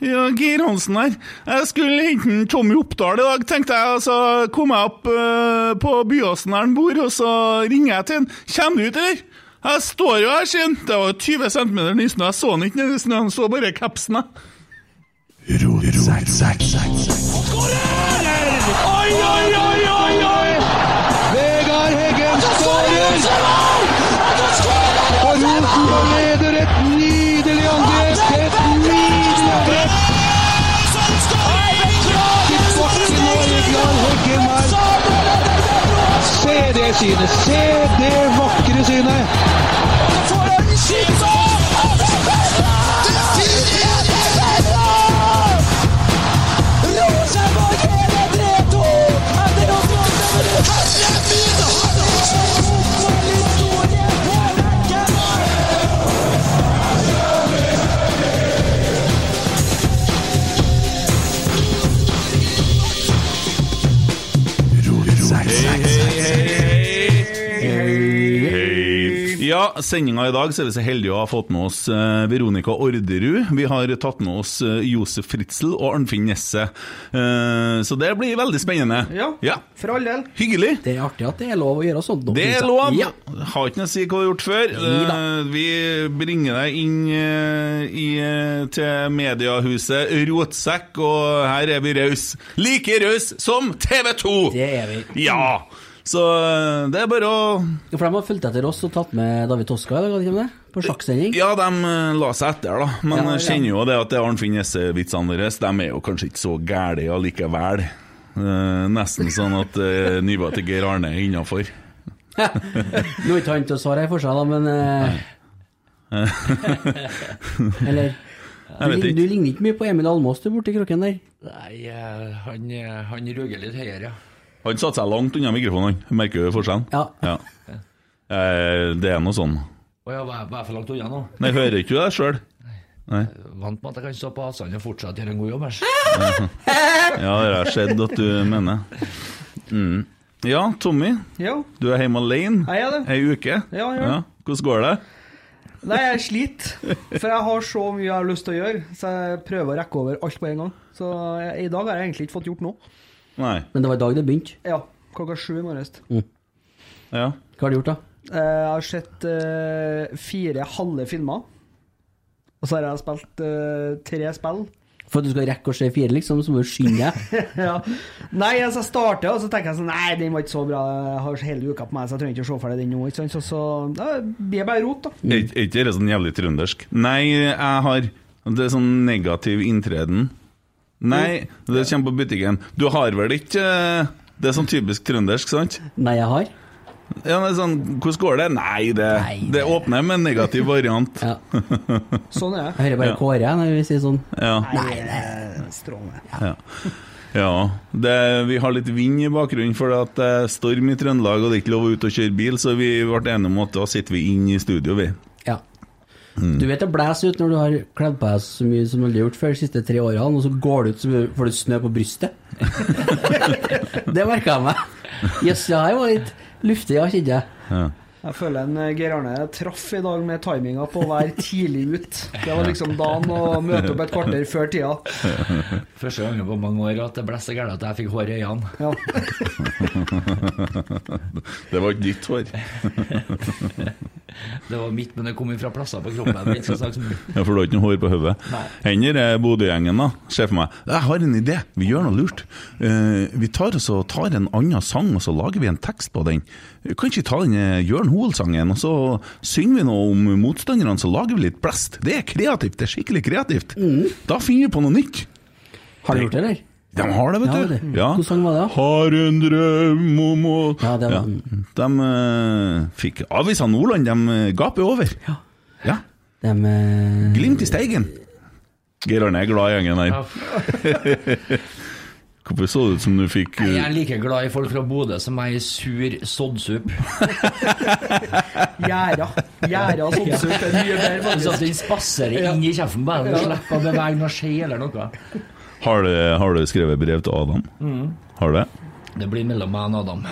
Ja, Geir Hansen her. Jeg skulle hente en Tommy Oppdal i dag, tenkte jeg. og Så kom jeg opp eh, på Byåsen der han bor, og så ringer jeg til han. Kommer du ut, eller? Jeg står jo her, sier han. Det var jo 20 cm nysnø. Jeg så han ikke nedi snøen, så bare capsen. jeg. Oi, oi, oi, oi, oi! Vegard Heggen skårer! Og Rosenborg leder et nydelig angrep! Et nydelig angrep! Borte nå, Vegard Heggen her. Se det synet! Se det vakre synet! Ja, sendinga i dag så er vi så heldige å ha fått med oss eh, Veronica Orderud. Vi har tatt med oss eh, Josef Fritzel og Arnfinn Nesset. Eh, så det blir veldig spennende. Ja. For all del. Hyggelig. Det er artig at det er lov å gjøre sånt. nå, Det synes er jeg. lov! Ja. Har ikke noe å si hva du har gjort før. Nei da. Eh, Vi bringer deg inn eh, i, eh, til mediehuset Rotsekk, og her er vi rause. Like rause som TV 2! Det er vi. Ja! Så eh, det er bare å For de har fulgt etter oss og tatt med David Toska i dag, har de ikke det? På sjakksending. Ja, de eh, la seg etter, da. Men Ja, jeg ja. kjenner jo det at det er Arnfinn Jesse-vitsene deres De er jo kanskje ikke så gæle allikevel. Eh, nesten sånn at uh, nivået til Geir Arne er innafor. Nå er ikke han til å svare her for seg, da, men eh, Eller du, Jeg vet ligner- du ikke. ligner ikke mye på Emil Almås, du, borti kroken der. Nei, eh, han, eh, han ruger litt høyere, ja. Han satte seg langt unna mikrofonen, han. Merker du forskjellen? Ja. Eh, det er noe sånn. Å ja, hva hva er for langt unna nå? Nei, hører ikke du deg sjøl? Vant med at jeg kan stå på avstand og fortsatt gjøre en god jobb. æsj. Ja, det har skjedd at du mener. Mm. Ja, Tommy. Ja. Du er hjemme alene Jeg er det. ei uke. Ja, jeg gjør det. Hvordan går det? Nei, jeg sliter. For jeg har så mye jeg har lyst til å gjøre, så jeg prøver å rekke over alt på en gang. Så jeg, i dag har jeg egentlig ikke fått gjort noe. Nei. Men det var i dag det begynte. Ja, klokka sju i morges. Ja. Hva har du gjort, da? Eh, Jeg har sett eh, fire halve filmer. Og så har jeg spilt eh, tre spill. For at du skal rekke å se fire, liksom, så må du skynde deg. ja. Nei, altså jeg starter, og så tenker jeg sånn Nei, den var ikke så bra. Jeg har hele uka på meg, så jeg trenger ikke å se ferdig den nå. Ikke sant? Så, så da blir det bare rot, da. Er ikke- er ikke det sånn jævlig trøndersk? Nei, jeg har Det er sånn negativ inntreden. Nei, det kommer på butikken. Du har vel ikke eh, Det er sånn typisk trøndersk, sant? Nei, jeg har. Ja, det er sånn, Hvordan går det? Nei, det, Nei, det åpner med en negativ variant. Ja. Sånn er det. Jeg hører bare Ja. Kåre jeg, når vi sier sånn. Ja. Nei, det er strålende. ja. Det, vi har litt vind i bakgrunnen, for det er storm i Trøndelag, og det er ikke lov å ut og kjøre bil, så vi ble enige om at da sitter vi inn i studio, vi. Ja. Du vet det blæser ut når du har kledd på deg så mye som du har gjort før de siste tre årene, og så går det ut så mye- får du snø på brystet. det merka jeg meg. Jøss, yes, ja, jeg var litt luftig, ja, kjente jeg. Jeg føler en eh, Geir Arne traff i dag med timinga på å være tidlig ut. Det var liksom dagen å møte opp et kvarter før tida. Første gangen på mange år at det ble så gærent at jeg fikk hår i øynene. Ja. Det var ikke ditt hår. Det var mitt, men det kom fra plasser på kroppen. Ikke så sagt som Ja, for du har ikke noe hår på hodet. Hender er Bodø-gjengen, da. Ser for meg Jeg har en idé, vi gjør noe lurt. Eh, vi tar, og så tar en annen sang, og så lager vi en tekst på den. Kan ikke vi ta den eh, Jørn Hoel-sangen, og så synger vi noe om motstanderne, så lager vi litt blest. Det er kreativt, det er skikkelig kreativt. Da finner vi på noe nytt. Har du gjort det, eller? De har det, vet Ja, du. det. Hvordan sang var det, da? Har en drøm om å Ja, det Mm. var- De eh, fikk Avisa Nordland, de eh, gaper over. Ja. ja. Det med Glimt i steigen. Geir Arne er glad i gjengen her. Ja. Hvorfor så det ut som du fikk Jeg uh, er like glad i folk fra Bodø som jeg er i sur soddsup. Gjerda. Gjerda og sånn. er mye bedre, faktisk. Sånn at den spasserer inn i kjeften på deg. Du slipper å bevege noe skje eller noe. har, du, har du skrevet brev til Adam? Har du det? Det blir mellom meg og Adam.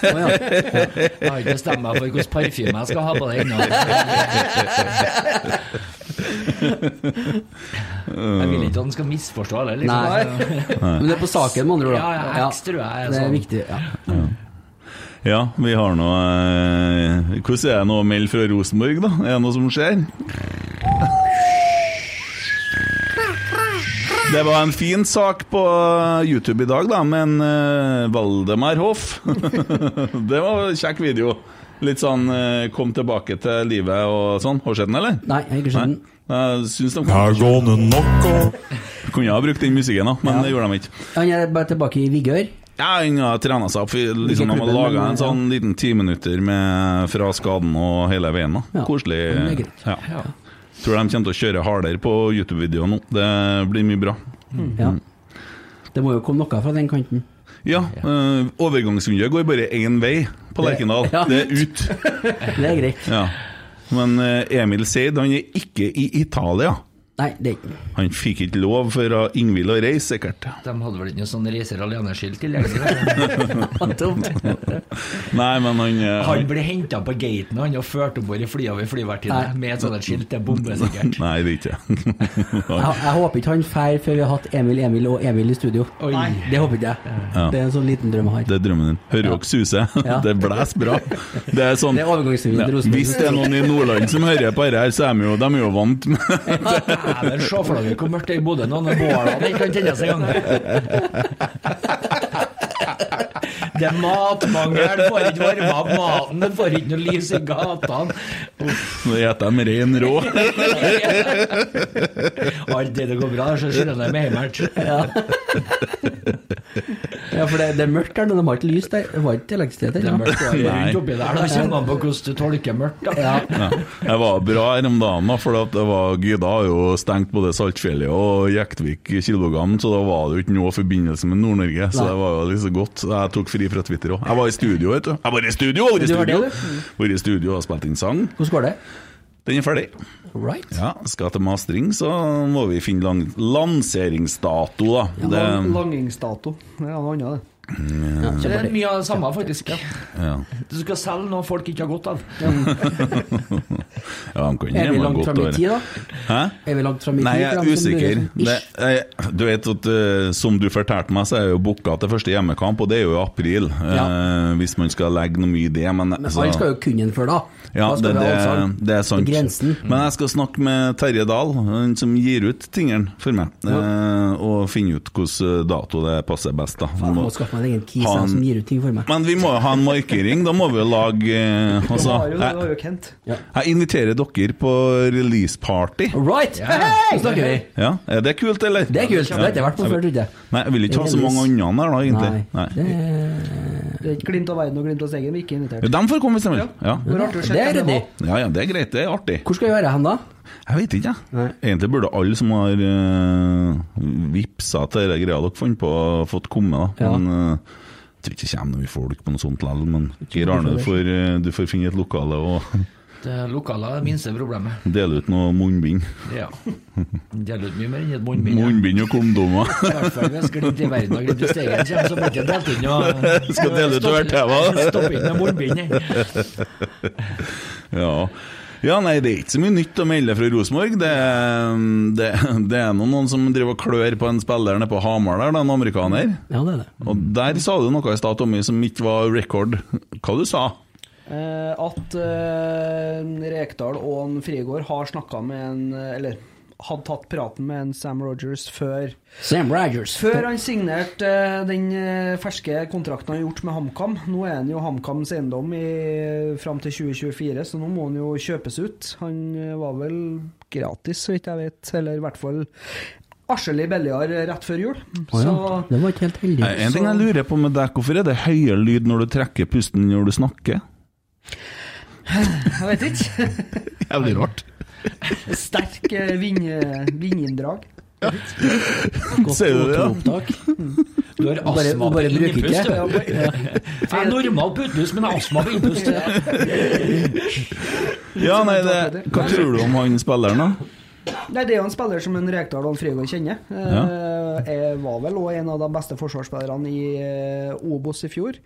Jeg har ikke bestemt meg for hvilken parfyme jeg skal ha på deg ennå. Jeg vil ikke at han skal misforstå heller. Liksom. Nei. Men det er på saken, med andre ord. da. Ja, ja, heks tror jeg er Det er sånn. viktig. Ja. Ja, vi har nå eh, Hvordan er det nå å melde fra Rosenborg, da? Er det noe som skjer? Det var en fin sak på YouTube i dag, da, med en eh, Valdemar Hoff. det var en kjekk video. Litt sånn eh, kom tilbake til livet og sånn. Har du sett den, eller? Nei, jeg har ikke skjønt den. Jeg syns de kunne, kunne ha brukt den musikken, da, men det gjorde de ikke. Han er bare tilbake i vigør. Ja, han har trena seg opp. for Liksom, de har klubben, laga men- en sånn liten ti minutter med, fra skaden og hele veien. da Ja, Koselig. men det er greit. Ja. Tror de kommer til å kjøre hardere på YouTube-videoen nå. Det blir mye bra. Ja. Det må jo komme noe fra den kanten. Ja, eh, overgangsvinduet går bare én vei på Lerkendal. Ja. Det er ut. Det er greit. Ja. Men eh, Emil Seid han er ikke i Italia. Nei, det er ikke Han fikk ikke lov for Ingvild å reise, sikkert. De hadde vel ikke noe sånn reiser alene-skilt tilgjengelig. Nei, men han, eh, Han ble henta på gaten han og ført om bord i flya ved flyvertinne Nei. med et sånt et skilt. Det er bombe, sikkert. Nei, det er ikke det. Jeg, jeg håper ikke han drar før vi har hatt Emil, Emil og Emil i studio. Oi. Det håper ikke jeg. Det er en sånn liten drøm jeg har. Det er drømmen din. Hører dere suse? Ja. Det blæs bra. Det er sånn Det er overgangsvinduet til Rosenborg. Hvis det er noen i Nordland som hører på dette, her, så er de jo, de er jo vant med Dæven, se for dere hvor mørkt det er i Bodø nå når bålene ikke kan tennes engang. Det er matmangel, du får ikke varme opp maten, du får ikke noe lys i gatene. Uff, Nå spiser de rein rå. Alt det det går bra, så skylder de med hjemmert. Ja, for det, det er mørkt her, men de har ikke lys der. Det var ikke elektrisitet Det er ennå. mørkt det er Nei. rundt oppi der, da kjenner man på hvordan du tolker mørkt. da. Ja. Ja. Jeg var bra her om dagen, da, for at det var, Gyda har jo stengt både Saltfjellet og Jektvik Kilbogan, så da var det jo ikke noe forbindelse med Nord-Norge. Så Nei. det var jo liksom godt. Jeg tok fri fra Twitter òg. Jeg var i studio, vet du. Jeg var i studio! Var i Du var det, studio, du? var i studio og spilte inn sang. Hvordan går det? Den er ferdig. Right. Ja, skal til mastering, så må vi finne lang lanseringsdato, da. det, Lang- Langingsdato. Det er noe annet, det. Ja, Det er kjempeartig. mye av det samme, faktisk. ja. Du skal selge noe folk ikke har godt av. ja, han kan Er vi gjemme langt godt fram i over. tid, da? Hæ? Er vi langt fram i tid? Nei, jeg for er dem som usikker. lurer? Det, Ish. jeg, du vet at eh, Som du fortalte meg, så er jeg jo booka til første hjemmekamp, og det er jo i april. eh, hvis man skal legge noe mye i det. Men, Men så- alle skal jo kunne den før da. Altså- ja, da det, skal vi det, ha allsang. det er sant. På grensen. Men jeg skal snakke med Terje Dahl, han som gir ut tingene for meg, eh, og finne ut hvilken dato det passer best. da Jeg Må- må skaffe meg en egen kis Ha en- som gir ut ting for meg. Men vi må jo ha en markering, da må vi jo lage eh, Du altså, har jo, det jeg, har jo Kent. jeg inviterer dere på release-party. Right! Hei, snakker vi! Ja, Er det kult, eller? Det er kult. Det har jeg ikke vært på før, trodde jeg. Nei, jeg vil ikke ha så Release. mange andre der, da, Nei. egentlig. Nei. Det, Det er ikke Glimt av verden og Glimt av Stegen. Vi er ikke invitert. Ja, dem får komme, hvis de vil. Ja. Det var artig å se det er hvem ryddig. var. ja ja, det er greit. Det er artig. Hvor skal vi være hen da? Jeg vet ikke, jeg. Egentlig burde alle som har uh, vippsa til de greia dere fant på, fått komme, da. Ja. Men eh, jeg tror ikke det kommer noe folk på noe sånt likevel. Men Geir Arne, du får, eh, du får finne et lokale og Det er lokaler er det minste problemet. dele ut noe munnbind. Ja. Deler ut mye mer enn et munnbind. ja. Munnbind og kondomer. I hvert fall hvis Glimt i verden og Glimt i Steigen kommer, så blir det delt inn og Skal dele ut over TV. Stopp inn med munnbind. Ja. ja, nei, det er ikke så mye nytt å melde fra Rosenborg. Det, er- det, det er nå noen som driver og klør på en spiller nede på Hamar der, da, en amerikaner. Ja, det er det. Og der sa du noe i stad, Tommy, som ikke var record. Hva du sa Eh, at eh, Rekdal og en Frigård har snakka med en eh, Eller hadde tatt praten med en Sam Rogers før Sam Rogers. Før han signerte eh, den eh, ferske kontrakten han har gjort med HamKam. Nå er han jo HamKams eiendom i- fram til 2024, så nå må han jo kjøpes ut. Han eh, var vel gratis, så vidt jeg vet, eller i hvert fall arselig billigere rett før jul. Å ja. Så Det var ikke helt heldig. Nei, En ting jeg lurer på med deg, hvorfor er det høyere lyd når du trekker pusten enn når du snakker? jeg vet ikke. Jævlig rart. Sterk eh, vind, eh, vindinndrag. Ser du det? ja? Opptak. Du har Bare, astma på bare bruk ikke. innpust. du. Jeg er normal på utlus, men jeg har astma på innpust. Ja, nei, det, hva tror du om han spilleren, da? Nei, Det er jo en spiller som en Rekdal og en Frigård kjenner. Eh, Jeg var vel òg en av de beste forsvarsspillerne i eh, Obos i fjor.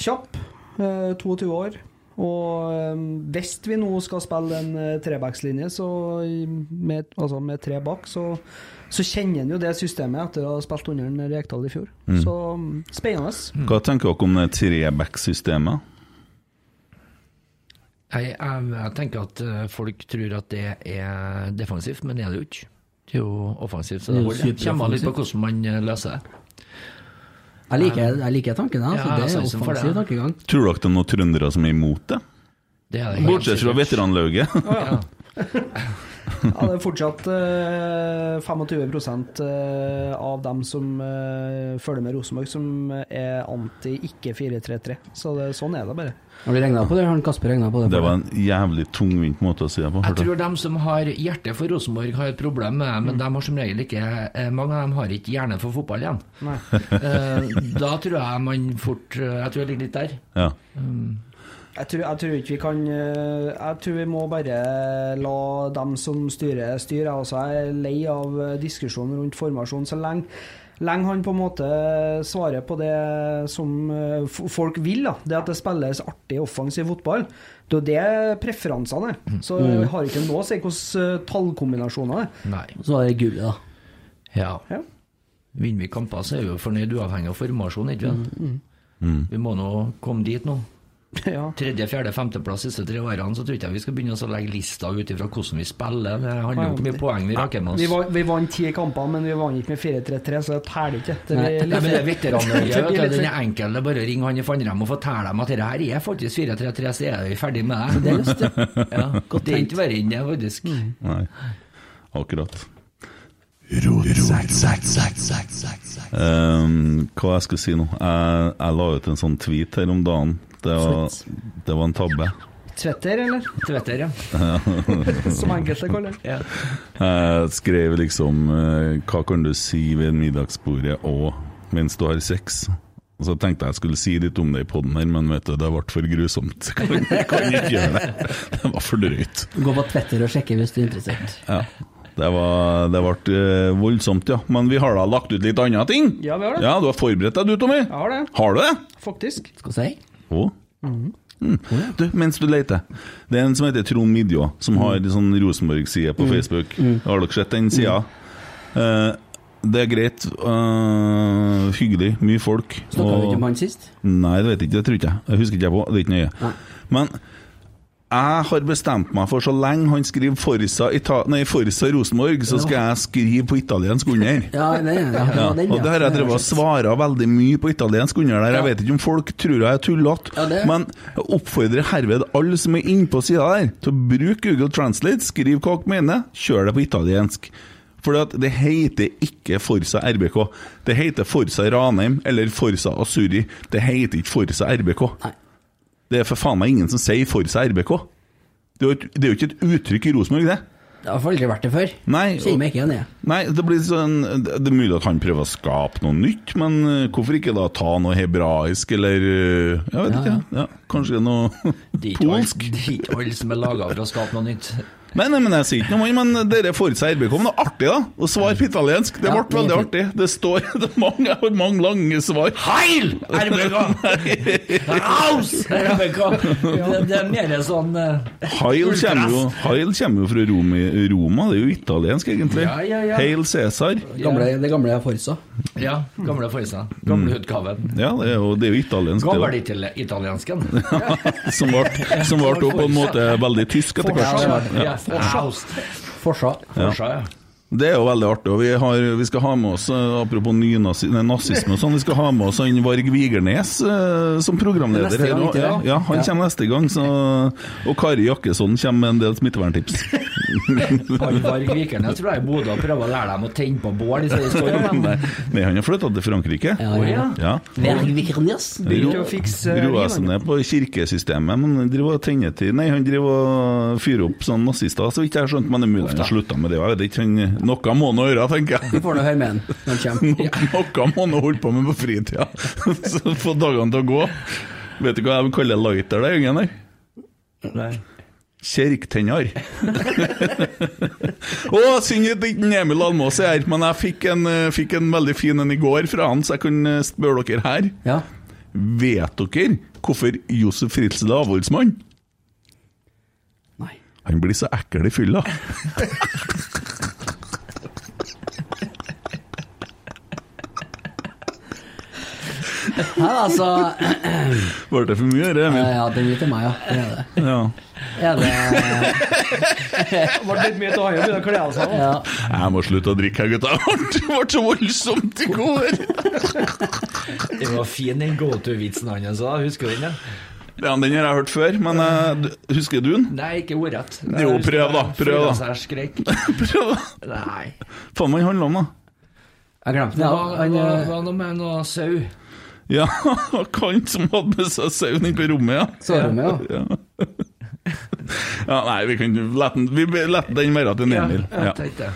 Kjapp. eh, 22 år. Og eh, hvis vi nå skal spille en eh, trebackslinje, så i- med, altså med tre bak, så, så kjenner en jo det systemet etter å ha spilt under en Rekdal i fjor. Så mm, spennende. Hva tenker dere om det treback-systemet? Jeg, jeg, jeg tenker at eh, folk tror at det er defensivt, men det er det jo ikke. Det er jo offensivt, så Det det er jo holder. Det kommer an litt på superoffensivt. hvordan man eh, løser det. Jeg liker, jeg liker tanken, altså. det Ja, er jeg synes den får det, offensiv ja. tankegang. Tror dere det er noen trøndere som er imot det? det er det helt Bortsett fra sikkert. veteranlauget. Ja. Ja, det er fortsatt eh, 25 eh, av dem som eh, følger med Rosenborg, som eh, er anti-ikke-433. Så det, sånn er det bare. Har du regnet på det? Har han Kasper regna på det? Det var en jævlig tungvint måte å si det på. Jeg hørte tror dem som har hjerte for Rosenborg, har et problem med det, men de har som regel ikke eh, Mange av dem har ikke hjerne for fotball igjen. Nei. Eh, da tror jeg man fort eh, Jeg tror jeg ligger litt der. Mm, Ja. Jeg tror, jeg tror ikke vi kan eh, Jeg tror vi må bare la dem som styrer, styre. Altså, jeg er lei av eh, diskusjonen rundt formasjon så lenge. Lenge han på en måte svarer på det som eh, f- folk vil, da. det at det spilles artig offensiv fotball, det er jo det preferansene er. Så vi har ikke noe å si hvilke eh, tallkombinasjoner det er. Nei. Så var det gullet, da. Ja. Ja. Vinner vi kamper, så er vi jo fornøyd uavhengig av formasjon, ikke sant? Vi må nå komme dit nå. Ja. Tredje, fjerde, femteplass disse tre årene, så tror ikke jeg vi skal begynne å legge lista ut ifra hvordan vi spiller. Det handler jo om hvor mye poeng vi raker med Vi, oss. vant- vi vant ti kamper, men vi vant ikke med 4-3-3, så det teller ikke. Det Nei. blir Nei, men det er litt- veteranlaget. Det blir vet du. litt- Den er enkel. Det er bare å ringe han i Fannrem og fortelle dem at dette her er faktisk 4-3-3, så er vi ferdig med det. Det Mm. er, ja, det er ikke verre enn det, faktisk. Nei. Akkurat. Um, hva jeg skulle si nå? Jeg, jeg la ut en sånn tweet her om dagen. Det var, det var en tabbe. Tvetter, eller? Tvetter, ja. Som enkelte kaller det. Jeg skrev liksom eh, Hva kan du si ved middagsbordet og mens du har sex? Og så tenkte jeg jeg skulle si litt om det i poden her, men vet du, det ble for grusomt. Kan, kan ikke gjøre det. Det var for drøyt. Gå på Twitter og sjekke hvis du er interessert. Ja. Det, var, det ble eh, voldsomt, ja. Men vi har da lagt ut litt andre ting? Ja, vi har det. Ja, Du har forberedt deg, du, Tommy? Jeg har det, Har du det? faktisk. Skal jeg si? Å? Mhm. Mm. Du, mens du leter. Det er en som heter Trond Midjå, som har en sånn Rosenborg-side Mm. på Facebook. Har dere sett den sida? Eh, det er greit. eh, hyggelig. Mye folk. Snakka vi og- ikke om han sist? Nei, det vet jeg ikke. Det tror ikke jeg. Jeg husker ikke jeg på. Det er ikke nøye. Nei. Men jeg har bestemt meg for så lenge han skriver Forza, Ita nei, Forza Rosenborg, så skal jeg skrive på italiensk under. Ja, nei, ja, ja, Ja, den, ja. og det har jeg drevet og svara veldig mye på italiensk under der. Jeg Ja. vet ikke om folk tror jeg er tullete, Ja, det- men jeg oppfordrer herved alle som er inne på sida der, til å bruke Google Translate, skriv hva dere mener, kjør det på italiensk. For det heter ikke Forsa RBK. Det heter Forsa Ranheim eller Forsa Asuri. Det heter ikke Forsa RBK. Nei. Det er for faen meg ingen som sier Forsa RBK. Det er jo, et- det er jo ikke et uttrykk i Rosenborg, det. Jeg har aldri vært det før. Nei, Sier og- meg ikke igjen, jeg. Nei, det blir sånn Det er mulig at han prøver å skape noe nytt, men eh, hvorfor ikke da ta noe hebraisk eller eh, Jeg vet Ja, ikke. Ja, kanskje noe Det er ikke alle- polsk? det er ikke alle som er laga for å skape noe nytt. Nei, nei, men jeg sier ikke noe om han, men dere får seg RBK. Men det er artig, da! Å svare på italiensk. Det Ja, ble veldig det artig. Det står det er mange, jeg har mange lange svar. Heil RBK! Raus RBK! Det, det er mer sånn eh, Heil kommer jo, Heil kommer jo fra Rom, Roma, det er jo italiensk, egentlig. Ja, ja, ja. Heil Cæsar. Gamle, det gamle Forsa. Ja, gamle Forsa. Gamle utgaven. Ja, det er jo, det er jo italiensk, det da. Gammel-italiensken. Som ble- som ble jo på en måte veldig tysk etter hvert. Ja, Raus. Forsa. Forsa, ja. Det er jo veldig artig. og Vi, har, vi skal ha med oss, eh, apropos nynazi- nei, nazisme og sånn, vi skal ha med oss han Varg Vigernes eh, som programleder. Neste gang, her nå. ikke det? ja, ja, han Ja. kommer neste gang. Så, og Kari Jakkesson kommer med en del smitteverntips. Han Varg Vikernes tror jeg er i Bodø og prøver å lære dem å tenne på bål. i stedet for å stå i Nei, dem. nei, han har flytta til Frankrike. Ja, ja, ja. Ja. Verg Vikernes. Begynte å fikse eh, Roa livet. seg ned på kirkesystemet, men han driver og tenner til Nei, han driver og fyrer opp sånn nazister, så vidt jeg har skjønt. Men det er mulig han har slutta med det. Jeg vet ikke, han, noe må han gjøre, tenker jeg. Vi får nå høre med han når han kommer. No- Noe må han holde på med på fritida, så få dagene til å gå. Vet du hva de kaller lighter, det gjengen der? Kjerktenner. Å, synd at ikke Emil Almås er her, men jeg fikk en, eh, fikk en veldig fin en i går fra han, så jeg kunne spørre dere her. Ja. Vet dere hvorfor Josef Fritzl er avholdsmann. Nei. Han blir så ekkel i fylla. Nei, altså Ble det for mye, Are eh, Emil? Ja, den gir til meg, ja. Det er det. Ja. Er det Det ble litt mye til han å begynne å kle av seg. da. altså. ja. Jeg må slutte å drikke, her, gutta. Det ble så voldsomt i går. Det var fin den go-to-vitsen han sa, husker du den? ja? Ja, Den har jeg hørt før, men eh, du- husker du den? Nei, ikke ordrett. Jo, prøv da, prøv da. Fyra seg skrek. Prøv, da. Nei. Faen, hva handler om, da? Jeg glemte det. Det Ja, var, han, var, eh, var noe med noe sau. Ja, han som hadde med seg sauen inn på rommet, ja. Saromeo. Ja. Ja. ja, nei, vi kan la den, vi be- la den være til en Emil. Ja, Ja, jeg tenkte det.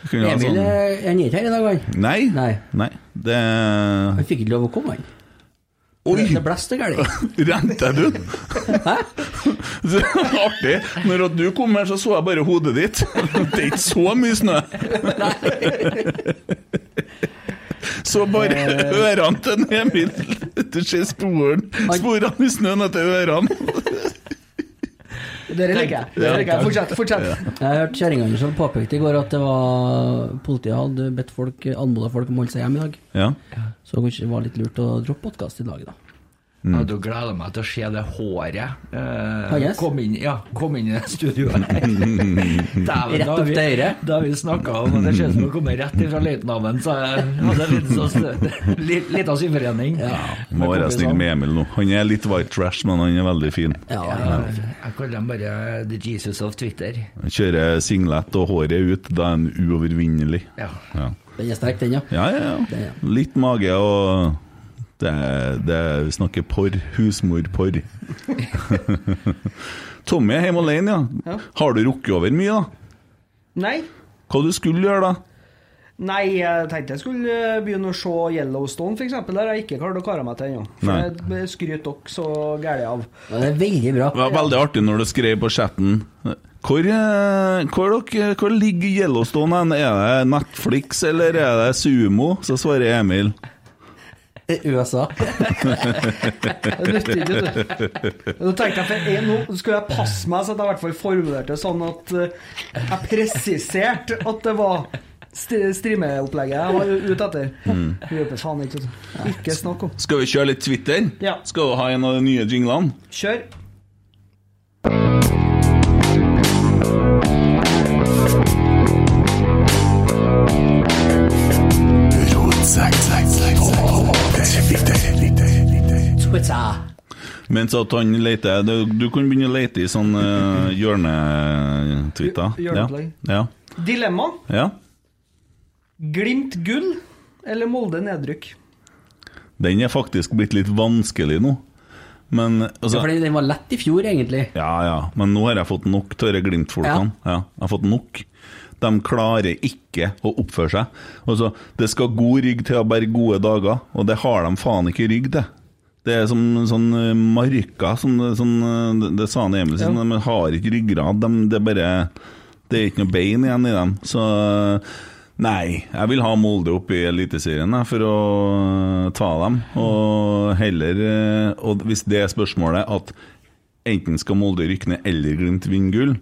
vi kan ha Emil sånn- eh, han er ikke her i dag, han. Nei. Nei. Nei. Det Han fikk ikke lov å komme, han. Oi! Det blæste galt. Rente du? Så Artig. Når at du kom her, så så jeg bare hodet ditt. Det er ikke så mye snø. Så bare ørene til en Emil. Du ser sporen. sporene i snøen etter ørene. Dere liker jeg. Dere liker jeg. Fortsett. fortsett. Jeg hørte kjerringa hennes som påpekte i går at det var politiet hadde bedt folk, anmoda folk om å holde seg hjemme i dag. Ja. Så kanskje det var litt lurt å droppe podkast i dag, da. Ja, da gleder jeg meg til å se det håret eh, Hans? kom, inn, ja, kom inn i studioet her. Dæven, Rett da opp vi- til øyret. Da vi snakka om og det ser ut som å komme rett ifra løytnanten, så jeg hadde en liten sånn li- lita syforening. Må være snill med Emil nå. Han er litt white trash, men han er veldig fin. Ja, Ja, jeg kaller dem bare The Jesus of Twitter. Han kjører singlet og håret ut, da er han uovervinnelig. Ja. Ja. Den er sterk, den, ja. Ja, ja, ja. Litt mage og det, det Vi snakker porr. Husmorporr. Tommy er hjemme alene, ja. Har du rukket over mye, da? Nei. Hva du skulle gjøre, da? Nei, jeg tenkte jeg skulle eh, begynne å se Yellowstone, f.eks. Der har jeg ikke klart å kare meg til ennå. Nei. For Det skryter dere så gæli av. Ja, Det er veldig bra. Det var veldig artig når du skrev på chatten hvor, eh, hvor, dere, hvor ligger Yellowstone hen? Er det Netflix eller er det Sumo? Så svarer Emil. USA. Det nytter ikke, vet du. Nå tenkte jeg for en, nå skulle jeg passe meg så at jeg i hvert fall formulerte det sånn at eh, jeg presiserte at det var st- streameopplegget jeg var ute etter. Det hjelper faen ikke. vet du. Ikke snakk om. Skal vi kjøre litt Twitter? Ja. Skal du ha en av de nye jinglene? Kjør. Twitter. Mens at han leter Du, du kan begynne å lete i sånn uh, hjørnetwitter. Hjør- hjørneopplegg. Ja. Dilemma. ja. ja. Glimt gull eller Molde nedrykk? Den er faktisk blitt litt vanskelig nå. Men altså, Fordi den var lett i fjor, egentlig. Ja, ja. Men nå har jeg fått nok av disse Glimt-folkene. Ja. jeg har fått nok. De klarer ikke å oppføre seg. Altså, det skal god rygg til å bære gode dager, og det har de faen ikke rygg til. Det er som sånn eh, marka, som sånn, eh, det sa han Emil sin, de har ikke ryggrad. De, det er bare Det er ikke noe bein igjen i dem. Så eh, nei, jeg vil ha Molde opp i Eliteserien jeg, for å eh, ta dem. Og heller eh, Og hvis det er spørsmålet at enten skal Molde rykke ned eller Glimt vinne gull.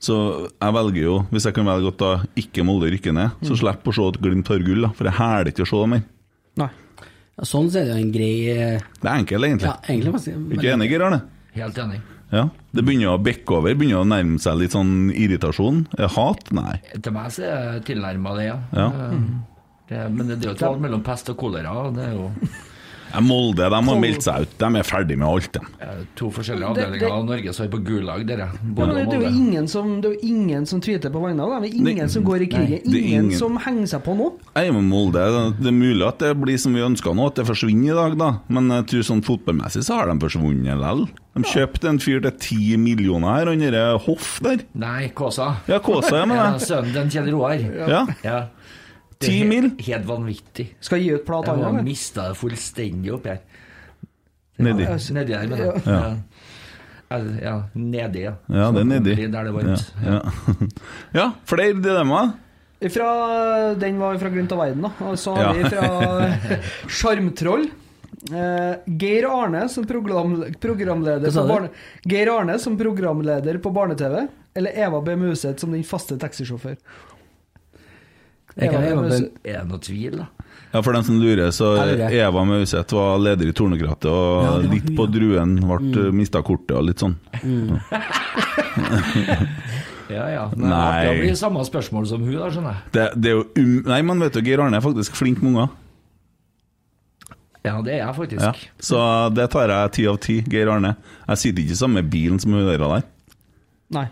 Så jeg velger jo, hvis jeg kan velge at da ikke Molde rykker ned, så slipper å se at Glimt har gull, da, for jeg hæler ikke å se dem mer. Nei. Ja, sånn så er det jo en grei eh, Det er enkelt, egentlig. Ja, egentlig ganske Ikke enig, Geir Arne? Helt enig. Ja. Det begynner å bekke over, begynner å nærme seg litt sånn irritasjon. Eh, Hat? Nei. Til meg så er jeg tilnærma det, ja. Ja. Eh, Det, men det er jo et valg mellom pest og kolera. og Det er jo Eh, Molde de har meldt seg ut, de er ferdig med alt, de. eh, to forskjellige Det- avdelinger det- av Norge som er på gulag, dere. Ja, Både men det, og det, er jo Molde. ingen som, det er jo ingen som tweeter på vegne av dem. Det er Nei. ingen som går i krigen. det er Ingen, ingen. som henger seg på nå. Jeg er med Molde. Det er mulig at det blir som vi ønsker nå, at det forsvinner i dag, da. Men jeg tror sånn fotballmessig så har de forsvunnet likevel. De kjøpte en fyr til ti millioner her, han derre Hoff der. Nei, Kåsa. Ja, Kåsa er Ja, med deg. Sønnen til Kjell Roar. Ja. Ja. Det er Ti he- mil. Helt vanvittig. Skal gi ut plate Jeg han har eller? mista det fullstendig opp her. altså, Nedi. Nedi der, mener jeg. Ja. Ja. ja. Nedi, ja. Ja, det er nedi. Der det er Ja, varmt. ja. ja flere dilemmaer. Fra, den var fra Glimt av verden, da. Og så Ja. har vi fra Sjarmtroll. Eh, Geir Arne som program, programleder Hva sa på du? barne, Geir Arne som programleder på barne-TV, eller Eva B. Museth som den faste taxisjåfør? Jeg kan Eva Eva B. B. Museth. Er det noe tvil, da? Ja, For dem som lurer, så Jeg lurer. Eva Mauseth var leder i Tornekrattet, og Ja, det var litt hun, på ja. druen ble mm. mista kortet og litt sånn. Ja, ja. Nei. Det blir samme spørsmål som hun, da, skjønner jeg. Det, det er jo um... Nei, men vet du, Geir Arne er faktisk flink med unger. Ja, det er jeg faktisk. Ja. Så det tar jeg ti av ti, Geir Arne. Jeg sitter ikke i samme bilen som hun der. der. Nei.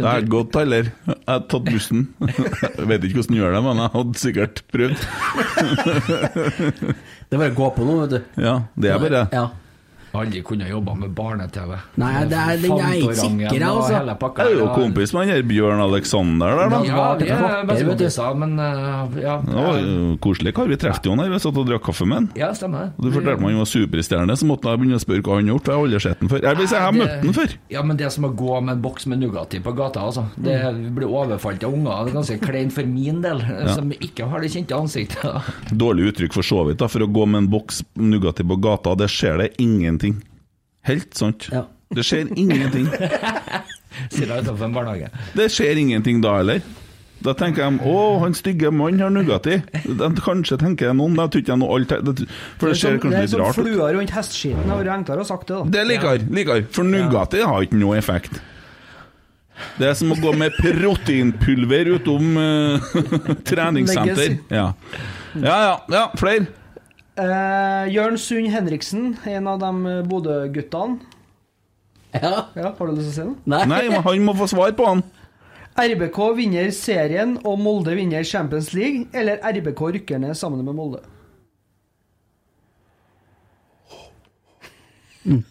Det er godt, heller. Jeg har tatt bussen. Jeg vet ikke hvordan du gjør det, men jeg hadde sikkert prøvd. Det er bare å gå på nå, vet du. Ja, det er bare Ja. Aldri kunne jobba med barne-TV. Nei, det er- den er ikke Fantorangen sikker, og altså. hele pakka. Jeg er jo Ja. kompis med han her Bjørn Alexander der, da. Ja, vi Det er beste vet du. kompiser, men eh, ja. Det var jo koselig kar. Vi traff jo han her, vi satt og drakk kaffe med han. Ja, stemmer Og Du fortalte meg han var superstjerne, så måtte jeg begynne å spørre hva han har gjort. Jeg har aldri sett han før. Jeg vil si, jeg har møtt han før. Ja, men det er som å gå med en boks med Nugatti på gata, altså. Det Mm. blir overfalt av unger. Det er ganske kleint for min del, som ikke har det kjente ansiktet. Dårlig uttrykk for så vidt, da. For å gå med en boks Nugatti på gata, det skjer det ingenting. Helt sant. Ja. Det skjer ingenting. Sier jeg utenfor en barnehage. Det skjer ingenting da heller. Da tenker de å, han stygge mannen har Nugatti. De- Kanskje tenker de noen, da tror ikke jeg noe alt det- For det som- ser sånn- kanskje litt som rart ut. flua sånn rundt hesteskitten. Det hadde vært enklere å sagt det, da. Det er likere, likere. For Nugatti har ikke noe effekt. Det er som å gå med proteinpulver utom eh, treningssenter. Legges. Ja. ja, ja, ja, flere. Eh, Jørn Sund Henriksen, en av de eh, Bodø-guttene. ja. Ja, har du lyst til å si noe? Nei. Nei, men han må få svar på han. RBK vinner serien og Molde vinner Champions League, eller RBK rykker ned sammen med Molde? Mm.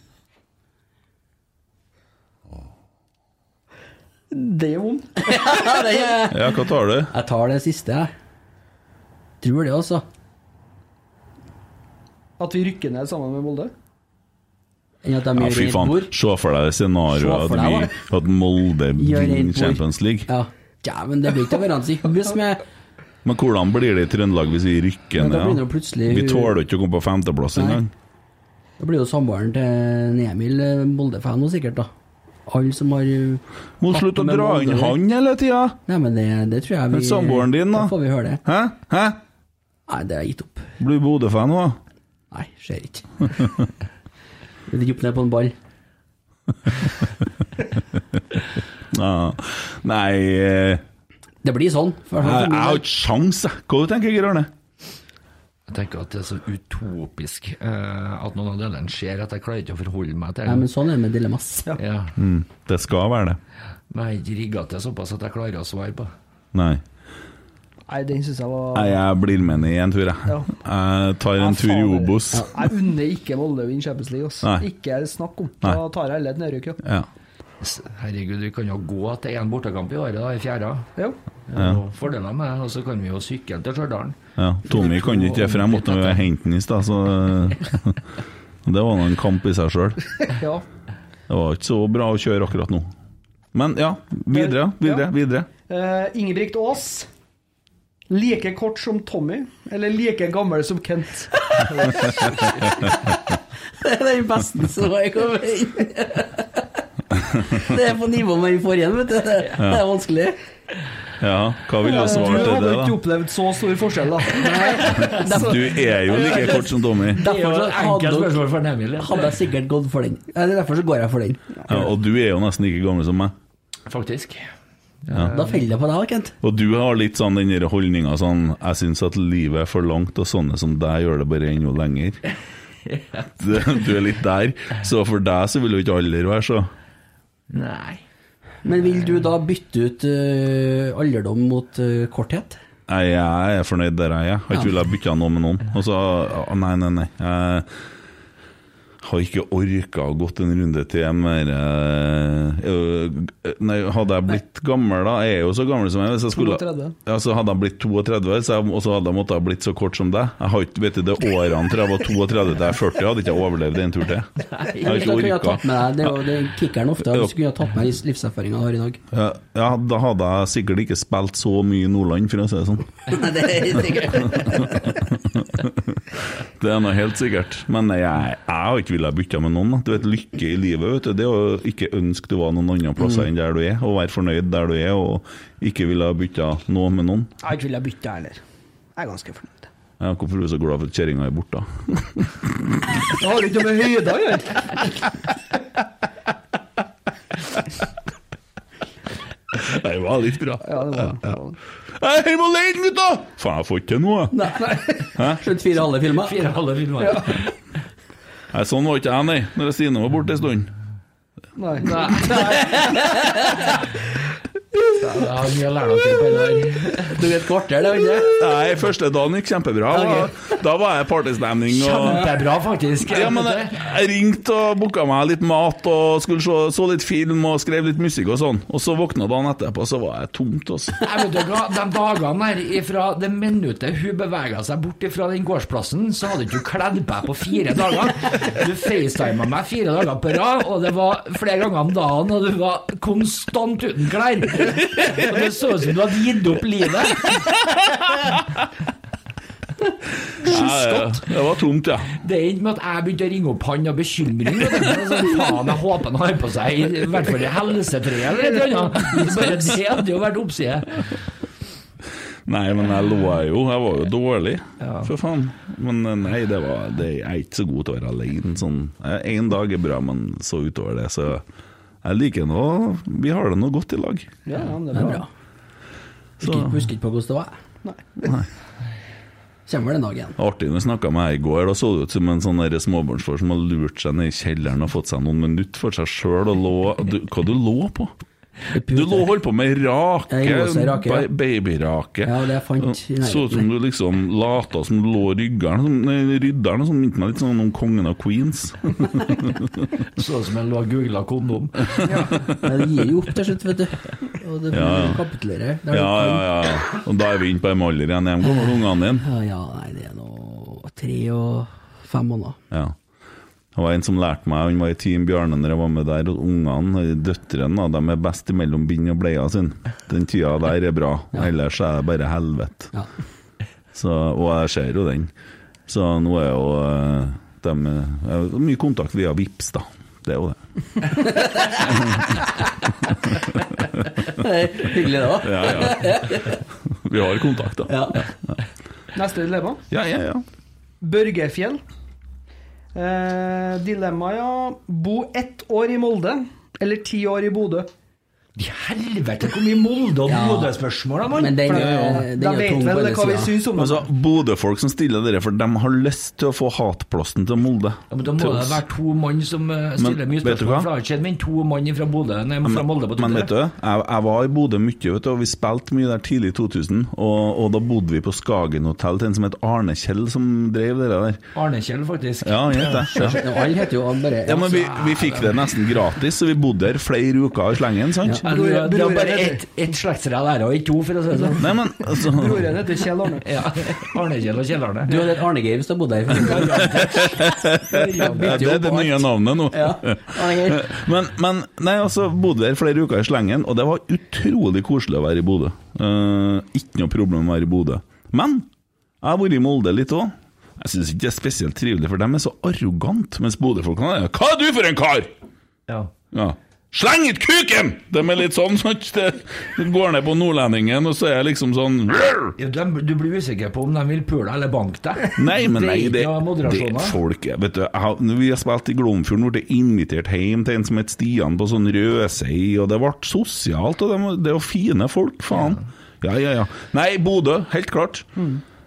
Det er vondt. Ja, det er- Ja, hva tar du? Jeg tar det siste, jeg. Tror det, altså. At vi rykker ned sammen med Molde? Enn at de Ja, gjør fy rent faen. bord. Se for deg det Se scenarioet for at, deg, vi- at Molde Gjør rent vinner bord. Champions League. Ja. ja, men det blir ikke hverandre hyggelig med Men hvordan blir det i Trøndelag hvis vi rykker Men da ned? blir det jo plutselig- Vi tåler ikke å komme på femteplass Nei. engang. Da blir jo samboeren til Emil eh, Molde-fan nå sikkert, da. Alle som har eh, Må slutte å med dra inn Molde. han hele tida! Nei, men det, det tror jeg vi Men samboeren din, da? får vi høre det. Hæ? Hæ? Nei, det har jeg gitt opp. Blir Bodø-fan nå? Nei, skjer ikke. Vil ikke opp ned på en ball. Ja. Nei eh, Det blir sånn. i Jeg hvert fall for jeg min har del. ikke sjans, jeg. Hva du tenker du, Arne? Jeg tenker at det er så utopisk eh, at noen av delene skjer, at jeg klarer ikke å forholde meg til Nei, men det. sånn er det med dilemmas. Ja. Mm, Det skal være det. Men jeg er ikke rigga til såpass at jeg klarer å svare på. Nei. Nei, den syns jeg var Nei, jeg blir med ned i en tur, jeg. Ja. Jeg tar en Jeg tur i faen, Obos. Jeg unner ikke Molde å vinne Champions League. Ass. Nei. Ikke snakk om. Nei. Da tar jeg heller et nedrykk, ja. Ja. S- Herregud, vi kan jo gå til én bortekamp i året, da, i fjerde. Jo. Ja. og Fordeler med det. Og så kan vi jo sykle til Stjørdal. ja. Tommy kan ikke det, for jeg måtte jo hente han i stad, så Det var nå en kamp i seg sjøl. Ja. Det var ikke så bra å kjøre akkurat nå. Men ja, videre, videre, Ja. videre. Eh, Ingebrigt Aas. Like kort som Tommy, eller like gammel som Kent? Det er den beste som har kommet inn. Det er på nivå med den forrige, vet du. Det er vanskelig. Ja, hva vil Du jeg svare til hadde det, ikke da? opplevd så stor forskjell, da. Du er jo like kort som Tommy, Derfor så hadde, Enkelt nok- spørsmål for en Emil. hadde jeg sikkert gått for den. Ja, det er derfor så går jeg for den. ja, og du er jo nesten like gammel som meg. Faktisk. Da faller det på deg, Kent. Og du har litt sånn den der holdninga sånn Jeg syns at livet er for langt, og sånne som deg gjør det bare enda lenger. Det- Du er litt der. Så for deg så vil jo ikke alder være så Nei. Men vil du da bytte ut eh, alderdom mot eh, korthet? Nei, jeg er fornøyd der jeg er. Har ikke villet bytte noe med noen. Og så Å, Nei, nei, nei. Jeg har ikke orka å gått en runde til mer eh, øh, Nei, hadde jeg blitt gammel da Jeg er jo så gammel som jeg er, hvis jeg skulle 32. Ja, så hadde jeg blitt 32, så jeg, og så hadde jeg måttet ha blitt så kort som deg. Jeg har ikke, vet du, det årene fra jeg var 32 til jeg er 40, hadde ikke jeg overlevd en tur til. Jeg har Hvis dere kunne ha ikke tatt orka. med deg, Det er jo det er kickeren ofte. Hvis du kunne ha tatt med deg livserfaringa du har i dag. Ja, ja, da hadde jeg sikkert ikke spilt så mye i Nordland, for å si det sånn. det er sikkert. Det er noe helt sikkert. Men jeg, jeg har ikke villet bytte med noen. da. Du vet, Lykke i livet, vet du, det er å ikke ønske du var noen andre plasser enn der du er, og være fornøyd der du er, og ikke ville bytte noe med noen. Jeg har ikke villet bytte, jeg heller. Jeg er ganske fornøyd. Ja, hvorfor er du så glad for at kjerringa er borte? da? Det har ikke med høyder å gjøre! Det var litt bra. Ja, det var det. Jeg er hjemme alene, gutta! Faen, jeg får ikke til noe. jeg. Slutt fire halve filmer. Fire halve filmer. Nei, sånn var ikke jeg, nei, når Stine var borte en stund. Nei. Jeg har mye å lære dere på det der. Du vet kvarter, det er jo ikke Nei, første dagen gikk kjempebra. Da var jeg partystemning og Kjempebra, faktisk. Ja, men jeg, jeg ringte og booka meg litt mat og skulle se, så litt film og skrev litt musikk og sånn. Og så våkna dagen etterpå, så var jeg tomt, altså. Nei, vet du hva, De dagene her, ifra det minuttet hun bevega seg bort fra den gårdsplassen, så hadde ikke hun kledd på deg på fire dager. Du facetima meg fire dager på rad, og det var flere ganger om dagen, og du var konstant uten klær. Og Det så ut som du hadde gitt opp livet. Jeg, det var tomt, ja. Det er ikke med at jeg begynte å ringe opp han av bekymring. vet du. Altså, faen, jeg håper han har på seg i hvert fall i helsetreet eller et eller annet. Bare det hadde jo vært oppside. Nei, men jeg lå jo. Jeg var jo dårlig, for faen. Men eh, nei, det var det, Jeg er ikke så god til å være alene. Sånn. Én dag er bra, men så utover det, så jeg liker nå Vi har det nå godt i lag. Ja, ja, det det. er er bra. bra. Husker ikke- Husker ikke på hvordan det var. Kommer vel en dag igjen. Artig når jeg snakka med deg i går, da så det ut som en sånn der småbarnsfar som har lurt seg ned i kjelleren og fått seg noen minutter for seg sjøl og lå du, Hva du lå på? Du lå og holdt på med rake, Jeg lå og så rake, ja. ba- babyrake. Ja, det jeg fant i Så ut som nærheten. du liksom lata som du lå ryggeren, som, nei, rydderen, som minte meg litt sånn om kongen av Queens. Så ut som en lå og googla kondom. Men det gir jo opp til slutt, vet du. Og det Ja. kapitulerer. Det Ja, er ja, ja. Og da er vi inne på en alder igjen. Hjem kommer ungene dine. Ja, ja, nei, det er nå tre og fem måneder. Ja. Det var en som lærte meg, han var i Team Bjarne når jeg var med der, og ungene, døtrene, da, de er best mellom bind og bleia sin. Den tida der er bra, ellers er det bare helvete. Ja. Så, og jeg ser jo den. Så nå er jo eh, de jeg har Mye kontakt via Vips da. Det er jo det. Hyggelig, det òg. Ja, ja. Vi har kontakt, da. Ja. Neste dilemma. Ja, ja, ja. Børgefjell. Eh, dilemma, ja. Bo ett år i Molde eller ti år i Bodø. I helvete, hvor mye Molde og Ja. Bodø-spørsmål da, Men mann! den, For er- den da er vet tung på vel alle hva vi sider. syns om det. Altså, Bodø-folk som stiller dere, for de har lyst til å få hatplassen til Molde. Ja, men da må Til det oss. være to mann som eh, stiller Men, mye vet du hva? spørsmål. For det har ikke skjedd med to mann fra, Bodø, nei, fra Molde på Men vet du, Twitter. jeg, jeg var i Bodø mye, vet du, og vi spilte mye der tidlig i 2000. Og, og da bodde vi på Skagen hotell til en som het Arne Kjell, som drev det der. Arne Kjell, faktisk. Ja, han het det. Ja. Ja, Alle heter jo alle bare Ja, men vi, vi fikk det nesten gratis, så vi bodde der flere uker i slengen, sant? Men det er- det Bror- er bare bror- ett et slektsrev der, og ikke to, for å si det sånn. Nei, men altså Broren heter Kjell Arne. Ja. Arne Kjell og Kjell Arne. Du hadde et Arne Geir hvis du bodde her. ja, Det er det nye navnet nå. Ja, Arne Geir. Men, men nei, altså, bodde der flere uker i slengen, og det var utrolig koselig å være i Bodø. Eh, ikke noe problem å være i Bodø. Men jeg har vært i Molde litt òg. Jeg syns ikke det er spesielt trivelig, for dem er så arrogante, mens Bodø-folkene er Hva er du for en kar?! Ja. Ja. Sleng ut kuken! De er litt sånn, sant? Det- De går ned på nordlendingen, og så er jeg liksom sånn "Rrr!" Ja, de- Du blir usikker på om de vil pule eller banke deg. Nei, men nei, det, Det er ikke noe det moderasjon, da. folk er- Vet du, jeg, har- når vi har spilt i Glomfjorden, ble det invitert hjem til en som het Stian på sånn Røsei, og det ble sosialt, og det, var- det er jo fine folk, faen. Ja, ja, ja. Nei, Bodø, helt klart.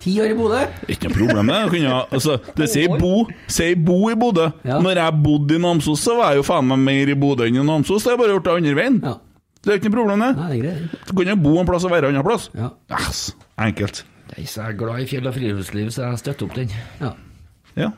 Ti år i Bodø. Ikke noe problem med det. Kunne, altså, det sier bo, sier bo i Bodø. Ja. Når jeg bodde i Namsos, så var jeg jo faen meg mer i Bodø enn i Namsos. Det har jeg bare gjort det andre veien. Ja. Det er ikke noe problem med det. Nei, det er greit. Du kan jo bo en plass og være en annen plass. Ja. Yes, enkelt. Nei, så Jeg er glad i fjell og friluftsliv, så jeg støtter opp den. Ja. Ja.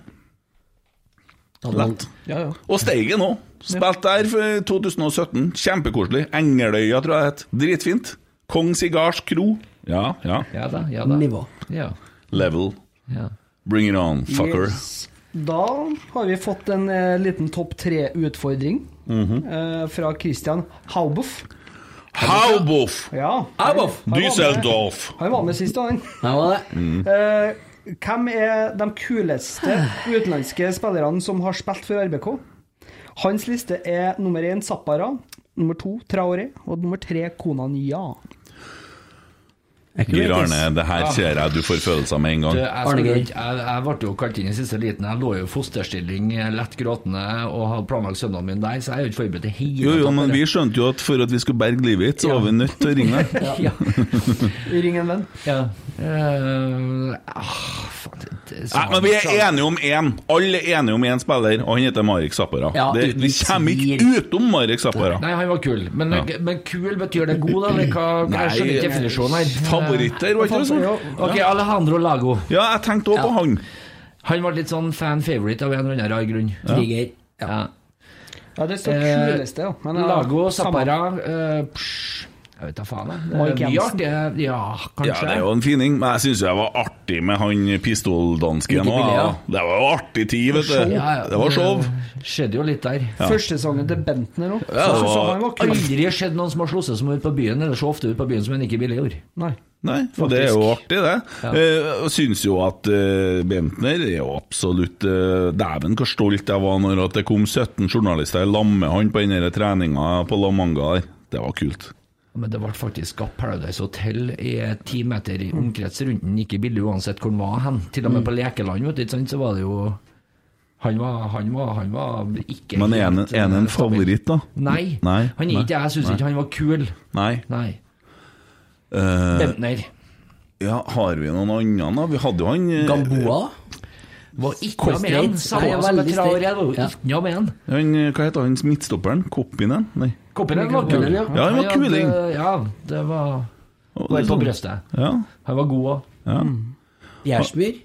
Lett. Ja, ja. Og Steigen òg. Spilt der for 2017. Kjempekoselig. Engeløya, tror jeg det het. Dritfint. Kong Sigars kro. Ja, ja. Ja da, ja da. Nivå. Ja, Level. ja. Bring it on, fucker. Yes. Da har vi fått en eh, liten topp tre-utfordring eh, fra Christian Hauboff. Hauboff! Ja, han var med- Düsseldorf! Han var med sist, han. Her var det. Eh, hvem er de kuleste utenlandske spillerne som har spilt for RBK? Hans liste er nummer én Zappara, nummer to Traore og nummer tre Konania. Er ikke Geir det, ass? Arne, det her ser jeg du får følelser med en Du, gang. jeg, skulle, ikke- jeg, jeg ble jo kalt inn i siste liten. Jeg lå jo i fosterstilling, lett gråtende, og hadde planlagt søndagen min der, så jeg er jo ikke forberedt til hele Jo, jo, tatt men på det. vi skjønte jo at for at vi skulle berge livet ditt, så var vi nødt til å ringe deg. ja. Ring en venn. ja. Eh, ah, faen, det, det, Nei, men vi er enige om én. Alle er enige om én spiller, og han heter Marek Zappara. Ja, det, vi uten kommer ikke utenom Marek Zappara. Nei, han var kul. Men, men kul betyr det god, da? Eller hva, hva jeg skjønner ikke definisjonen her. Eh, favoritter, var ikke det sånn? Ok, Alejandro Lago. Ja, jeg tenkte òg på han. Han var litt sånn fan favorite av en eller annen rar grunn. Trigger. Ja. Ja. Ja, det står Eh, kuleste, ja. Men, ja, Lago, samme. Zappara eh, psh, Jeg vet da faen, jeg. Det Mike er mye Jensen. artig. Ja, Ja, det kanskje. er jo en fining, men jeg syns det var artig med han pistoldansken Ikke òg. billig, Ja. ja. Det var jo artig tid, vet du. Ja, ja. Det var show. Skjedde jo litt der. Første sangen til Bentner òg. Ja, det var- han var kul. Aldri skjedd noen som har slått seg som ut på byen, eller så ofte ut på byen som en ikke ville gjøre. Nei. Nei, for det er jo artig, det. Jeg syns jo at eh, Bentner er jo absolutt eh, Dæven, hvor stolt jeg var når at det kom 17 journalister i lag med han på den treninga på La Manga der. Det var kult. Men det ble faktisk skapt Paradise Hotel i eh, ti meter i omkrets rundt den, ikke billig uansett hvor den var hen. Til Mm. og med på lekeland, vet du, ikke sant, så var det jo Han var, han var, han var ikke Men er han helt, en, er han en eh, favoritt, da? Nei, Nei, han er nei, ikke det. Jeg syns ikke han var kul. Nei. Nei. Eh, Bentner ja, har vi noen andre, da? Vi hadde jo han eh, Gamboa. var ikke noe med Korsdreit. han. Samme Han er som veldig Traoré, sterk. det var jo Ja. ikke noe med han. han eh, Hva heter han midtstopperen? Koppinen? Nei. Koppelen var kul. ja. Ja, han var hadde- kuling. Ja, det Å, var det Bare er på sånn. brøstet. Ja. Han var god òg. Gjersmyr.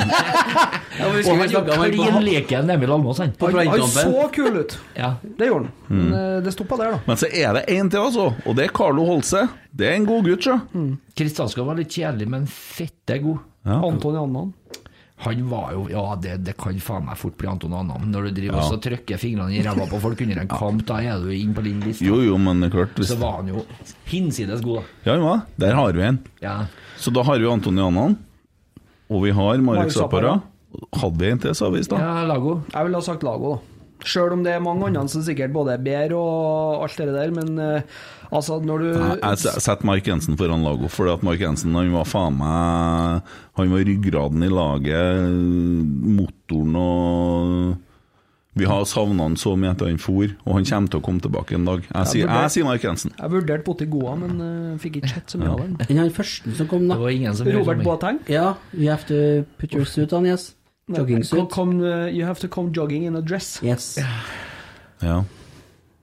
Og han var klin like en Emil Almås, han. På Han, han brannkampen. så kul ut. Ja. Det gjorde han. Men eh, det stoppa der, da. Men så er det én til, altså. Og det er Carlo Holse. Det er en god gutt, sjø. Mm. Kristianskog var litt kjedelig, men fette god. Anton Jannan. Han var jo Ja, det, det kan faen meg fort bli Anton Annan. Når du driver og så trykker fingrene i ræva på folk under en kamp, da er du inne på din liste. Jo, jo, men det er klart hvis... Så var han jo hinsides god, da. Ja, ja, der har vi en. Ja. Så da har vi Anton Janan, og vi har Marek Marek Zappara. Zappara. Hadde vi en til, sa vi i stad. ja, Lago. Jeg ville ha sagt Lago, da. Sjøl om det er mange andre som sikkert både er bedre og alt det der, men eh, altså, når du Jeg- Jeg set- setter Mark Jensen foran Lago, fordi at Mark Jensen han var faen meg Han var ryggraden i laget, motoren og Vi har savna han så mye etter han for, og han kommer til å komme tilbake en dag. Jeg sier, jeg sier Mark Jensen. Jeg vurderte Botigoa, men eh, fikk ikke sett så mye av den. Den han første som kom, Det da. var ingen som Robert Boateng. Ja, you have to put your suit on, yes. Joggingsuit. Come, eh, you have to come jogging in a dress. Yes. Ja.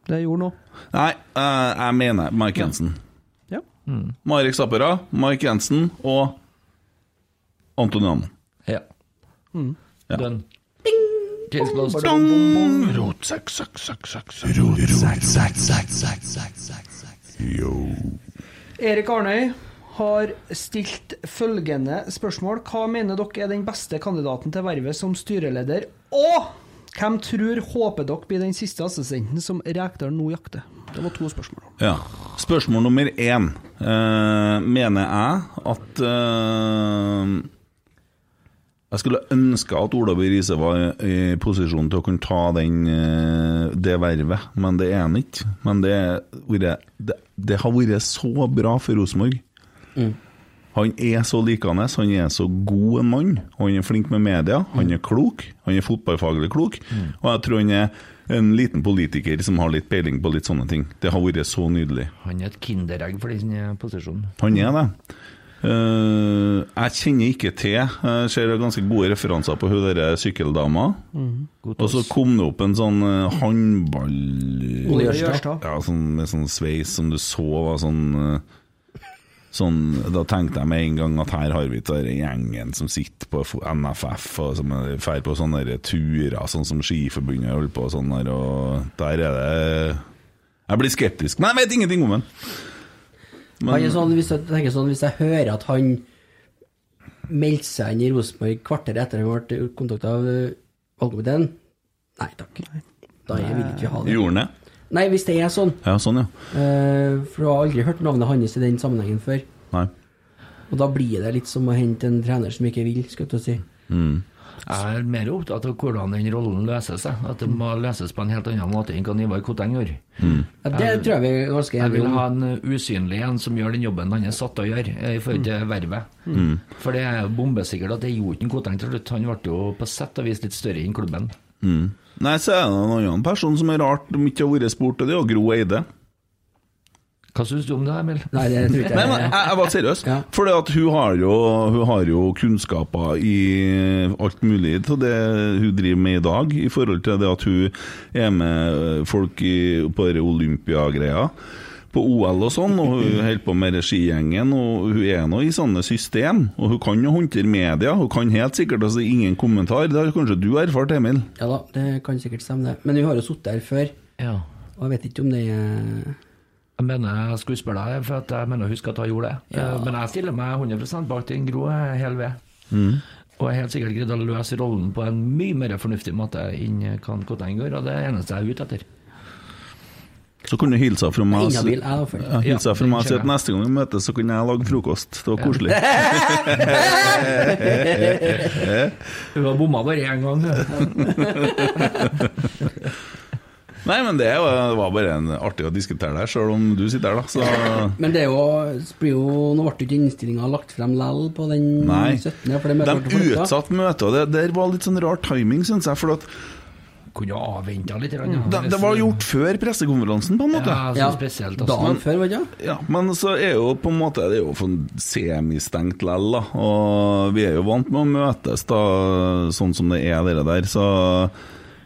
Det gjorde han òg. Nei, eh, jeg mener Mark Jensen. Ja. Marek Zappara, Mark Jensen og Anton Janan. Ja. Ja. Done. Case closed. Rot, sekk, sekk, sekk, sekk, sekk. Rot, sekk, sekk, sekk, sekk, sekk, sekk, sekk. Jo. Erik Arnøy har stilt følgende spørsmål. Hva mener dere er den beste kandidaten til vervet som styreleder? Og hvem tror håper dere blir den siste assistenten som Rekdal nå jakter? Det var to spørsmål. Ja. Spørsmål nummer én. Eh, mener jeg at eh, Jeg skulle ønske at Ola B. Riise var i i posisjon til å kunne ta den, eh, det vervet, men det er han ikke. Men det, er- det, det, det har vært så bra for Rosenborg. Han er så likende, han er så god en mann. Han er flink med media, han er klok. Han er fotballfaglig klok. Og jeg tror han er en liten politiker som har litt peiling på litt sånne ting. Det har vært så nydelig. Han er et kinderegg for den eh, posisjonen. Han er det. Eh, jeg kjenner ikke til Jeg ser ganske gode referanser på hun derre sykkeldama. God Og så kom det opp en sånn eh, håndball... Ole Gjørstad. Ja, sånn, med sånn sveis som du så var sånn eh, Sånn, da tenkte jeg med en gang at her har vi den gjengen som sitter på fo- NFF og som drar på sånne der turer, sånn som Skiforbundet holder på og sånn der, og der er det Jeg blir skeptisk, men jeg vet ingenting om den. Han er sånn, hvis jeg, tenker sånn, hvis jeg hører at han meldte seg inn i Rosenborg kvarteret etter han ble kontakta av eh, valgkomiteen Nei takk. Da vil ikke vi ha det. Gjorde han det? Nei, hvis det er sånn. Ja, sånn, ja. eh, For du har aldri hørt navnet hans i den sammenhengen før. Nei. Og da blir det litt som å hente en trener som ikke vil, skal jeg til å si. Jeg er mer opptatt av hvordan den rollen løses. jeg. At det må løses på en helt annen måte enn hva Ivar Koteng gjorde. Ja, det tror jeg vi er ganske Jeg vil enige om. ha en uh, usynlig en som gjør den jobben han er satt til å gjøre, eh, i forhold til vervet. Mm. For det er jo bombesikkert at det gjorde ikke Koteng til slutt. Han ble jo på sett og vis litt større enn klubben. Nei, så er det en annen person som er rart om ikke har vært spurt, og det er jo Gro Eide. Hva syns du om det, Emil? Nei, det tror ikke Nei, jeg. men jeg, jeg var seriøs. Ja. For hun, har jo- hun har jo kunnskaper i alt mulig til det hun driver med i dag, i forhold til det at hun er med folk i, på denne Olympia-greia. På OL og sånn, og hun holder på med regigjengen, og hun er nå i sånne system. Og hun kan jo håndtere media, hun kan helt sikkert altså ingen kommentar. Det har kanskje du erfart, Emil? Ja da, det kan sikkert stemme, det. Men vi har jo sittet her før, Ja. og jeg vet ikke om det er Jeg mener jeg skulle spørre deg, for at jeg mener å huske at hun gjorde det. Eh, Men jeg stiller meg 100 bak den Gro eh, hele ved. Mm. Og jeg er helt sikkert greid å løse rollen på en mye mer fornuftig måte enn eh, hva Koteng gjør, og det er det eneste jeg er ute etter. Så kunne du hilse fra meg og si- Inhabil, jeg da, for- ja, hilse Ja, fra meg og si at den kjenner neste gang vi møtes, så kunne jeg lage frokost. Det var koselig. Hun har bomma bare én gang. hun. Nei, men det var, var bare en artig å diskutere der, sjøl om du sitter her, da. Så Men det er jo, det blir jo Nå ble jo ikke innstillinga lagt frem lell på den nei. 17. For det møtet ble De flyttet. utsatte møtet, og det der var litt sånn rar timing, syns jeg. For at Kunne jo avventa litt. grann, ja. det, det var gjort før pressekonferansen, på en måte. Ja, Ja, så spesielt. altså. dagen før, var det ikke? Ja, men så er jo på en måte Det er jo sånn semistengt lell, da. Og vi er jo vant med å møtes, da, sånn som det er, dere der. Så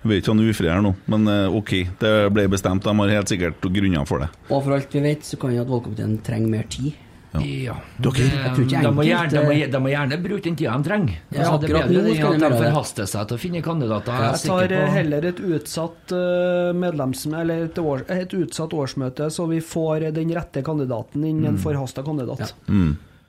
jeg vet ikke om ufri her nå, men eh, OK. Det ble bestemt. De har helt sikkert grunner for det. Og for alt vi vet, så kan jo at valgkomiteen trenger mer tid. Ja. Eh, jeg tror ikke de, må enkelt, gjerne, de, må, eh, de må gjerne bruke den tida de trenger. Ja, altså, det er akkurat bedre nå enn skal at de gjøre de det. forhaster seg til å finne kandidater. Jeg er Jeg tar eh, sikker på heller et utsatt, eh, medlemsm- eller et, år, et utsatt årsmøte, så vi får eh, den rette kandidaten inn Mm. en forhasta kandidat.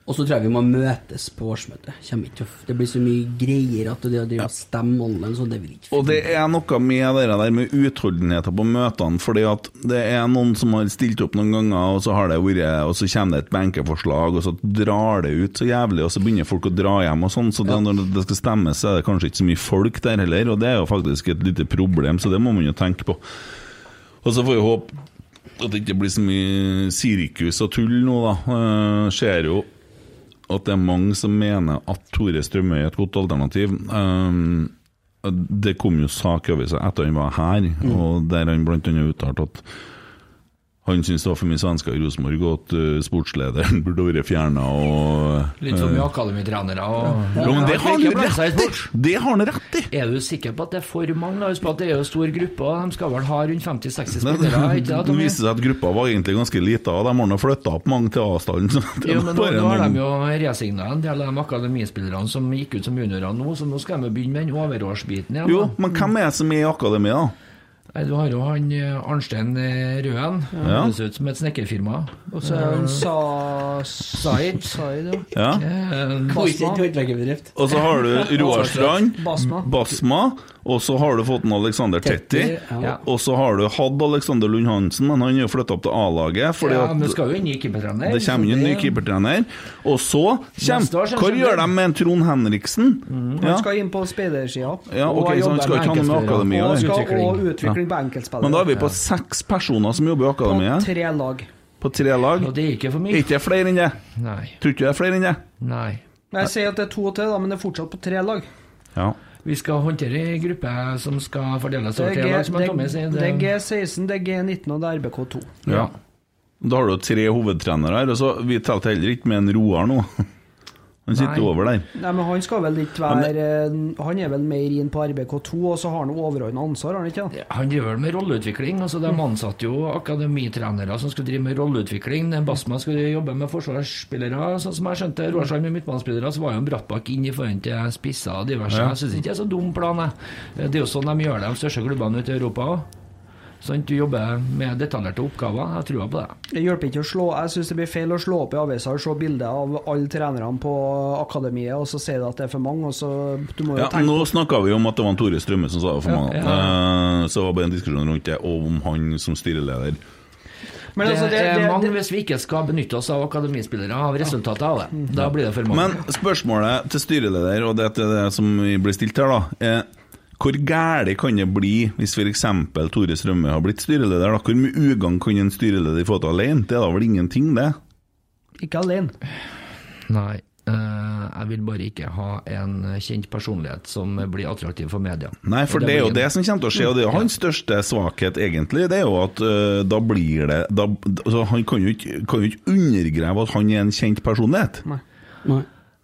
Og så tror jeg vi må møtes på årsmøtet. Kommer ikke til å- Det blir så mye greier at det å drive og stemme online, så det vil ikke Og det er noe med det der med utholdenheten på møtene, fordi at det er noen som har stilt opp noen ganger, og så har det vært, og så kommer det et benkeforslag, og så drar det ut så jævlig, og så begynner folk å dra hjem og sånn, så det, når det skal stemmes, så er det kanskje ikke så mye folk der heller, og det er jo faktisk et lite problem, så det må man jo tenke på. Og så får vi håpe at det ikke blir så mye sirkus og tull nå, da. Eh, Ser jo at det er mange som mener at Tore Strømøy er et godt alternativ. Um, det kom jo sak over seg etter han var her, Mm. og der han blant annet uttalte at han syntes det var for mye svensker i Rosenborg, og at eh, sportslederen burde vært fjerna. Litt som Eh. med akademitrenere og Jo, men det har Ikke han blande seg i rett i! sport. Det har han rett i! Er du sikker på at det er for mange? da? Husk på at det er jo stor gruppe, og de skal vel ha rundt 50-60 Det, spillere? ikke sant, Tommy? viste seg at gruppa var egentlig ganske lita, og de har nå flytta opp mange til avstanden. Så det Jo, er men nå, bare nå har noen- de jo resigna en del av de akademispillerne som gikk ut som juniorer nå, så nå skal de jo begynne med den overårsbiten igjen. Jo, da. men hvem er det som er i akademia? Nei, Du har jo han eh, Arnstein eh, Røen. Ja. Høres ut som et snekkerfirma. Og så Så er han det sa Zaid. Said, ja. Ja. Eh, Basma. håndteres. Og så har du Roar Strand, Basma. Basma, og så har du fått en Alexander Tetti. Tetti, ja. Og så har du hatt Alexander Lund Hansen, men han er jo flytta opp til A-laget. Fordi ja, at men det skal jo inn i keepertrener. det kommer inn en ny keepertrener. Og så Neste år kommer så Hva Mm. kommer gjør det. de med en Trond Henriksen? Ja. Han skal inn på speidersida. Ja, ok, Og så han jobber skal med ikke ha noe med enkeltspillere. akademia å Og gjøre. skal utvikling. også utvikling på enkeltspillere. Men da er vi på seks personer som jobber i på akademiet, tre lag. på tre lag. Og det er ikke for Er mye. ikke det flere enn det? Nei. Tror ikke det er flere enn det. Nei. Jeg sier at det er to til, da, men det er fortsatt på tre lag. Ja. Vi skal håndtere ei gruppe som skal fordeles Det over er, tre G, lag, som det, han Tommy sier. det er G16, det er G19 og det er RBK2. ja. Da har du jo tre hovedtrenere her, og så vi telte heller ikke med en Roar nå. Han sitter Nei. over der. Nei, men Han skal vel ikke være eh, Han er vel mer inn på RBK2, og så har han overordna ansvar, har han ikke? det? Han driver vel med rolleutvikling. altså De ansatte jo akademitrenere som skulle drive med rolleutvikling. Basma skulle jobbe med forsvarsspillere, sånn som jeg skjønte. Råsheim med midtbanespillere, så var jo en Brattbakk inn i forhold til spisser og diverse. Jeg syns ikke det er så dum plan, jeg. Det er jo sånn de gjør det, de største klubbene ute i Europa òg. Sånn, du jobber med detaljerte oppgaver. Jeg tror på det. Det hjelper ikke å slå Jeg syns det blir feil å slå opp i aviser og se bilder av alle trenerne på akademiet, og så sier du at det er for mange, og så Du må jo Ja, tenke nå snakka vi om at det var en Tore Strømme som sa det for mange. Eh, Så det var bare en diskusjon rundt det, og om han som styreleder. Men altså, det, er mange hvis vi ikke skal benytte oss av akademispillere, av resultatet av det. Da blir det for mange. Men spørsmålet til styreleder, og det er til det som vi blir stilt her, da, er hvor gæli kan det bli hvis f.eks. Tore Strømme har blitt styreleder? Da? Hvor mye ugagn kan en styreleder få til alene? Det er da vel ingenting, det? Ikke alene. Nei. eh, jeg vil bare ikke ha en kjent personlighet som blir attraktiv for media. Nei, for Og det er jo blir- det som kommer til å skje, og det er jo hans største svakhet, egentlig. Det er jo at øh, da blir det da, altså, Han kan jo, ikke, kan jo ikke undergrave at han er en kjent personlighet. Nei.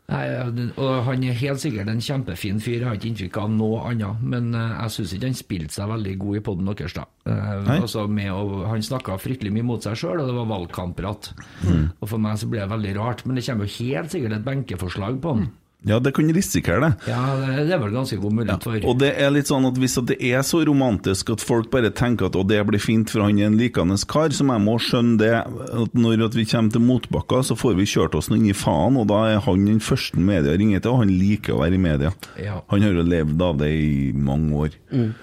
Nei, det- og Han er helt sikkert en kjempefin fyr, jeg har ikke inntrykk av noe annet. Men eh, jeg syns ikke han spilte seg veldig god i poden deres, da. Eh, Nei. altså med å, han snakka fryktelig mye mot seg sjøl, og det var valgkampprat. Mm. Og For meg så ble det veldig rart, men det kommer jo helt sikkert et benkeforslag på Mm. han. Ja, det kan risikere det. Ja, det, det er vel ganske god mulighet for. Og det er litt sånn at hvis at det er så romantisk at folk bare tenker at å, det blir fint, for han er en likende kar, så må jeg må skjønne det at når at vi kommer til motbakka, så får vi kjørt oss inn i faen, og da er han den første media ringer til, og han liker å være i media. Ja. Han har jo levd av det i mange år. Mm.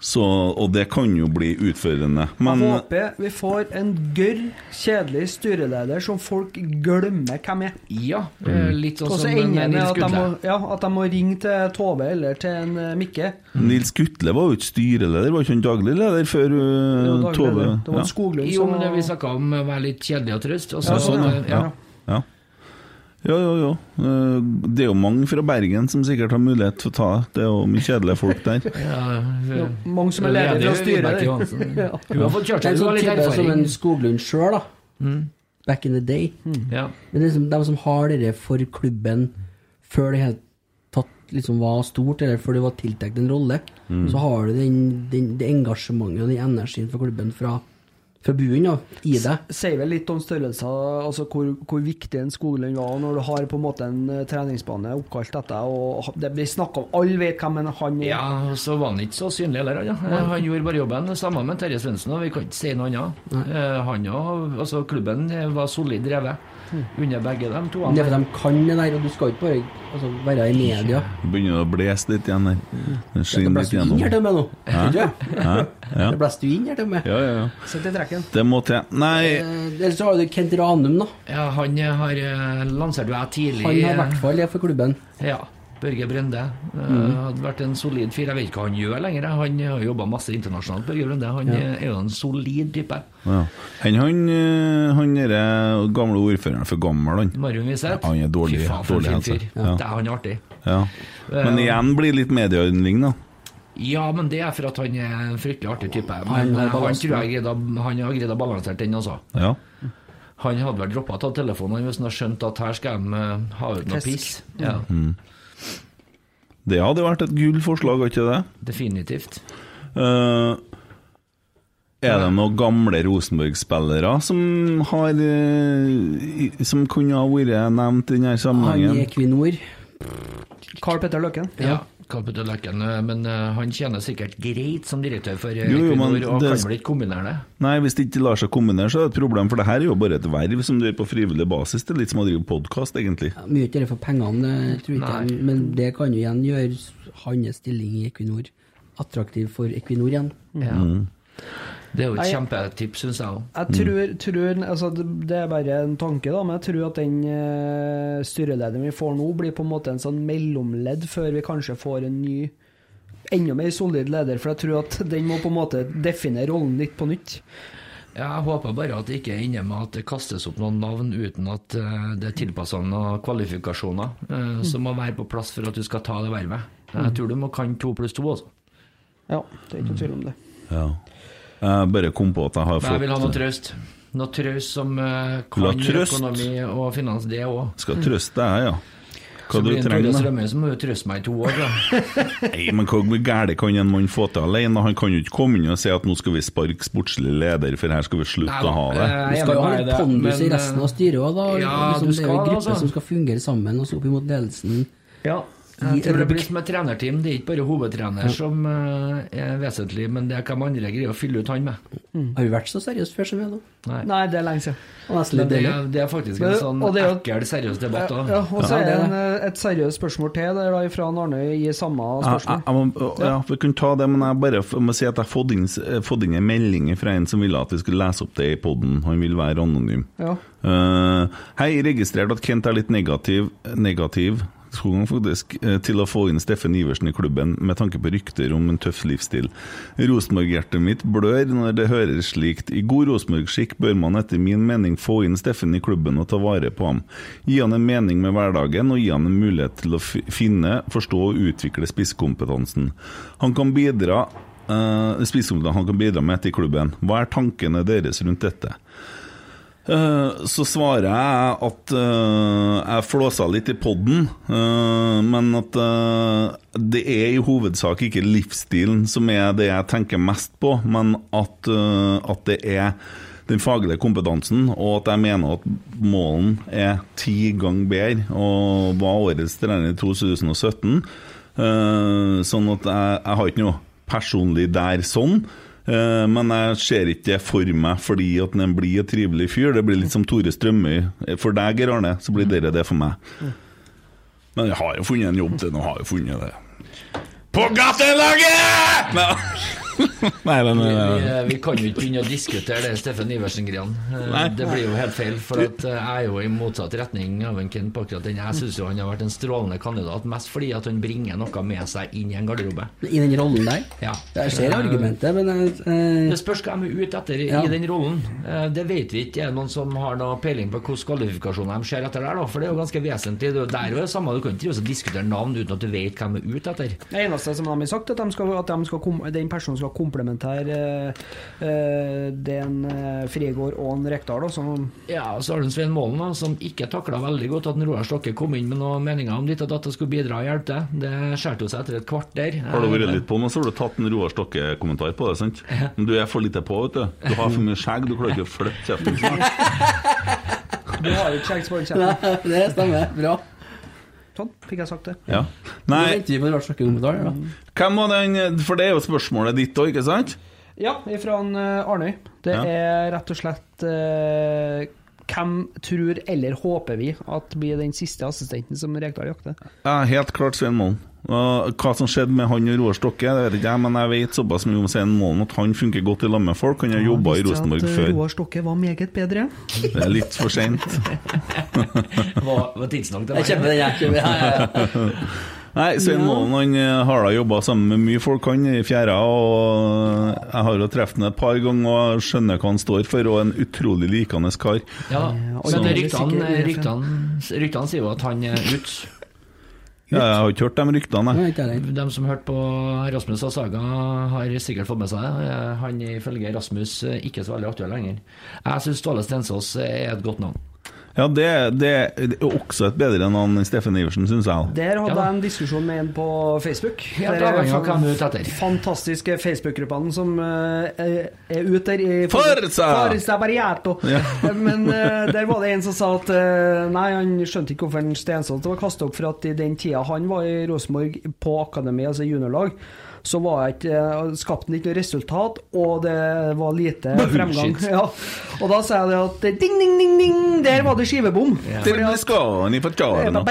Så, og det kan jo bli utførende. Men Jeg håper vi får en gørr, kjedelig styreleder som folk glemmer hvem er. Ja, eh, litt sånn Og så som en- ender det en med Nils at de, må, Gutle. ja, at de må ringe til Tove eller til en eh, Mikke. Nils Gutle var jo ikke styreleder, var ikke han daglig leder før øh, Det var daglig Tove? leder. Det var Ja. en Skoglund Jo, som men det vi var- snakka om, eh, være litt kjedelig og traust. og Ja, så- sånn, eh, ja. ja. Ja. Ja, ja, ja. Eh, Det er jo mange fra Bergen som sikkert har mulighet til å ta det. Det er jo mye kjedelige folk der. Ja, ja, eh, mange som er leder leder til å jo styre Vibeke Johansen. Ja. Hun har fått kjørt Det er seg, en hun har sånn litt type som en erfaring. Skoglund sjøl, da. Back in the day. Mm. Ja. Men det er liksom, de som har det der for klubben før det helt tatt liksom var stort, eller før det var tiltenkt en rolle, Mm. så har du den, den, det engasjementet og den energien for klubben fra, fra bunnen av i deg. Sier vel litt om størrelser, altså hvor, hvor viktig en Skoglund var når du har på en måte en eh, treningsbane oppkalt etter deg, og ha- det blir snakk om Alle vet hvem en han er. ja, og så var han ikke så synlig heller. han, Ja. Eh, Han gjorde bare jobben. Samme med Terje Svendsen, og vi kan ikke si noe annet. Eh, Han og, altså, klubben eh, var solid drevet Mm. under begge dem to. Det er fordi de kan det der, og du skal ikke bare altså, være i media. Begynner å blåse litt igjen der. Det Det skinner litt blåser jo inn her gjennom. til meg nå. Ikke? Hæ? Ja. Det blåser jo inn her til meg. Ja, ja, ja. Sitt i trekken. Det må til. Eh, Nei, Ellers så har du Kent Ranum, da. Ja, han eh, har eh, lansert jo jeg tidlig. Han har i eh, hvert fall det for klubben. Ja. Børge Brende eh, hadde vært en solid fyr. Jeg vet ikke hva han gjør lenger. Han har jobba masse internasjonalt, Børge Brende. Han eh, er jo en solid type. ja. Han, han, eh, han derre gamle ordføreren for gammel, han. Marion Wiseth. Han er dårlig- Fy faen, for dårlig en helse. fin fyr. Ja. Det er han er artig. Ja. Men igjen blir litt medieyndling, da. Ja, men det er for at han er en fryktelig artig type. Men eh, Han han, har balansen. tror jeg greide, å- han har greid å balansere den, altså. Ja. Han hadde vel droppa å ta telefonen hvis han hadde skjønt at her skal de eh, ha ut noe Fisk. piss. Ja, Det hadde vært et gull forslag, hadde ikke det? definitivt. Eh, er det noen gamle Rosenborg-spillere som har eh, i- Som kunne ha vært nevnt i denne Han i sammenhengen? Equinor. Carl Petter Løkken. Ja. Kapittel Løkken, eh, men eh, han tjener sikkert greit som direktør for eh, Jo, jo, men Equinor, og det- kan vel ikke kombinere det? Nei, hvis det ikke lar seg kombinere, så er det et problem, for det her er jo bare et verv som du gjør på frivillig basis. Det er litt som å drive podkast, egentlig. Ja, Mye ikke det for pengene, eh, tror ikke jeg, men det kan jo igjen gjøre s- hans stilling i Equinor attraktiv for Equinor igjen. Ja. Mm. Det er jo et Nei. kjempetips, syns jeg òg. Mm. Jeg tror, tror altså, Det det er bare en tanke, da, men jeg tror at den eh, styrelederen vi får nå, blir på en måte en sånn mellomledd før vi kanskje får en ny, enda mer solid leder. For jeg tror at den må på en måte definere rollen litt på nytt. Ja, jeg håper bare at det ikke ender med at det kastes opp noen navn uten at eh, det er tilpassa noen kvalifikasjoner eh, som må være på plass for at du skal ta det vervet. Mm. Jeg tror du må kan to pluss to, altså. Ja, det er ikke noe tvil om det. Mm. Ja. Jeg bare kom på at jeg har Men jeg vil ha noe fått trøst. Noe traus som eh, kan La trøst. økonomi og finans, det òg. Skal trøste deg, ja. Hva Så du blir det en Tore trenger da? Strømøy, så må du trøste meg i to år, da. Nei, men hva gærent kan en mann få til alene? Han kan jo ikke komme inn og si at nå skal vi sparke sportslig leder, for her skal vi slutte å ha det. Eh, Du jeg skal jo ha mener litt det, pondus i men, eh, resten av styret òg, da. ja, liksom, det er du jo skal, en gruppe altså. som skal fungere sammen, og så opp imot ledelsen. Ja. I Jeg tror det Rubik. blir som et trenerteam. Det er ikke bare hovedtrener som eh, er vesentlig, men det er hvem andre greier å fylle ut han med. Har vi vært så seriøse før som vi er nå? Nei. Nei, det er lenge siden. Og nesten Men litt det, deilig. er- det er faktisk en Men- sånn og det er jo- ekkel, seriøs debatt Ja, òg. ja, og så Ja, er det det er en, eh, et seriøst spørsmål til. Det er da fra Arnøy i samme Ja, spørsmål. jeg må, ja, vi kunne ta det, men jeg bare f- må si at jeg har fått inn, s- eh, fått inn en melding fra en som ville at vi skulle lese opp det i poden. Han vil være anonym. Ja. Eh, hei, registrert at Kent er litt negativ, negativ to ganger faktisk, eh, til å få inn Steffen Iversen i klubben med tanke på rykter om en tøff livsstil. Rosenborg-hjertet mitt blør når det høres slikt. I god Rosenborg-skikk bør man etter min mening få inn Steffen i klubben og ta vare på ham. Gi han en mening med hverdagen og gi han en mulighet til å fi- finne, forstå og utvikle spisskompetansen. Han kan bidra eh, spisskompetansen han kan bidra med til klubben. Hva er tankene deres rundt dette? Eh, Så svarer jeg at eh, jeg flåsa litt i podden, eh, men at eh, det er i hovedsak ikke livsstilen som er det jeg tenker mest på, men at, eh, at det er den faglige kompetansen, og at jeg mener at målen er ti ganger bedre, og var årets trener i 2017. eh, Sånn at jeg, jeg har ikke noe personlig der sånn. Eh, Men jeg ser ikke det for meg fordi at den blir en trivelig fyr. Det blir litt som Tore Strømøy. Eh, For deg, Geir Arne, så blir dere det for meg. Men jeg har jo funnet en jobb til nå. Har jo funnet det. På gatelaget! Nei, Nei men Vi, eh, vi kan jo ikke begynne å diskutere det Steffen Iversen-greien. Eh, Det blir jo helt feil. For at eh, jeg er jo i motsatt retning av en Kent på akkurat den. Jeg syns han har vært en strålende kandidat, mest fordi at han bringer noe med seg inn i en garderobe. I den rollen der. Ja. Eh, Jeg ser argumentet, men jeg, Det spørs hva de er ute etter i- Ja. i den rollen. Eh, Det vet vi ikke. Er det noen som har noe peiling på hvilke kvalifikasjoner de ser etter der, da? For det er jo ganske vesentlig. Det er jo der jo det samme. Du kan ikke drive og diskutere navn uten at du vet hva de er ute etter. Det eneste som de har sagt, at, de skal, at de skal kom, den personen skal komplementere eh, eh, den eh, Frigård og en Rekdal. da, som- Ja, og så har du en Svein Målen da, som ikke takla veldig godt at en Roar Stokke kom inn med noen meninger om ditt og datt og skulle bidra og hjelpe til. Det skjærte jo seg etter et kvarter. har du vært litt på nå, så har du tatt en Roar Stokke-kommentar på det. sant? Men du er for lite på, vet du. Du har for mye skjegg, du klarer ikke å flytte kjeften. Du har jo ikke skjegg på den eh, kjeften. Det stemmer. Bra. Sånn, fikk jeg sagt det. Ja. Nå Nei, venter vi på en rart slakkekommentar. da. hvem var den For det er jo spørsmålet ditt òg, ikke sant? Ja, ifra en, eh, Arnøy. Det Ja. er rett og slett eh, hvem tror eller håper vi at blir den siste assistenten som Rekdal jakter? Ja, helt klart Svein Målen. Og hva som skjedde med han og Roar Stokke, det vet ikke jeg, men jeg vet såpass mye om Svein Målen at han funker godt i lag med folk. Han har jobba i Rosenborg før. Roar Stokke var meget bedre. Det er litt for seint. Var, var tidsnok til Jeg kjøper den, jeg. Kjøper, den, ja, ja, ja. Nei, Svein Målen han eh, har da jobba sammen med mye folk, han i fjæra. Og jeg har jo truffet ham et par ganger og skjønner hva han står for, og en utrolig likende kar. Ja, og men det er ryktene, sikkert- ryktene, ryktene sier jo at han er ute. Ja, jeg har ikke hørt de ryktene, Nå jeg. er ikke jeg redd. De som hørte på Rasmus og Saga, har sikkert fått med seg det. Eh, Han er ifølge Rasmus eh, ikke så veldig aktuell lenger. Jeg syns Ståle Stensås er et godt navn. Ja, det, det er også et bedre navn enn Steffen Iversen, syns jeg. Der hadde Ja da. jeg en diskusjon med en på Facebook. Helt Der er avhengig av fan- hva de er ute etter. Fantastiske Facebook-gruppene som eh, er- er ute der. i- Forza! Forza Barriato! Ja. Men eh, der var det en som sa at eh, nei, han skjønte ikke hvorfor en Stensholt var kasta opp, for at i den tida han var i Rosenborg på akademi, altså juniorlag, så var jeg ikke, eh, skapte han ikke noe resultat, og det var lite fremgang. Ja. Og da sa jeg det at eh, ding, ding, ding, ding, der var det skivebom. Til og med Skani fra Tjarna.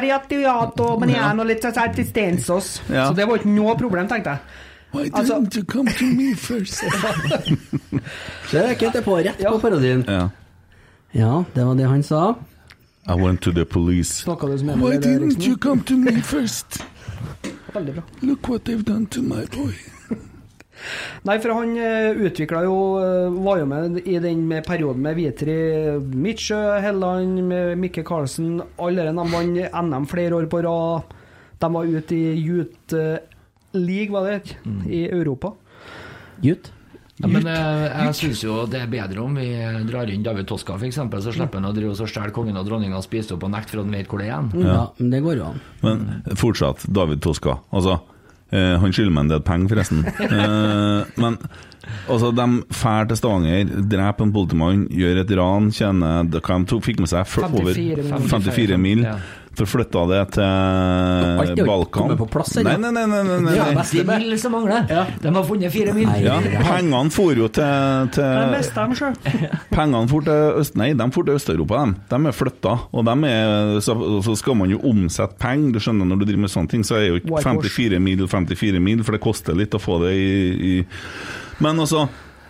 sånn Ja. Så det var ikke noe problem, tenkte jeg. Why Altså- didn't you come to me first? Se, Kent er på rett på parodien. ja. Ja, det var det han sa. I went to the police. Snakka du som en med det, Eriksen? come to me first? Veldig bra. Look what they've done to my boy. Nei, for han utvikla jo eh, Var jo med i den med perioden med Vitri, Mitchø, Helland, med Mikke Karlsen. Alle de vant NM flere år på rad. De var ute i Youth eh, League, var det, i Europa. Gutt. Ja, men eh, jeg syns jo det er bedre om vi eh, drar inn David Toska, f.eks., så slipper han å drive og stjele kongen og dronninga og spise opp og nekte for at han vet hvor det er. hen. Ja, men det går jo an. Men fortsatt, David Toska. Altså, eh, han skylder meg en del penger, forresten. Eh, men altså, de drar til Stavanger, dreper en politimann, gjør et ran, tjener det- Hva de tok, fikk med seg? For, 54 over 54 mil. Ja. Forflytta det Alt er til jo ikke Balkan. kommet på plass ennå. Nei, nei, nei. nei, nei, nei. Ja, best- 50 mil som mangler. Ja. De har funnet fire mil. Nei. Ja, pengene for jo til, til bestemmer sjøl. Pengene for til Øst... Nei, de for til Øst-Europa, de. De er flytta. Og de er, så, så skal man jo omsette penger. Du skjønner, når du driver med sånne ting, så er jo ikke Whitewash. 54 mil 54 mil, for det koster litt å få det i, i Men altså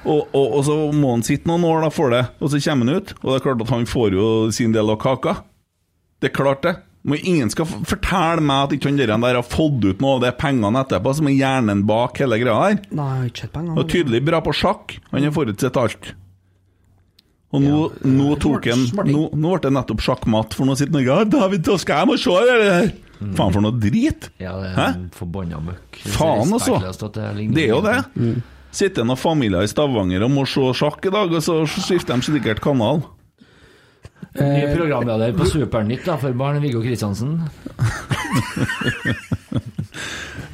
og, og, og så må han sitte noen år da for det, og så kommer han ut. Og det er klart at han får jo sin del av kaka. Det er klart, det. Men ingen skal f- fortelle meg at ikke han der han der har fått ut noe av de pengene etterpå, som er hjernen bak hele greia der. Nei, jeg har ikke sett Han var pengene. tydelig bra på sjakk. Han har forutsett alt. Og nå, nå tok han nå, nå ble det nettopp sjakkmatt, for nå sitter han og sier 'David Toska, jeg må se det der'. Faen for noe drit! Ja, det er Hæ? en forbanna møkk. Det er så Faen, altså. respektløst at ligner- Det er jo det. Sitter noen familier i Stavanger og må se sjakk i dag, og så skifter de sikkert kanal. Ny programleder Eh. på Supernytt da, for barn, Viggo Kristiansen.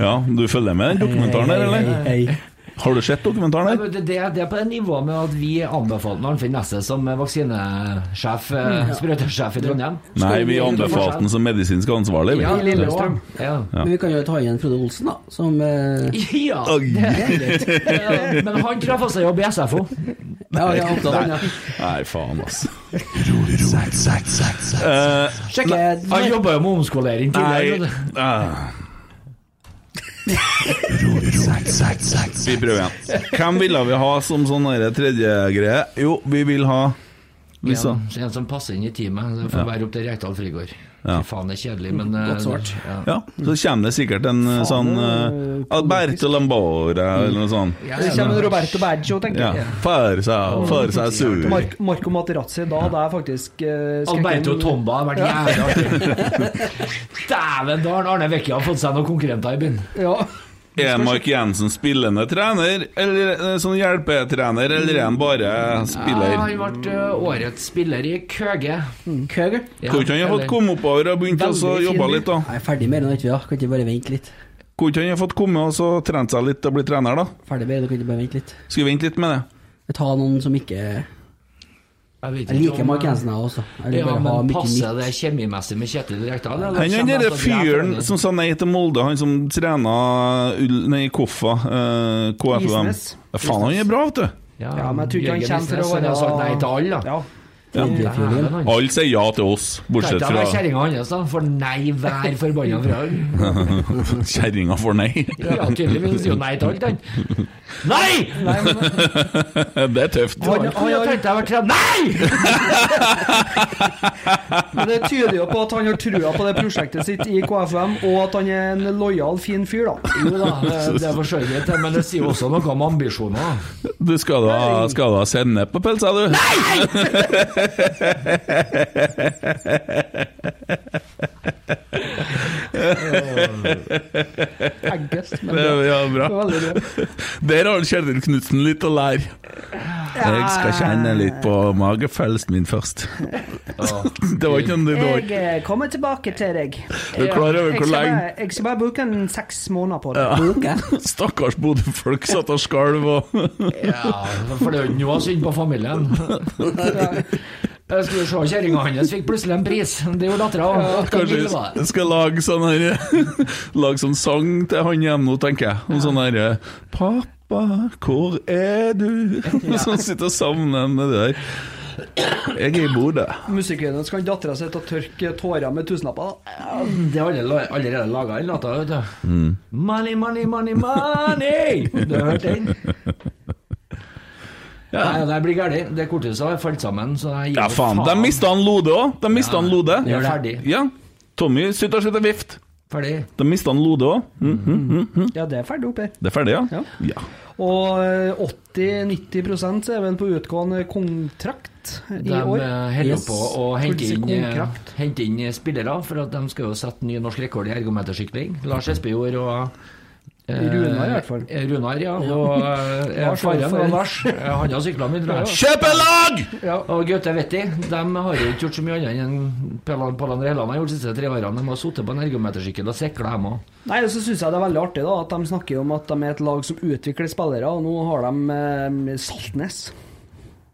Ja, du følger med den dokumentaren der, eller? Hei, hei. Har du sett dokumentaren der? Det, det, det er på det nivået med at vi anbefalte Arnfinn Nesset som vaksinesjef, Mm, eh, sprøytesjef i Trondheim. Nei, vi anbefalte den som medisinsk ansvarlig. vi. Ja, I Lillestrøm. Ja. Men vi kan jo ta igjen Frode Olsen, da. Som eh, Ja, Oi. eh, men han traff seg jobb i SFO. ja, ja, opptatt, han, ja. Nei, faen, altså. Sjekk, Men- han jobba jo med omskolering Nei tidligere. ah. Vi prøver igjen. Hvem ville vi ha som sånn derre tredje greie? Jo, vi vil ha Lisa. En, en som passer inn i teamet. Det får være opp til Rekdal Frigård. Fy faen, det er kjedelig, men eh, Godt svart. Ja. Ja, så kommer det sikkert en eh, sånn eh, Alberto Lambore eller noe sånt. Ja, Det ja, kommer men- Roberto Baggio, tenker Ja. jeg. Far seg, far seg sur. Mark- Marco Materazzi, da hadde jeg faktisk eh, skrekken- Alberto Tomba har vært jævlig artig. Dæven, da har Arne Vecchia fått seg noen konkurrenter i byen. Ja. Er Mark Jensen spillende trener, eller eh, sånn hjelpetrener, eller er han bare Ja, spiller? han ble ø, årets spiller i Køge. Køger. Ja, Kunne ikke han ha fått eller- komme oppover og begynt å så Veldig fin jobbe by. litt, da? Jeg er ferdig med det nå, ikke vi? da? Kan ikke bare vente litt? Kunne ikke han ha fått komme og så trent seg litt og bli trener, da? Ferdig med det, kan ikke bare vente litt? Skal vi vente litt med det? Jeg tar noen som ikke Jeg Jeg vet ikke liker om- eh, Mark Jensen, jeg også. Jeg vil Ja, bare ha men mye passer nytt. det kjemimessig med Kjetil Rekdal? eller? Han er Kjenner den jeg derre at det er fyren fornøyd? som sa nei til Molde, han som trena Ull... Nei, Koffa, eh, KFUM. Isnes. Ja, faen, han er bra, vet du. ja, men jeg tror ikke han Jørgen kommer til å Isnes, være han har sagt nei til alle, da. Ja. Tredjefjorden. Dæven, han. Alle sier ja til oss, bortsett Dette fra Mm. er kjerringa hans, da. For nei hver forbanna fra han. kjerringa får nei. Ja, tydeligvis sier jo nei til alt, han. Nei! Nei, men, Det er tøft. Han har tenkt jeg var trener. Nei! men det tyder jo på at han har trua på det prosjektet sitt i KFM, og at han er en lojal, fin fyr, da. Jo da, det- det er for så vidt, det, men det sier også noe om ambisjoner. da. Du skal da, skal da sende på pelsa, du? Nei! Eggest, men Det er det ja, bra. det er veldig bra. Der har Kjetil Knutsen litt å lære. Jeg skal kjenne litt på magefølelsen min først. Det var ikke noe det var ikke- Jeg eh, kommer tilbake til deg. Du er klar over Jeg hvor skal, lenge bare, jeg skal bare bruke en seks måneder på det. Stakkars Bodø-folk satt og skalv og Ja, for det er jo ikke noe synd på familien. Jeg skulle se Kjerringa hans fikk plutselig en pris. Det gjorde dattera. Kanskje jeg skal lage sånn her Lage sånn sang til han igjen nå, tenker jeg. Om sånn herre Pappa, hvor er du? Sånn sitter og savner han med det der. Jeg er i Bodø. Musikkvideoen skal dattera si til å tørke tårer med tusenlapper. da. Det har alle la- allerede laga en låt vet du. Money, money, money, money! Du har hørt den? Nei, det blir gærent. Det korthuset har falt sammen, så jeg gir Ja, meg faen. De mista han Lode òg. De mista han Lode. Ja, ferdig. Ja. Tommy sitter og sitter vift. Ferdig. De mista han Lode òg. Mm. Mhm. Ja, det er ferdig opp her. Det er ferdig, ja? Ja. Ja. Og eh, 80-90 så er vel på utgående kontrakt i De år. eh, holder Yes. på å hente inn, eh, Kontrakt. hente inn spillere, for at de skal jo sette ny norsk rekord i ergometersykling. Lars Espejord og Runar i hvert fall. Eh, Runar, ja. Og eh, Lars var faren for- var Lars. Eh, Han har sykla mye, tror jeg. Kjøpelag! Og Gaute Vetti de har jo ikke gjort så mye annet enn Pellan Pallan Rellan har gjort de siste tre årene. De har sittet på en ergometersykkel og sikla, dem òg. Nei, og så syns jeg det er veldig artig da at de snakker om at de er et lag som utvikler spillere, og nå har de eh, Saltnes.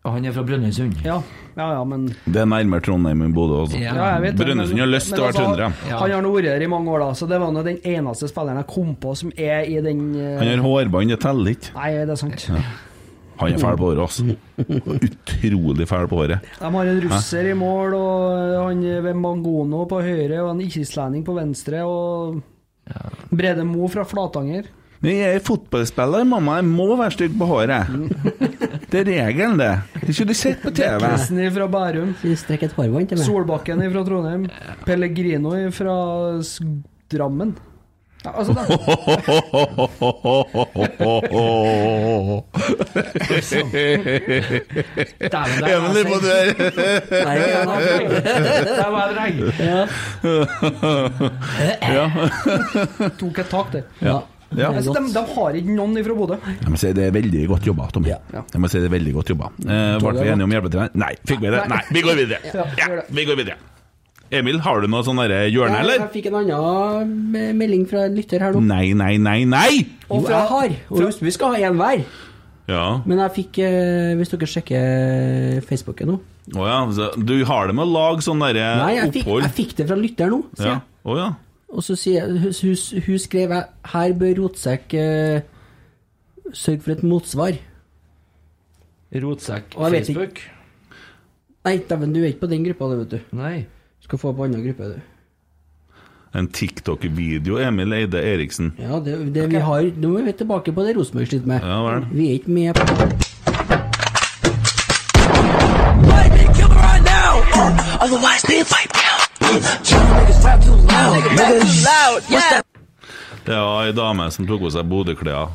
Og han er fra Brønnøysund. Ja, ja, ja men Det er nærmere Trondheim enn Bodø, altså. Ja. ja, jeg vet det, Brønnøysund men- har lyst til å men være altså, trøndere. Ja. Han har nå vært her i mange år, da, så det var nå den eneste spilleren jeg kom på som er i den eh, Han har hårbånd, det teller ikke. Nei, det er sant. Han er fæl på håret, altså. Utrolig fæl på håret. De har en russer i mål, og eh, han ved Mangono på høyre, og en islending på venstre, og Brede Mo fra Flatanger. Jeg er fotballspiller, mamma. Jeg må være stygg på håret. Det er regelen, det. Det er ikke du sett på TV. Nissen fra Bærum. Strekk et hårbånd til meg. Solbakken fra Trondheim. Pellegrino fra S- Drammen. Ja, altså, det, Dæven, der Emil, må du høre. Nei, ja, da. Der var jeg dreng. tok et tak der. Ja. Ja. Altså, de, de har ikke noen fra Bodø. Jeg må si det er veldig godt jobba, Tommy. Ja. Jeg må si det er veldig godt jobba. Eh, ble vi enige om hjelpetrener? Nei. Fikk vi det? Nei. Vi går videre. Ja, gjør Ja, det. vi går videre. Emil, har du noe sånn derre hjørne, Jeg, eller? jeg fikk en annen eh, melding fra en lytter her nå. Nei, nei, nei, nei! Jo, jeg har. Mm. Og husk, vi skal ha én hver. Ja. Men jeg fikk eh, Hvis dere sjekker Facebooken nå Å ja. så Du har det med å lage sånn Nei, derre jeg fikk, opphold? jeg fikk det fra lytter nå, sier Ja. jeg. Å ja. Og så sier jeg Hun, hun, hun skrev jeg, Her bør Rotsekk eh, sørge for et motsvar. Rotsekk. Og jeg vet Facebook. Nei, dæven, du er ikke på den gruppa, du, vet du. Nei. Du skal få på annen gruppe, du. En TikTok-video, Emil Eide Eriksen. Ja, det, det vi har Nå er vi tilbake på det Rosenborg sliter med. Ja vel. Vi er ikke med på Det var ei dame som tok på seg Bodø-klær.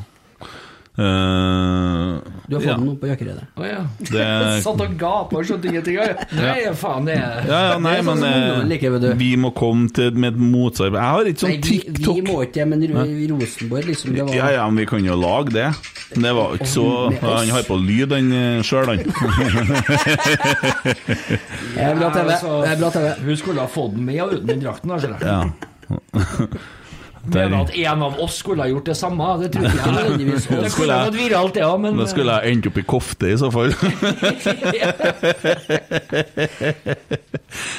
Eh, Du har fått ja, den opp på Jakkeredet. Å ja. det, Sånn. Satt og gapa og skjønte ingenting. jeg. Nei, faen, det er ja, ja, nei, Det er sånn men som ungdommen liker, vet eh, du. vi må komme til med et motarbeid. Jeg har ikke Nei, sånn vi, vi TikTok. må ikke det, men Ro- Rosenborg, liksom. Det var Ja, ja, men vi kan jo lage det. Men det var ikke så Han har på lyd, han sjøl, han. Det er bra TV. Det er bra TV. Hun skulle ha fått den med og uten den drakten. da, skjønner jeg. Ja. Mener Der. at en av oss skulle ha gjort det samme, det tror ikke jeg nødvendigvis. Da Det skulle kunne jeg- gått viralt, det òg, men Da skulle jeg endt opp i kofte, i så fall.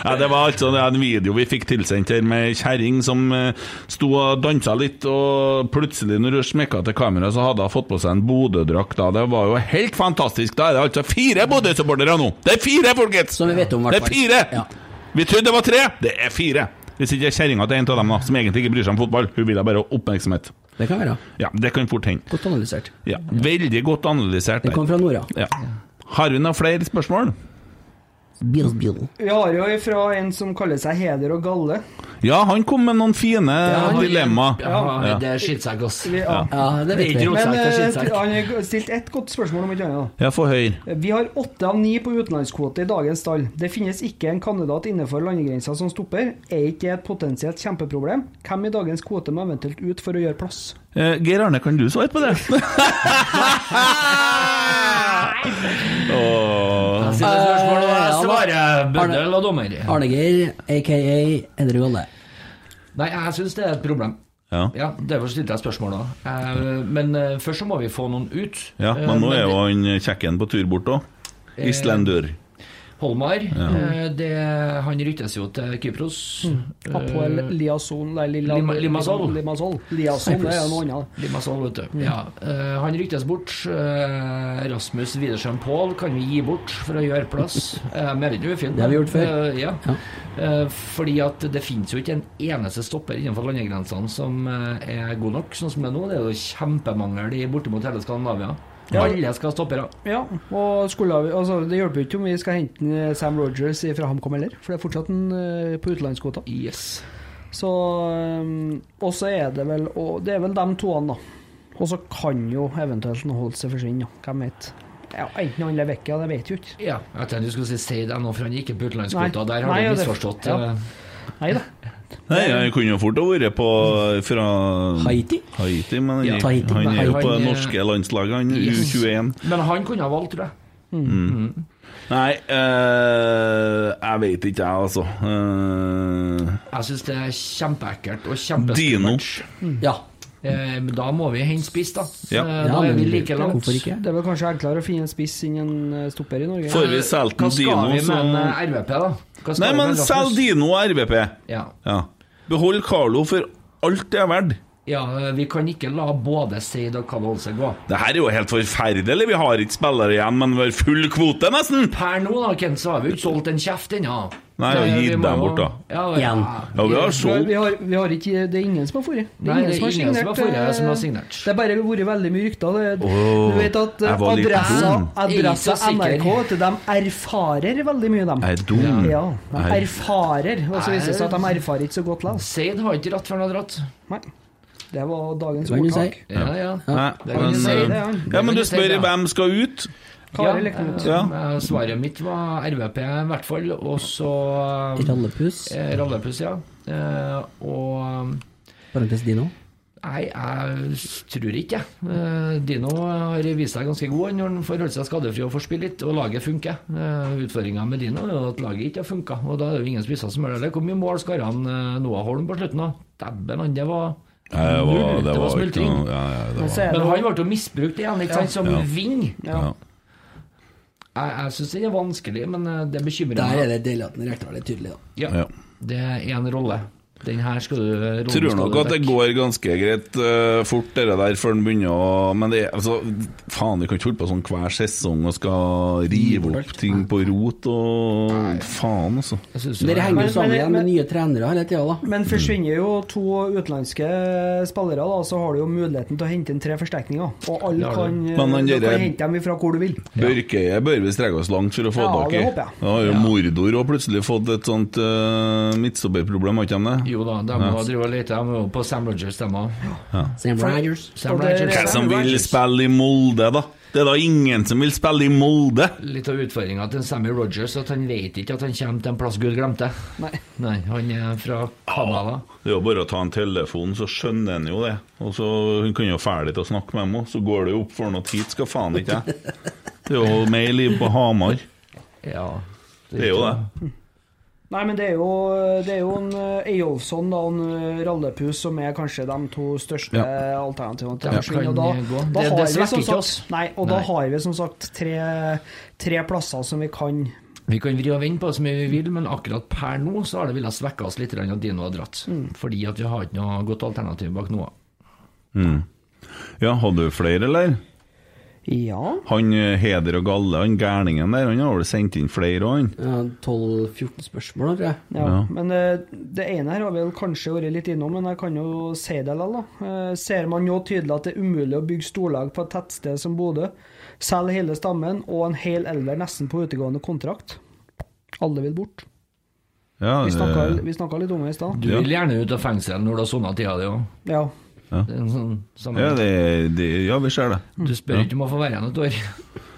Ja, det var altså det er en video vi fikk tilsendt her med ei kjerring som eh, sto og dansa litt, og plutselig, når hun smekka til kamera, så hadde hun fått på seg en Bodø-drakt. da. Det var jo helt fantastisk. Da er det altså fire Bodø-supportere nå! Det er fire, folkens! Som vi vet om, i Det hvert er fall. fire! Ja. Vi trodde det var tre, det er fire. Hvis ikke er kjerringa til en av dem, da, som egentlig ikke bryr seg om fotball. Hun vil ha bare oppmerksomhet. Det kan være. Ja, det kan fort hende. Godt analysert. Ja, veldig godt analysert. Den der. kom fra Nora. Ja. Har vi noen flere spørsmål? Bil, bil. Vi har jo ifra en som kaller seg Heder og Galle. Ja, han kom med noen fine han- dilemma. ja, Det er skittsekk, ass. Vi, ja. Ja, det vet vi. Skittsekk, det Men er eh, skittsekk. han har stilt ett godt spørsmål om ikke annet. da. Ja, få høre. Vi har åtte av ni på utenlandskvote i dagens stall. Det finnes ikke en kandidat innenfor landegrensa som stopper. Er ikke det et potensielt kjempeproblem? Hvem i dagens kvote må eventuelt ut for å gjøre plass? Eh, Geir Arne, kan du svare på det? Åh. Jeg stiller spørsmål, og jeg Eh, svarer Arne- bøddel og dommer. Arne Geir, aka Edre Golle. Nei, jeg syns det er et problem. Ja. Ja, Derfor stilte jeg spørsmål da. Eh, Men eh, først så må vi få noen ut. ja, Eh, men nå er jo han kjekken på tur bort òg. Islendør. Holmar, eh, det, han ryttes jo til Kypros. Apoel Eh, Liasson nei, Lilla, Lima- Limassol. Limassol. Liasson det er noe annet. Limassol, Mm. vet du. Ja, eh, han ryktes bort. Eh, Rasmus Widersen Pål kan vi gi bort for å gjøre plass. Eh, men jeg vet jo vi er fint. Det har vi gjort før. Eh, ja. Ja. Eh, fordi at det finnes jo ikke en eneste stopper innenfor landegrensene som eh, er god nok, sånn som det er nå. Det er jo kjempemangel i bortimot hele Skandinavia. Alle skal ha stoppere. Ja, og skulle vi, altså, Det hjelper jo ikke om vi skal hente en eh, Sam Rogers fra HamKam heller, for det er fortsatt en eh, på utenlandskvota. Yes. Så um, Og så er det vel og Det er vel de toene, da. Og så kan jo eventuelt noe holdt seg forsvinne, da. Hvem vet. Ja, enten han lever vekk, ja, det vet jeg jo ikke. Ja, jeg tenkte du eh. skulle si Seid ennå, for han gikk ikke på Nei. utenlandskvota. Der har Nei, du ja, det- misforstått. ja. eh, Nei da. Nei, jeg kunne jo fort ha vært på fra Haiti? Haiti, men han, Ja, gikk- Haiti. han er jo Han, på det eh, norske landslaget, han Yes. U21. Men han kunne ha valgt, tror jeg. Nei, eh, jeg vet ikke, jeg, altså. Eh, Jeg syns det er kjempeekkelt og kjempeskummelt. Dino. Ja. Eh, men da må vi hente spiss, da. Ja. Eh, Ja, da er men vi like langt. Hvorfor ikke? Det er vel kanskje enklere å finne en spiss enn en eh, stopper i Norge? Får vi solgt Hva en skal Dino, vi så med en eh, RVP, da? Hva skal Nei, vi med men en Rasmus? selg Dino og RBP. Ja. Ja. Behold Carlo for alt det er verdt. ja, eh, vi kan ikke la både Seid og Kavalse gå. Det her er jo helt forferdelig. Vi har ikke spillere igjen, men vi har full kvote, nesten. Per nå, da, Ken, så har vi jo ikke solgt en kjeft ennå. Nei, Så, og eh, gitt vi må dem jo- bort, da. Ja, Igjen. Ja, vi har Vi, solgt vi har, vi har ikke, det er ingen som har forrige. Nei, det er ingen som har forrige eh, som har signert. Det har bare vært veldig mye rykter. Det, Åh, du vet at eh, jeg var litt adressa, dum. adressa Jeg er ikke så sikker. NRK, vet du, de erfarer veldig mye, dem. Jeg er dum. Ja, de Jeg- erfarer, og så viser det seg at de erfarer ikke så godt likevel. Seid har ikke dratt før han har dratt. Nei. Det var dagens Hva kan du si? ordtak. Ja, ja. Nei, kan du men, si, eh, det, ja. ja, men Det kan du du si, spør ja. hvem skal ut? Kari Ja, Lekne Knutsen. eh, eh, Svaret mitt var RVP, i hvert fall. Og så Rallepus. eh, Rallepus, ja. Eh, Og Parentes Dino. Nei, jeg tror ikke jeg. Eh, Dino har vist seg ganske god når han får holde seg skadefri og får spille litt, og laget funker. Eh, Utfordringa med Dino er jo at laget ikke har funka, og da er det jo ingen spisser som gjør det. Eller Hvor mye mål skåra han eh, Noah Holm på slutten, da? Dæven, han det var Ja, det var, det null, var ikke smultring. noe ja, ja, det Men var, så er Men det han ble jo misbrukt igjen, ikke sant, som Ja. ving. ja. Jeg, jeg syns det er vanskelig, men eh, det bekymrer Der er meg. det deilig at den Rekdal er tydelig, da. Ja, Ja. det er én rolle. Den her skal du rollen Tror skal nok du at det dekke. går ganske greit eh, fort, det der, før den begynner å Men det er altså Faen, vi kan ikke holde på sånn hver sesong og skal rive opp ting på rot og Faen, altså. Jeg synes jo Dere det. henger Men- jo sammen men- igjen med men- nye trenere hele tida, da. Men forsvinner jo to utenlandske spillere, da, så har du jo muligheten til å hente inn tre forsterkninger. Og Det alle har du. kan, eh, Men han du gjør det- kan hente dem ifra hvor du vil. Børkeie bør vi strekke oss langt for å få Ja, tak i. det håper jeg. Da har jo Mordor òg plutselig fått et sånt uh, midtstopperproblem, har ikke de det? Jo da, de må drive og lete. De er jo på Sam Rogers, de òg. Sam Rogers. Sam Og det- Rogers. Hvem som vil spille i Molde, da? Det er da ingen som vil spille i Molde! Litt av utfordringa til Sammy Rogers at han vet ikke at han kommer til en plass Gud glemte. Nei. Nei, han er fra Canada. Det er jo bare å ta en telefon, så skjønner han jo det. Og så Hun kan jo ferdig til å snakke med dem òg, så går det jo opp for noe hit skal faen ikke jeg. Det er jo mer liv på Hamar. Ja. Det er jo det. Nei, men det er jo, det er jo en eh, Eyolfsson da, og en eh, Rallepus som er kanskje de to største alternativene til Ja. å forsvinne. Kan Og da, gå. da Det- har det vi svekker som ikke oss. sagt, nei, og da Nei. har vi som sagt tre, tre plasser som vi kan Vi kan vri og vende på det som vi vil, men akkurat per nå så har det villet svekke oss litt grann at Dino har dratt. Mm. Fordi at vi har ikke noe godt alternativ bak Noah. Ja, hadde du flere, eller? Ja. Han eh, Heder og Galle, han gærningen der, han har vel sendt inn flere òg, han? Ja, 12-14 spørsmål, da, tror jeg. Ja, Ja. Men eh, det ene her har vi vel kanskje vært litt innom, men jeg kan jo si det likevel. da. Eh, ser man jo tydelig at det er umulig å bygge storlag på et tettsted som Bodø, selge hele stammen og en hel elver nesten på utegående kontrakt? Alle vil bort. Ja, eh, Vi snakka det- vi snakka litt om det i stad. Du Ja. vil gjerne ut av fengsel når du har sona tida di òg. Ja. Sånn, sånn, ja, det, det, ja vi ser det. du spør ikke om å få være igjen et år.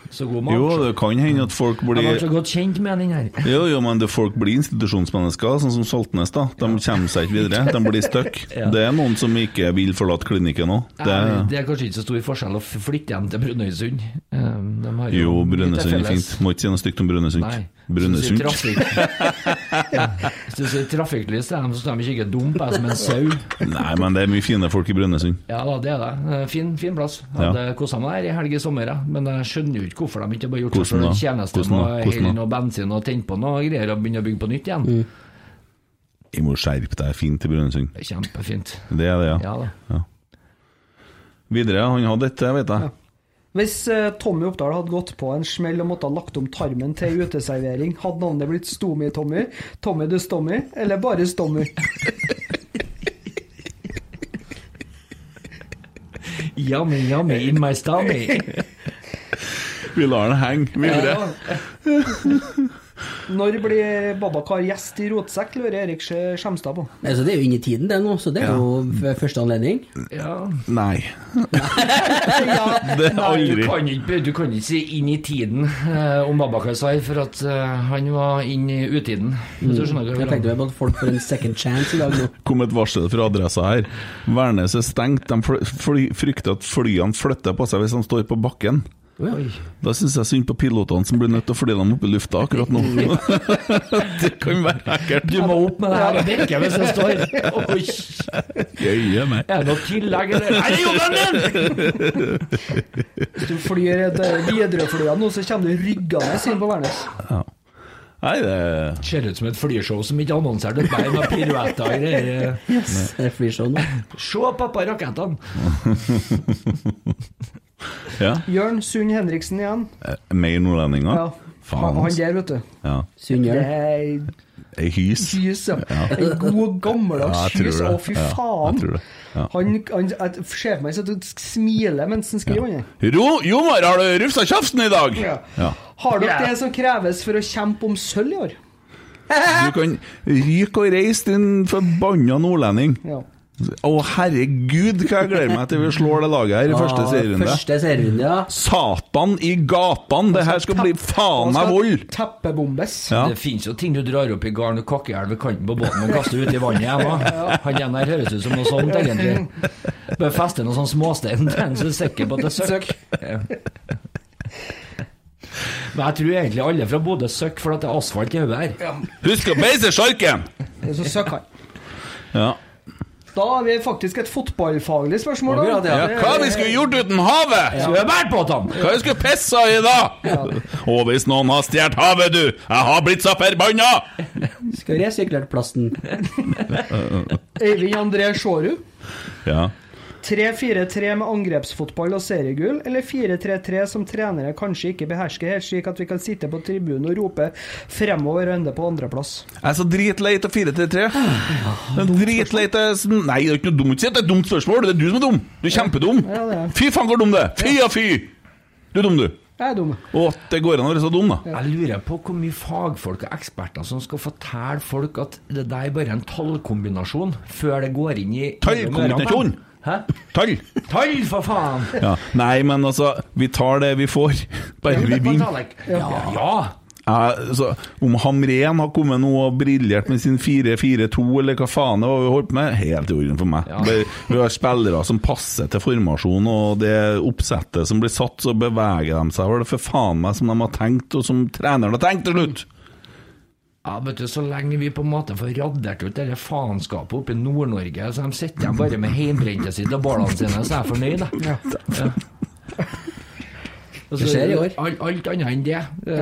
Så god mat. Jo, det kan hende at folk Jeg blir altså- ble så godt kjent med den her. jo, jo, men det folk blir institusjonsmennesker, sånn som Saltnes. da De kommer seg ikke videre, de blir stuck. Ja. Det er noen som ikke vil forlate klinikken òg. Det Det, er, det er kanskje ikke så stor forskjell å f- flytte hjem til Brønnøysund. Um, de har jo, mye til Brønnøysund er felles. fint. Må ikke si noe stygt om Nei. Brønnøysund. Brønnøysund. Hvis du sier trafikk- Hvis du sier trafikklys til dem, så står de ikke dump, jeg som en sau. Nei, men det er mye fine folk i Brønnøysund. Ja da, det er det. Eh, Fin, fin plass. Ja. Hadde kosa meg der i helg i sommer, jeg. men jeg skjønner jo ikke hvorfor de ikke har bare gjort seg Hvordan selv en da? tjeneste Hvordan med da? å Hvordan helle da? noe bensin og tenne på noe greier og begynne å bygge på nytt igjen. Jeg må skjerpe deg fint i Brønnøysund. Det er Kjempefint. Det er det, ja. Ja da. Videre, han hadde dette, vet jeg. Hvis eh, Tommy Oppdal hadde gått på en smell og måtte ha lagt om tarmen til uteservering, hadde navnet blitt Stomi-Tommy, Tommy du Stommy, eller bare Stommy? Yummy, yummy in my stomach. Vi lar den henge. Vi gjør det. Når blir Babakar gjest i Rotsekk, lurer Erik Skje- Skjemstad på. Nei, så det er jo inni tiden, det nå, så det er Ja. jo f- første anledning. Ja. Nei. det er Du aldri. kan, ikke, du kan ikke si 'inn i tiden' eh, om Babakar Sai, for at eh, han var inn i utiden. Hvis du skjønner hva Jeg jeg mener. tenkte vel på at folk får en second chance i dag nå. kom et varsel fra adressa her. Værnes er stengt. De fly, fly, frykter at flyene flytter på seg hvis de står på bakken. Oi. Da syns jeg synd på pilotene som blir nødt til å fly dem opp i lufta akkurat nå. det kan være ekkelt. Du må opp med det her og drikke hvis det står Oi, Jøye meg. Er det noe tillegg, eller? Er det jobben din?! Hvis du flyr et Widerøe-flyet nå, så kommer du ryggende inn på Værnes. Ja. Nei, det Ser ut som et flyshow som ikke annonserte et bein med piruetter og greier. Det sånn, er flyshow nå. Se, pappa, rakettene! Ja. Jørn Sund Henriksen igjen. Eh, Mer nordlendinger? Ja. Faen, Han- Han altså. der, vet du. Ja. Det Sunnjøren. er Ei hys. hys, ja. En god, Ja, gammeldags jeg tror hys. det. Å, fy Ja, jeg faen. tror det. Ja. Han, han, jeg ser for meg at han smiler mens han skriver under. Ro, Jomar, har du rufsa kjeften i dag? Ja. Ja. Har dere Ja. det som kreves for å kjempe om sølv i år? Du kan ryke og reise, din forbanna nordlending. Ja. Å, herregud, hva jeg gleder meg til vi slår det laget her i første serierunde. Første serierunde, ja. Satan i gatene! Det her skal bli faen meg vold! Teppebombes. Ja. Det finnes jo ting du drar opp i garn og kakkeelv ved kanten på båten og kaster ut i vannet hjemme. Han igjen her høres ut som noe sånt, egentlig. Bør feste noe sånn småstein til en som er sikker på at det er søkk. Ja. Men jeg tror egentlig alle fra Bodø søkker for at det er asfalt i hodet her. Husk å beise sjarken! Det er så søkk han. Ja. Da har vi faktisk et fotballfaglig spørsmål. Akkurat, Da. ja. ja. Hva vi skulle gjort uten havet? Du er bært på dem! Hva vi skulle pissa i da? Og hvis noen har stjålet havet, du! Jeg har blitt så forbanna! Skal resirkulert plasten. Øyvind André Sjårud. Ja. 3-4-3 med angrepsfotball og seriegull, eller 4-3-3 som trenere kanskje ikke behersker, helt slik at vi kan sitte på tribunen og rope fremover og ende på andreplass. Jeg er så dritlei av 4-3-3. Dritlei av sånn- Nei, det er ikke noe dumt. Si at det er et dumt spørsmål. Det er du som er dum. Du er kjempedum. Ja, det er jeg. Fy faen, hvor dum du er. Fy og fy! Du er dum, du. Jeg er dum. Å, det går an å være så dum, da. Jeg lurer på hvor mye fagfolk og eksperter som skal fortelle folk at det der er bare en tallkombinasjon før det går inn i Tallkombinasjon? Hæ? Tall! Tall, for faen! Ja. Nei, men altså, vi tar det vi får. Bare vi vinner. Ja, ja. Ja, så om Hamren har kommet nå og briljert med sin 4-4-2, eller hva faen det var vi holdt på med, helt i orden for meg. Ja. Bare, vi har spillere som passer til formasjonen, og det oppsettet som blir satt, så beveger de seg vel for faen meg som de har tenkt, og som treneren har tenkt til slutt. Ja, vet du, Så lenge vi på en måte får radert ut dette faenskapet oppe i Nord-Norge, så de sitter igjen bare med hjemmebrentet sitt og bålene sine, så er jeg fornøyd, da. Ja. Altså, Det skjer i år. Alt, alt annet enn det.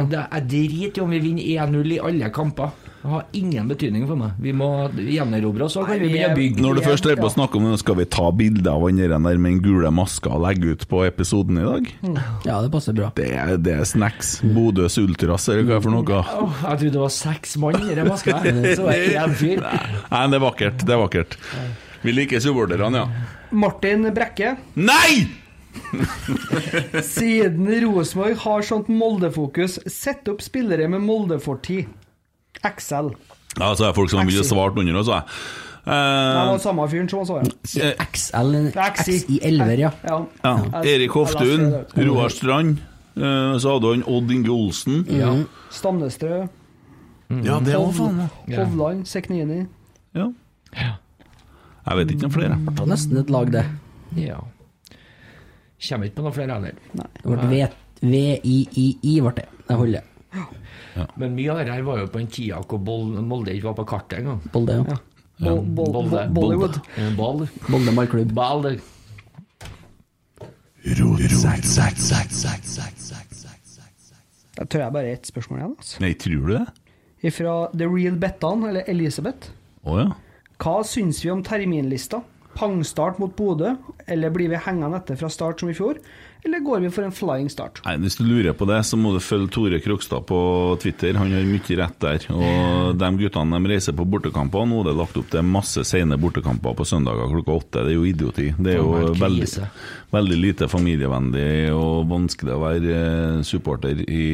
det jeg driter i om vi vinner 1-0 i alle kamper. Det har ingen betydning for meg. Vi må gjenerobre oss, så kan vi begynne å bygge. Når du først er på å snakke om det, skal vi ta bilde av han der med den gule maska og legge ut på episoden i dag? Ja, det passer bra. Det er, det er snacks. Bodøs Ultras, eller hva er det for noe? Åh, jeg trodde det var seks mann i den maska, her, så var det én fyr. Nei, det er vakkert. Det er vakkert. Vi liker supporterne, ja. Martin Brekke. Nei! Siden Rosenborg har sånt Molde-fokus, sett opp spillere med Molde-fortid. XL. Ja, så er det folk som ville svart under også, jeg. Det var Eh, samme fyren som så jeg. eh, XL, X XI. i 11, ja. Ja. ja. Erik Hoftun, Jeg leste det. Roar Strand. eh, Så hadde han Odd Inge Olsen. Ja, Stamnestrø, det òg, faen meg. Hovland, Sekhnini. Ja. Jeg vet ikke noen flere. jeg. Det var nesten et lag, det. Ja. Kommer ikke på noen flere heller. Det ble vet- VIII, ble det. Det holder. Men mye av det her var jo på en tida hvor Bol- Molde ikke var på kartet engang. Bolde, ja. Bol- bol- Bolde. bol- Bollywood. Eh, Ball. Bolde ballklubb. Ball. Jeg tror jeg bare er ett spørsmål igjen. Altså. Nei, tror du det? Fra The Real Bettan, eller Elisabeth. Å ja. Hva syns vi om terminlista? Pangstart mot Bodø, eller blir vi hengende etter fra start som i fjor? eller går vi for en flying start? Nei, Hvis du lurer på det, så må du følge Tore Krokstad på Twitter. Han har mye rett der. Og de guttene de reiser på bortekamper. Nå er det lagt opp til masse sene bortekamper på søndager klokka åtte. Det er jo idioti. Det er jo Faen, veldig, krise. veldig lite familievennlig og vanskelig å være eh, supporter i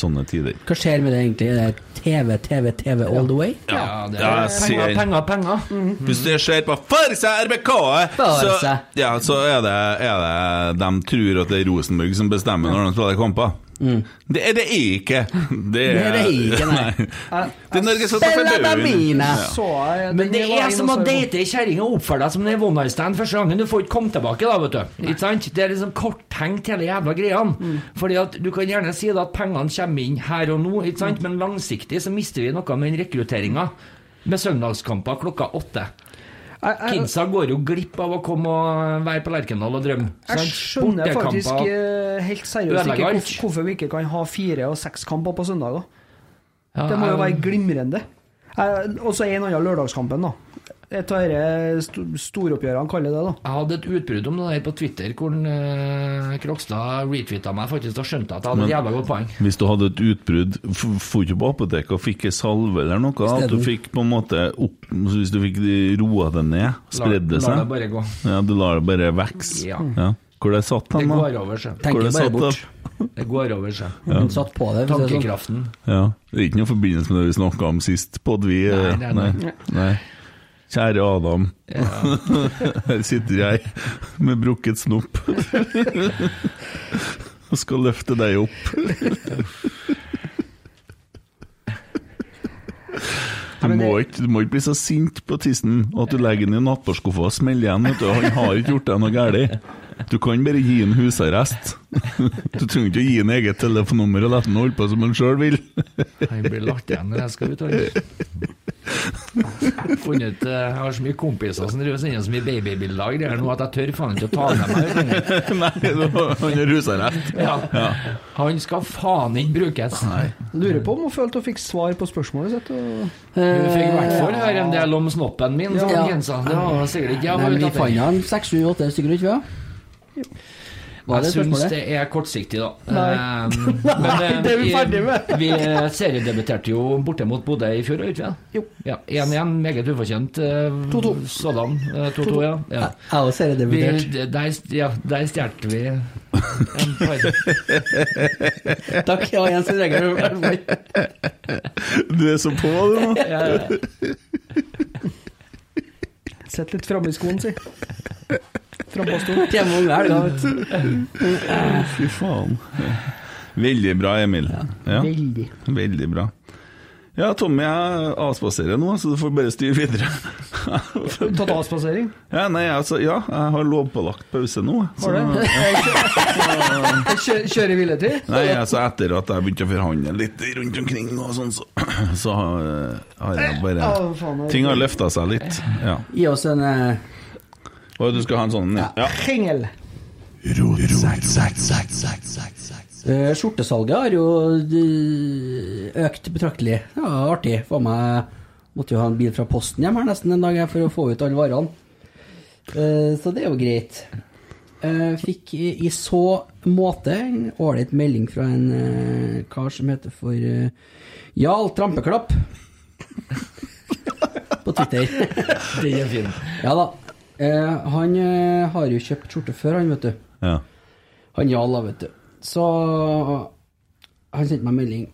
sånne tider. Hva skjer med det egentlig? Er det TV, TV, TV all the way? Ja, det er Ja, jeg penger, ser. penger, penger. Mhm. Hvis det skjer på Farse RBK, eh, så, Farse. ja, så er, det, er det De tror at det er Rosenborg som bestemmer når de spiller kamper. Det er det ikke. Det er det ikke, nei. Det er Norges Lotte Bella Forbund. Bambina! Så jeg, Men den det var er inn som å og så- date ei kjerring og oppføre deg som en one night stand første gangen. Du får ikke komme tilbake, da, vet du. Ikke sant? Det er liksom korttenkt, hele jævla greia. Fordi at du kan gjerne si da at pengene kommer inn her og nå, ikke sant? men langsiktig så mister vi noe med den rekrutteringa. Med søndagskamper klokka åtte. Jeg- jeg- Kidsa går jo glipp av å komme og være på Lerkendal og drømme. Jeg sant? skjønner Bortekamper. faktisk eh, helt seriøst Sånn ødelegger ikke alt. hvorf- hvorfor vi ikke kan ha fire- og sekskamper på søndager. Ja, Det må jo jeg- være glimrende. Eh, Og så en annen lørdagskampen, da. Et av disse storoppgjørene, kaller jeg det, da. Jeg hadde et utbrudd om det der på Twitter, hvor eh, Krokstad retweeta meg faktisk og skjønte at jeg hadde et jævla godt poeng. Hvis du hadde et utbrudd, for ikke på apoteket og fikk ei salve eller noe, at du fikk på en måte opp så Hvis du fikk roa det ned, spredd det La det seg bare gå. Ja, Du lar det bare vokse. Ja. Hvor det satt Det han, går da? over seg. Hvor Tenker det bare satt, da? bort. Det går over seg. Hun satt på det. for å si det sånn. Tankekraften. Ja. Det er ikke noe forbindelse med det vi snakka om sist pod, vi. eh, Nei, nei, nei. nei. Kjære Adam. Her sitter jeg med brukket snopp og skal løfte deg opp. Du må, ikke, du må ikke bli så sint på tissen at du legger den i nattbordskuffa og smeller igjen. Vet du. Han har ikke gjort deg noe galt. Du kan bare gi ham husarrest. Du trenger ikke å gi ham eget telefonnummer og la ham holde på som han sjøl vil. Jeg blir lagt igjen når jeg skal ut. vet du. Jeg har funnet ut, eh, jeg har så mye kompiser som driver og sender så mye babybilder og greier nå at jeg tør faen ikke å ta med meg lenger. Nei, han har husarrest. ja. Han skal faen ikke brukes. Lurer på om hun følte hun fikk svar på spørsmålet sitt. Og... sånn. Hun Eh, fikk i hvert fall høre en del om snoppen min. Ja. Ja. Det var sikkert ikke jeg Nei, var men ute vi etter. fant han seks, sju, åtte stykker, ikke sant? Var det Jeg syns spørsmålet? det er kortsiktig, da. Nei. Ehm, Nei, det er vi ferdig med. vi eh, seriedebuterte jo borte mot Bodø i fjor, gjorde vi ikke det? Jo. Ja, 1-1, meget ufortjent. eh, 2-2. Sådan. eh, 2-2, ja. ja. Jeg har Vi, seriedebutert. der ja, der stjal vi en par. Takk, det var en sin regel. Du er så på, du nå. Sett litt framme i skoen, si. Frampå stolen. Hjemme unge helga, vet du. Fy faen. Veldig bra, Emil. Ja. Veldig. Veldig bra. Ja, Tommy, jeg avspaserer nå, så du får bare styre videre. Mm. Tatt avspasering. Ja, nei, altså, ja, jeg har lovpålagt pause nå. Så, Har du? Mm. Kjø- Kjøre i hviletid? nei, altså, etter at jeg begynte å forhandle litt rundt omkring, og sånn, så, så har- har jeg bare Å, faen, jeg- Ting har løfta seg litt. Ja. Gi oss en eh, Og du skal ha en sånn? Ja. ja. Hengel. eh, Skjortesalget har jo eh, økt betraktelig. Det var artig. For meg måtte jo ha en bil fra posten hjem her nesten en dag her for å få ut alle varene. Eh, Så det er jo greit. Eh, Fikk i i så måte en ålreit melding fra en eh, kar som heter for eh, Jarl Trampeklapp. På Twitter. Den er fin. Ja da. Eh, han eh, har jo kjøpt skjorte før, han, vet du. ja. Han Jarl, da, vet du. Så han sendte meg en melding.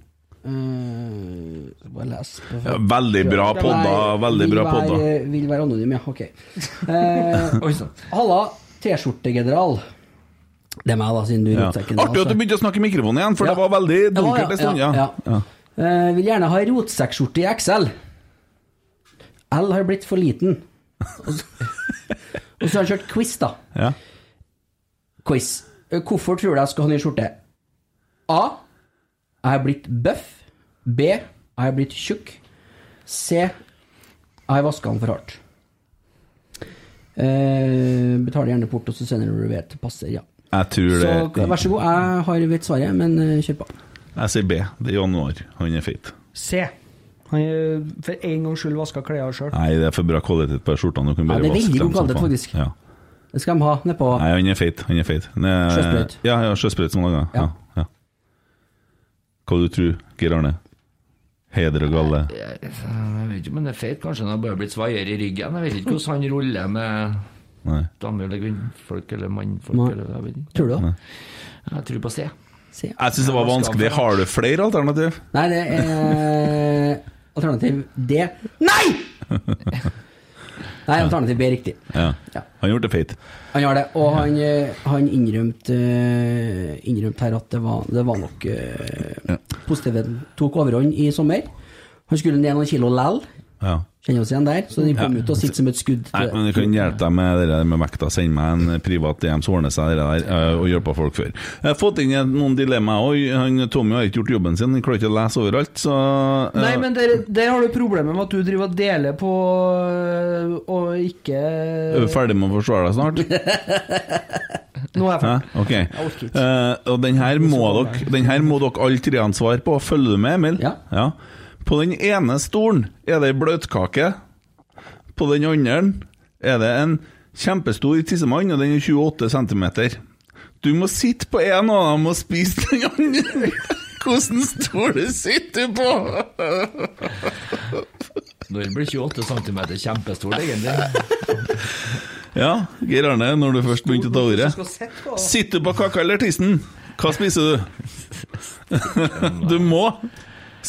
Eh, skal bare lese på Ja, Veldig bra podda. Veldig bra Vil podda. være- Vil være anonym, ja. Ok. Eh, Oi sånn. sann. Halla, T-skjortegeneral. Det er meg, da, siden du Ja. rotsekken. da, Artig at du altså. begynte å snakke i mikrofonen igjen, for Ja. det var veldig Ja, dunkelt en stund. Ja. Ja. Eh, vil gjerne ha rotsekkskjorte i XL. L har blitt for liten. Og så, og så har han kjørt quiz, da. Ja. Quiz. Eh, Hvorfor tror du jeg skal ha ny skjorte? A. Jeg er blitt bøff. B. Jeg er blitt tjukk. C. Jeg har vaska den for hardt. Eh, betaler gjerne porto, så sender du det til passer, ja. Jeg tror Så det vær så god, jeg har vet svaret, men eh, kjør på. Jeg sier B. Det er januar. Han er feit. C. Han eh, for en gangs skyld vaska klærne sjøl. Nei, det er for bra kvalitet på skjortene. Du kan Ja, bare det er vaske veldig dem god som kvalitet, faen. faktisk. Ja. Det skal de ha nedpå. Nei, han er feit. Han er feit. Han er- Sjøsprøyt. Ja, ja, sjøsprøyt som han lager. Ja. Ja, Hva du tror Geir Arne? Heder og galle? Jeg jeg vet ikke, men det er feit. Kanskje han har bare blitt svaiere i ryggen. Jeg vet ikke hvordan han ruller med Nei. damer eller kvinnfolk eller mannfolk. Nei. Eller, jeg, vet ikke. Tror du det? jeg tror på C. Se. Jeg syns det var vanskelig. Har du flere alternativ? Nei, det er eh, alternativ D. Nei! Nei, alternativ B er riktig. Ja. Ja. Han gjorde det feit. Han gjør det, og han, eh, han innrømte eh, innrømte her at det var, det var nok Ja. eh, Positiviteten tok overhånd i sommer. Han skulle ned noen kilo lell, Ja. kjenner oss igjen der, så den kom Ja. ut og sitter som et skudd. til Nei, det. men Du kan hjelpe deg med det der med vekta. Send meg en privat DM, så ordner seg det der. eh, Og hjelper folk før. Jeg har fått inn en- noen dilemmaer òg. Han Tommy har ikke gjort jobben sin. Han klarer ikke å lese overalt, så eh, Nei, men der, der har du problemet med at du driver og deler på øh, og ikke Er du ferdig med å forsvare deg snart? Nå er Hæ? jeg ferdig. Ok. orker ikke. Eh, og den her må dere, den her må dere alle tre ansvare på. Følger du med, Emil? Ja. På den ene stolen er det ei bløtkake. På den andre er det en kjempestor tissemann, og den er 28 cm. Du må sitte på en av dem og spise den andre. Hvordan stol sitter du på? Når blir 28 cm kjempestort, egentlig? Ja, Geir Arne, når du først begynte å ta ordet. Skal sette på. Sitter du på kaka eller tissen? Hva spiser du? Du må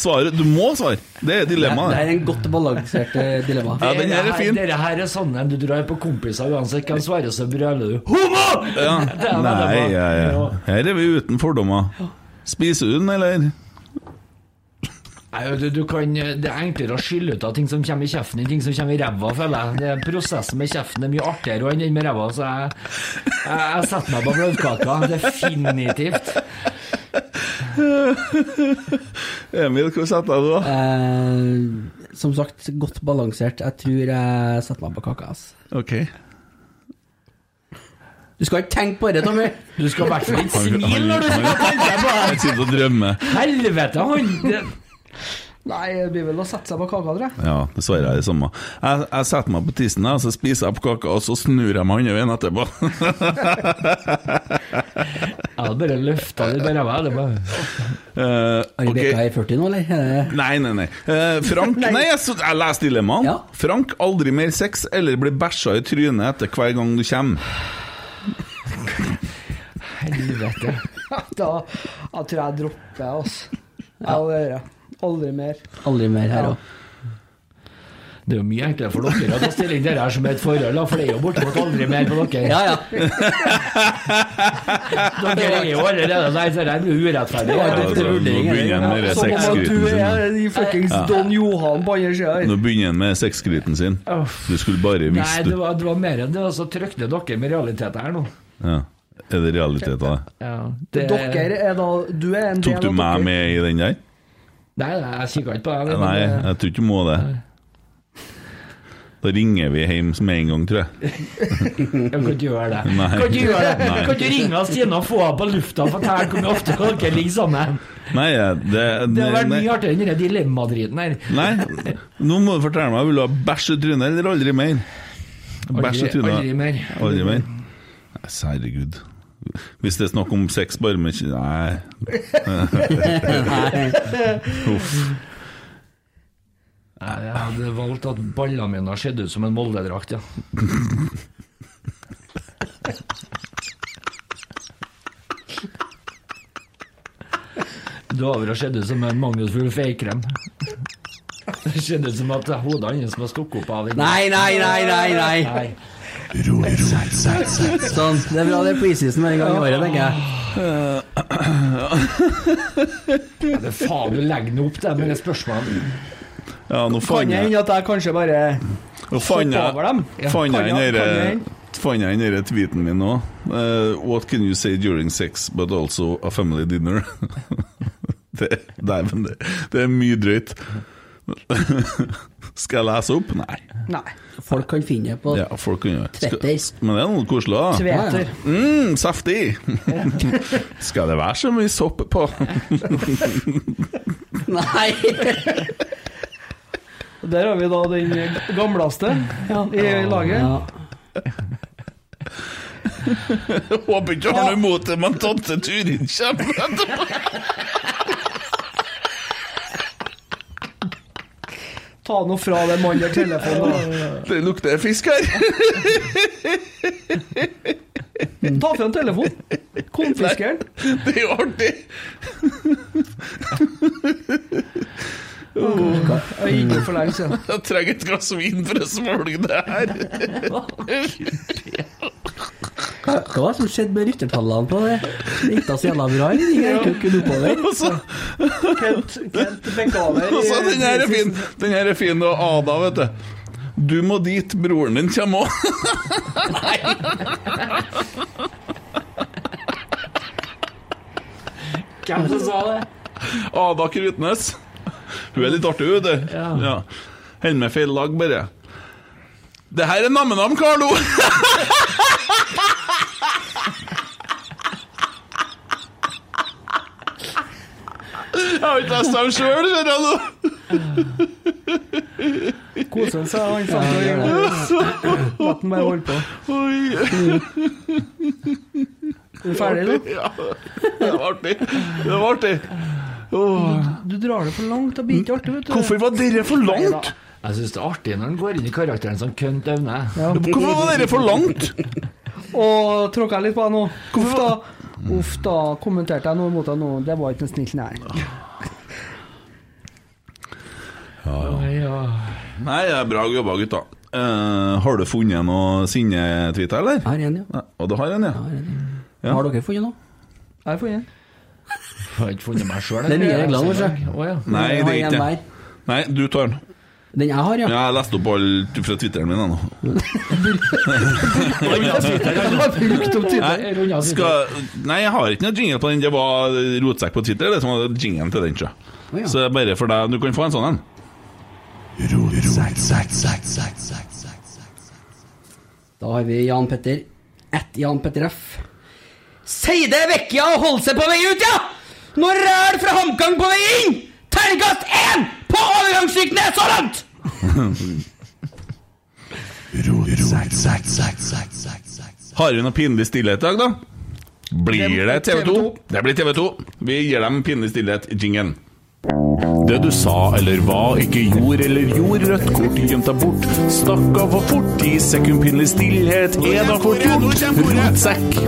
svare. Du må svare. Det er Det dilemmaet. er en godt balansert eh, dilemma. Ja, den her er fin. Dere her er sånne du drar på kompiser uansett hvem svarer, så brøler du 'homo'! Ja. Det er veldig Nei, bra. ja, ja. her er vi uten fordommer. Spiser du den, eller? Nei, du, du kan, det er enklere å skylle ut av ting som kommer i kjeften enn ting som kommer i ræva, føler jeg. Det Prosessen med kjeften er mye artigere enn den med ræva, så jeg, jeg, jeg setter meg på bløtkaka. Definitivt. Emil, hva setter jeg da? Eh, som sagt, godt balansert. Jeg tror jeg setter meg på kaka. ass. Ok. Du skal ikke tenke på det, Tommy! Du skal i hvert fall ikke smile når du han- Han sitter og drømmer. Helvete, han! Det, Nei, det blir vel å sette seg på kaka, tror jeg. Ja, dessverre er det samme. Jeg, jeg setter meg på tissen, jeg, og så spiser jeg på kaka, og så snur jeg meg andre veien etterpå. jeg hadde bare løfta det på ræva. Det bare Eh, Er ok. Rebekka i 40 nå, eller? Eh, Nei, nei, nei. Eh, Frank Nei, jeg, så, jeg leser dilemmaen. Ja. Frank, aldri mer sex eller bli bæsja i trynet etter hver gang du kommer. Helvete. Da jeg tror jeg dropper, jeg, altså. Ja, det gjør jeg. Aldri mer. aldri mer her Ja. òg. Det er jo mye enklere for dere å ta stilling til det her som et forhold, da, for det er jo bortimot aldri mer på dere. Ja, ja. Dere er jo allerede der, så det altså. her blir jo urettferdig. Ja, det- Altså, nå vurdering, begynner han med det Sånn Som om at sexskryten du sin. er i fuckings Don Johan på andre sida her. Nå begynner han med sexskryten sin. Uff. Du skulle bare Nei, visst det du. var, det var mer enn det. Altså, trykte dere med realitet her nå. Ja. Er det realiteten? da? det, Dere er da Du er en del Tok av du meg dere. med i den der? Nei, nei, jeg kikka ikke på deg. men, Nei, eh, jeg tror ikke du må det. Da ringer vi hjem med en gang, tror jeg. Jeg kan ikke gjøre det. Nei. Kan ikke gjøre det. Nei. Kan ikke ringe Stine og få henne på lufta og fortelle hvor ofte dere ligger sammen? Nei, jeg- det, Det har vært nei, mye artigere enn den dilemmadriten her. nei, nå må du fortelle meg. Vil du ha bæsj i trynet eller aldri mer? Bæsj i Aldri, trynet. aldri mer. Aldri mer? Nei, Herregud. Hvis det er snakk om sex bare med kj- Nei. Uff. Nei, Jeg hadde valgt at ballene mine har sett ut som en Molde-drakt, ja. Det over å se ut som en mangelfull feikrem. Det ser ut som at hodet hans var stukket opp av den. Nei, nei, nei, nei! nei. Nei. Sånn, Det er bra det er preseason hver gang i året, tenker jeg. Det er faen, du legger nå opp det med det spørsmålet. Ja, nå Kan fant det jeg hende at jeg kanskje bare Nå fant over dem? jeg Fant jeg Kan den jeg- derre- kan fant jeg den derre tweeten min nå? Eh, what can you say during sex, but also a family dinner? det, nei, men det, det er mye drøyt. Skal jeg lese opp? Nei. Nei. Folk kan finne det på Ja, folk kan gjøre Skal- Tvetter. Men det er noe koselig, da. Tveter. Mm, saftig! Skal det være så mye sopp på? Nei! Der har vi da den gamleste i laget. Ja. Håper ikke han har noe imot det, men tante Turid kommer etterpå. Ta nå fra dem alle telefonen. da. Det lukter fisk her. Ta fra en telefon. Konfisker den. Det er jo artig. Jeg er inne for lenge siden. Jeg trenger et glass vin for å smølge det her. Hva, hva var det som skjedde med ryttertallene på det? Det gikk da så jævla bra, eller? Det gikk jo ikke oppover. Og så Kent, Kent fikk over i- og så, den her er fin. Den her er fin. Og Ada, vet du. Du må dit, broren din kommer òg. Hvem som sa det? Ada Krutnes. Hun er litt artig, hun, du. Ja. Ja. Hender med feil lag, bare. Det her er Nammenam, Carlo! Jeg har ikke lest dem sjøl, ser jeg nå. Kosen sa han fant og gjorde det. La den bare holde på. Oi. Er du ferdig, da? Ja, det var artig. Det var artig. Åh. Du drar det for langt. Det blir ikke artig, vet du. Hvorfor var dere for langt? Jeg syns det er artig når han går inn i karakteren som kønt Aune. Hvorfor var dere for langt? Og tråkka jeg litt på deg nå. Uff da. Uff da, kommenterte jeg noe mot deg nå. Det var ikke en snill nei. Nei, det er bra jobba, gutta. Eh, har du funnet noe sinne-tweet, eller? Her igjen, ja. Nei, Og du har en, ja? Her igjen, Ja. ja. Har dere funnet noe? Jeg får igjen. Jeg har ikke funnet meg sjøl. Det er nye regler, kanskje. ja. Nei, Jeg det har er en ikke hver. det. Nei, du tar den. Den jeg har, Jeg ja. har lest opp alt fra Twitteren min jeg, nå. Jeg runder Nei, av skal, nei, jeg har ikke noe jingle på den. Det var rotsekk på Twitter, det som var jinglen til den. tror jeg. Å, ja. Så det er bare for deg. Du kan få en sånn en. Da har vi Jan Petter. Ett Jan Petter F. Si det vekk, ja, og hold seg på vei ut, ja! Nå ræl fra HamKam på vei inn! Terningkast én på overgangssyktene så langt! Har vi noe pinlig stillhet i dag, da? Blir det TV 2? Det blir TV 2. Vi gir dem pinlig stillhet-jingen. Det du sa eller hva, ikke gjorde eller gjorde, rødt kort gjemt deg bort. Stakk av for fort, ti sekund pinlig stillhet, er da fort gjort, rotsekk.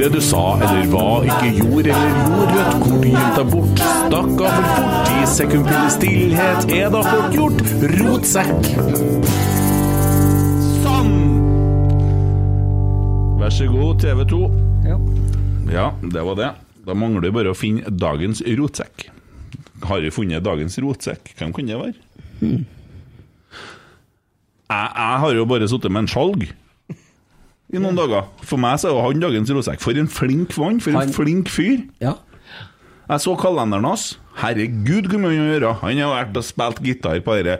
Det du sa eller hva, ikke gjorde eller gjorde, rødt kort gjemt deg bort. Stakk av for fort, ti sekund pinlig stillhet, er da fort gjort, rotsekk. Sånn! Vær så god, TV 2. Ja. Ja, det var det. Da mangler det bare å finne dagens rotsekk. Har vi funnet dagens rotsekk? Hvem kunne det være? Hmm. Jeg, jeg har jo bare sittet med en skjalg i noen dager. For meg så er jo han dagens rotsekk. For en flink mann, for en Han- flink fyr. Ja. Jeg så kalenderen hans. Herregud, hvor mye han gjør! Han har vært og spilt gitar på dette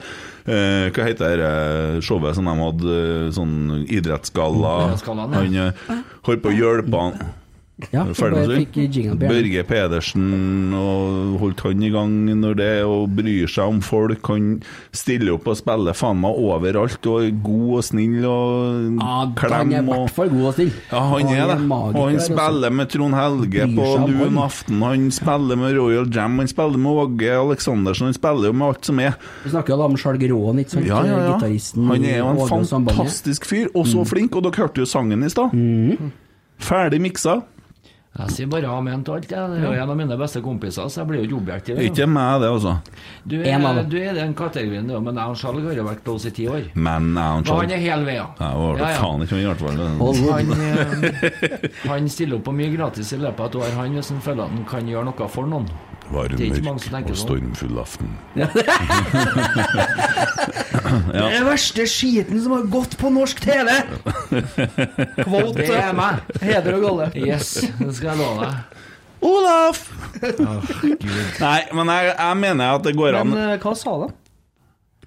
eh, Hva heter det eh, showet som de hadde? eh, Sånn idrettsgalla. Idrettsgallaen, ja. Han eh, holdt på å hjelpe han. ja. Er du Jeg ferdig med bare det? fikk jinglen på hjernen. Børge Pedersen og holdt han i gang når det, og bryr seg om folk. Han stiller opp og spiller faen meg overalt, og er god og snill og Ja, han er i klem og hvert fall god og snill. ja, han er det. Og han altså. spiller med Trond Helge Bryr på seg om Lun han. aften, han spiller med Royal Jam, han spiller med Åge Aleksandersen, han spiller jo med alt som er. Vi snakker jo da om Skjalg Råen, ikke sant? Ja, ja, ja. Gitaristen Han er jo en Åge og Mm. sambandet. fantastisk fyr, og så flink, og dere hørte jo sangen i stad. Mm. Ferdig miksa. Jeg sier bare amen til alt. Jeg Det er jo en av mine beste kompiser, så jeg blir jo ikke objektiv. Ikke meg, det, altså. Du En av er, dem. du er den kategorien, du, men jeg og Skjalg har jo vært close i ti år. Men jeg og Og han Charlie er hel vei, ja. Jeg var Ja, ja. faen ikke med hjertevarme. Hold Han, eh, han stiller opp på mye gratis i løpet av et år, han, hvis han føler at han kan gjøre noe for noen. Var Det er ikke mange som tenker sånn. stormfull aften. Det er verste skiten som har gått på norsk TV! Kvote. Det er meg! Heder og galle. Yes, det skal jeg love deg. Olaf! Nei, men jeg, jeg mener at det går an Men eh, hva sa de?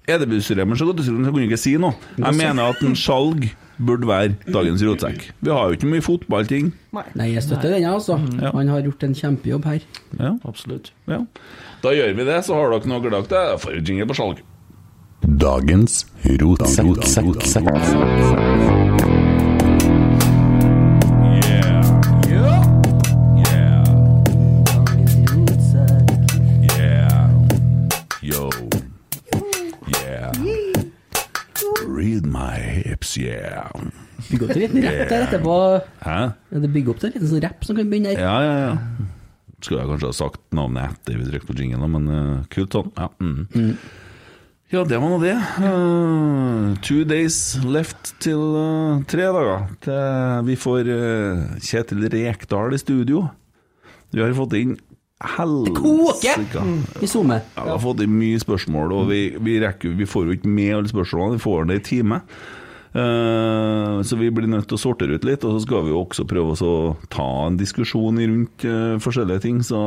eh, Edebusremen så godt, så kunne jeg ikke si noe. Jeg mener at en skjalg burde være dagens rotsekk. Vi har jo ikke mye fotballting. Nei, jeg støtter den, jeg, altså. Mm, Han har gjort en kjempejobb her. Ja, Absolutt. ja. Da gjør vi det, så har dere noe glad til. Jeg får jo jingle på skjalg. Dagens rotsekk. Damn. Bygg opp til en liten rapp der etterpå. Hæ? Ja, det bygger opp til en liten sånn rapp som kan begynne her. Ja, ja, ja. Skulle jeg kanskje ha sagt navnet etter vi trykte på jinglen, men eh, kult sånn. Ja, mm. ja det var nå det. Eh, two days left til eh, tre dager. Til vi får eh, Kjetil Rekdal i studio. Vi har fått inn helsike koker! I SoMe. Ja, vi har fått inn mye spørsmål, og vi, vi, rekker, vi får jo ikke med alle spørsmålene, vi får det i time. Eh, så vi blir nødt til å sortere ut litt, og så skal vi jo også prøve å så ta en diskusjon rundt eh, forskjellige ting, så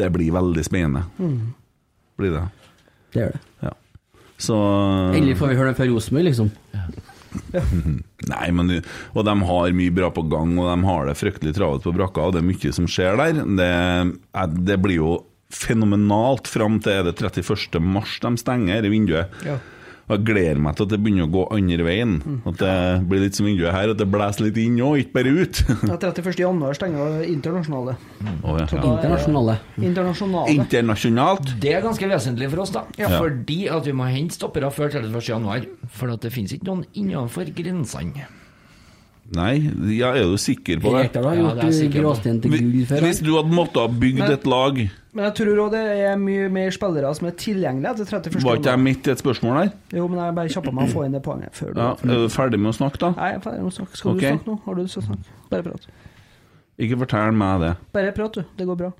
det blir veldig spennende. Blir det. Det gjør det. Ja. Så eh, Endelig får vi høre den fra Rosenborg, liksom. Nei, men du- Og de har mye bra på gang, og de har det fryktelig travelt på brakka, og det er mye som skjer der. Det, eh, det blir jo fenomenalt fram til er det 31. mars de stenger det vinduet. Ja. Og Jeg gleder meg til at det begynner å gå andre veien. At det blir litt som vinduet her, at det blåser litt inn òg, ikke bare ut. Ja, 31. januar stenger internasjonale. Å, ja. Ja. Internasjonale. Internasjonale. Internasjonalt. Det er ganske vesentlig for oss, da. Fordi at vi må hente stoppere før 31. januar. For at det finnes ikke noen innenfor grensene. Nei, ja, er du sikker på det? Rekdal har Ja, det er jeg gjort sikker på. gråstein til Gud Hvis før. hvis du hadde måttet ha bygd et lag, Men jeg tror òg det er mye mer spillere som er tilgjengelige etter 31. var ikke jeg januar. midt i et spørsmål her? Jo, men jeg bare kjappa meg å få inn det poenget før du Ja, er du ferdig med å snakke, da? Nei, faen, jeg må snakke. Skal Ok. du snakke nå? Har du lyst til å snakke? Bare prat. Ikke fortell meg det. Bare prat, du. Det går bra.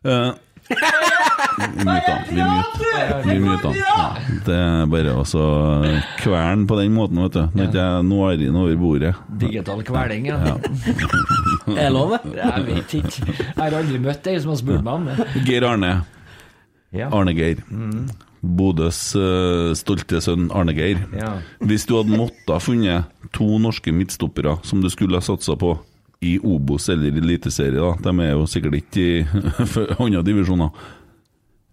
Eh, Vi muter han. Vi muter- vi muter han. Ja, Det er bare å så kverne på den måten, vet du. Når ikke jeg når inn over bordet. Digital kveling, ja. Er det lov, det? Jeg vet ikke. Jeg har aldri møtt ei som har spurt meg om det. Geir Arne. Ja. Arne Geir. Bodøs eh, stolte sønn Arne Geir. Ja. Hvis du hadde måttet ha funnet to norske midtstoppere som du skulle ha satsa på i Obos eller i Eliteserie, da, de er jo sikkert ikke i andre divisjoner.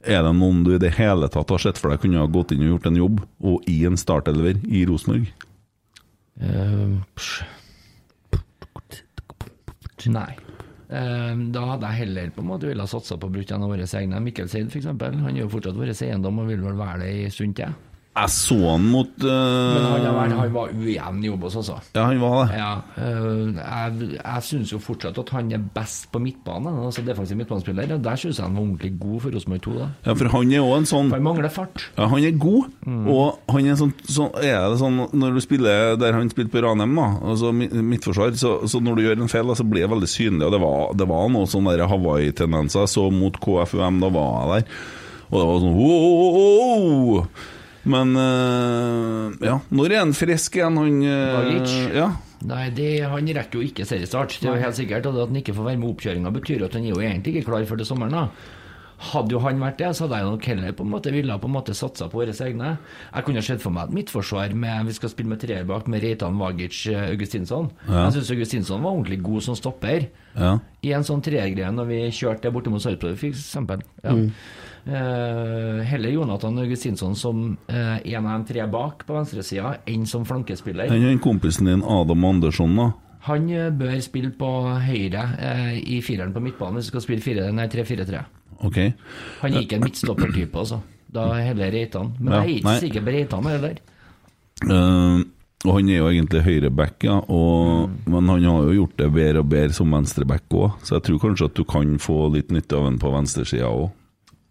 Er det noen du i det hele tatt har sett for deg kunne ha gått inn og gjort en jobb, og i en startelver i Rosenborg? Eh, psj. Nei. Eh, Da hadde jeg heller på en måte ville ha satsa på å bruke en av våre egne. Mikkel Seid, f.eks. Han er jo fortsatt vår eiendom og vil vel være det en stund til. Jeg så han mot Men eh, han, har vært, han var ujevn i Obos, altså. Ja, han var det. Ja, øh, jeg, jeg syns jo fortsatt at han er best på midtbane. Altså defensiv midtbanespiller. og Der syns jeg han var ordentlig god for Rosenborg 2. da Ja, for han er òg en sånn For Han mangler fart. Ja, han er god, og han er sånn, sånn Er det sånn når du spiller der han spilte på Ranheim, da, altså mi- midtforsvar, så, så når du gjør en feil, da, så blir det veldig synlig, og det var, det var noen sånne der Hawaii-tendenser. Jeg Så mot KFUM, da var jeg der, og det var sånn wow, wow, wow, wow. Men eh, ja, når er han frisk igjen, han eh, Bagic? Ja. Nei, det, Han rekker jo ikke seriestart, det er jo helt sikkert. Og det at han ikke får være med i oppkjøringa, betyr jo at han er jo egentlig ikke klar før til sommeren. da Hadde jo han vært det, så hadde jeg nok heller på en måte ville ha på en måte satsa på våre egne. Jeg kunne ha sett for meg et midtforsvar med vi skal spille med treer bak, med Reitan, Vagic, eh, Augustinsson. Jeg syns Augustinsson var ordentlig god som stopper. ja. I en sånn treergreie når vi kjørte bortimot Sarpsborg, for eksempel. Ja. Eh, heller Jonathan Augustinsson som eh, en av de tre bak på venstresida, enn som flankespiller. Han er den kompisen din, Adam Andersson, da. Han eh, bør spille på høyre eh, i fireren på midtbanen hvis vi skal spille fire, nei, 3-4-3. Ok. Han er ikke en midtstoppertype, altså. Da heller Reitan. Men Ja, jeg er ikke nei. sikker på Reitan heller. Eh, og han er jo egentlig høyreback, ja, Mm. og, men han har jo gjort det bedre og bedre som venstreback òg, så jeg tror kanskje at du kan få litt nytte av ham på venstresida òg.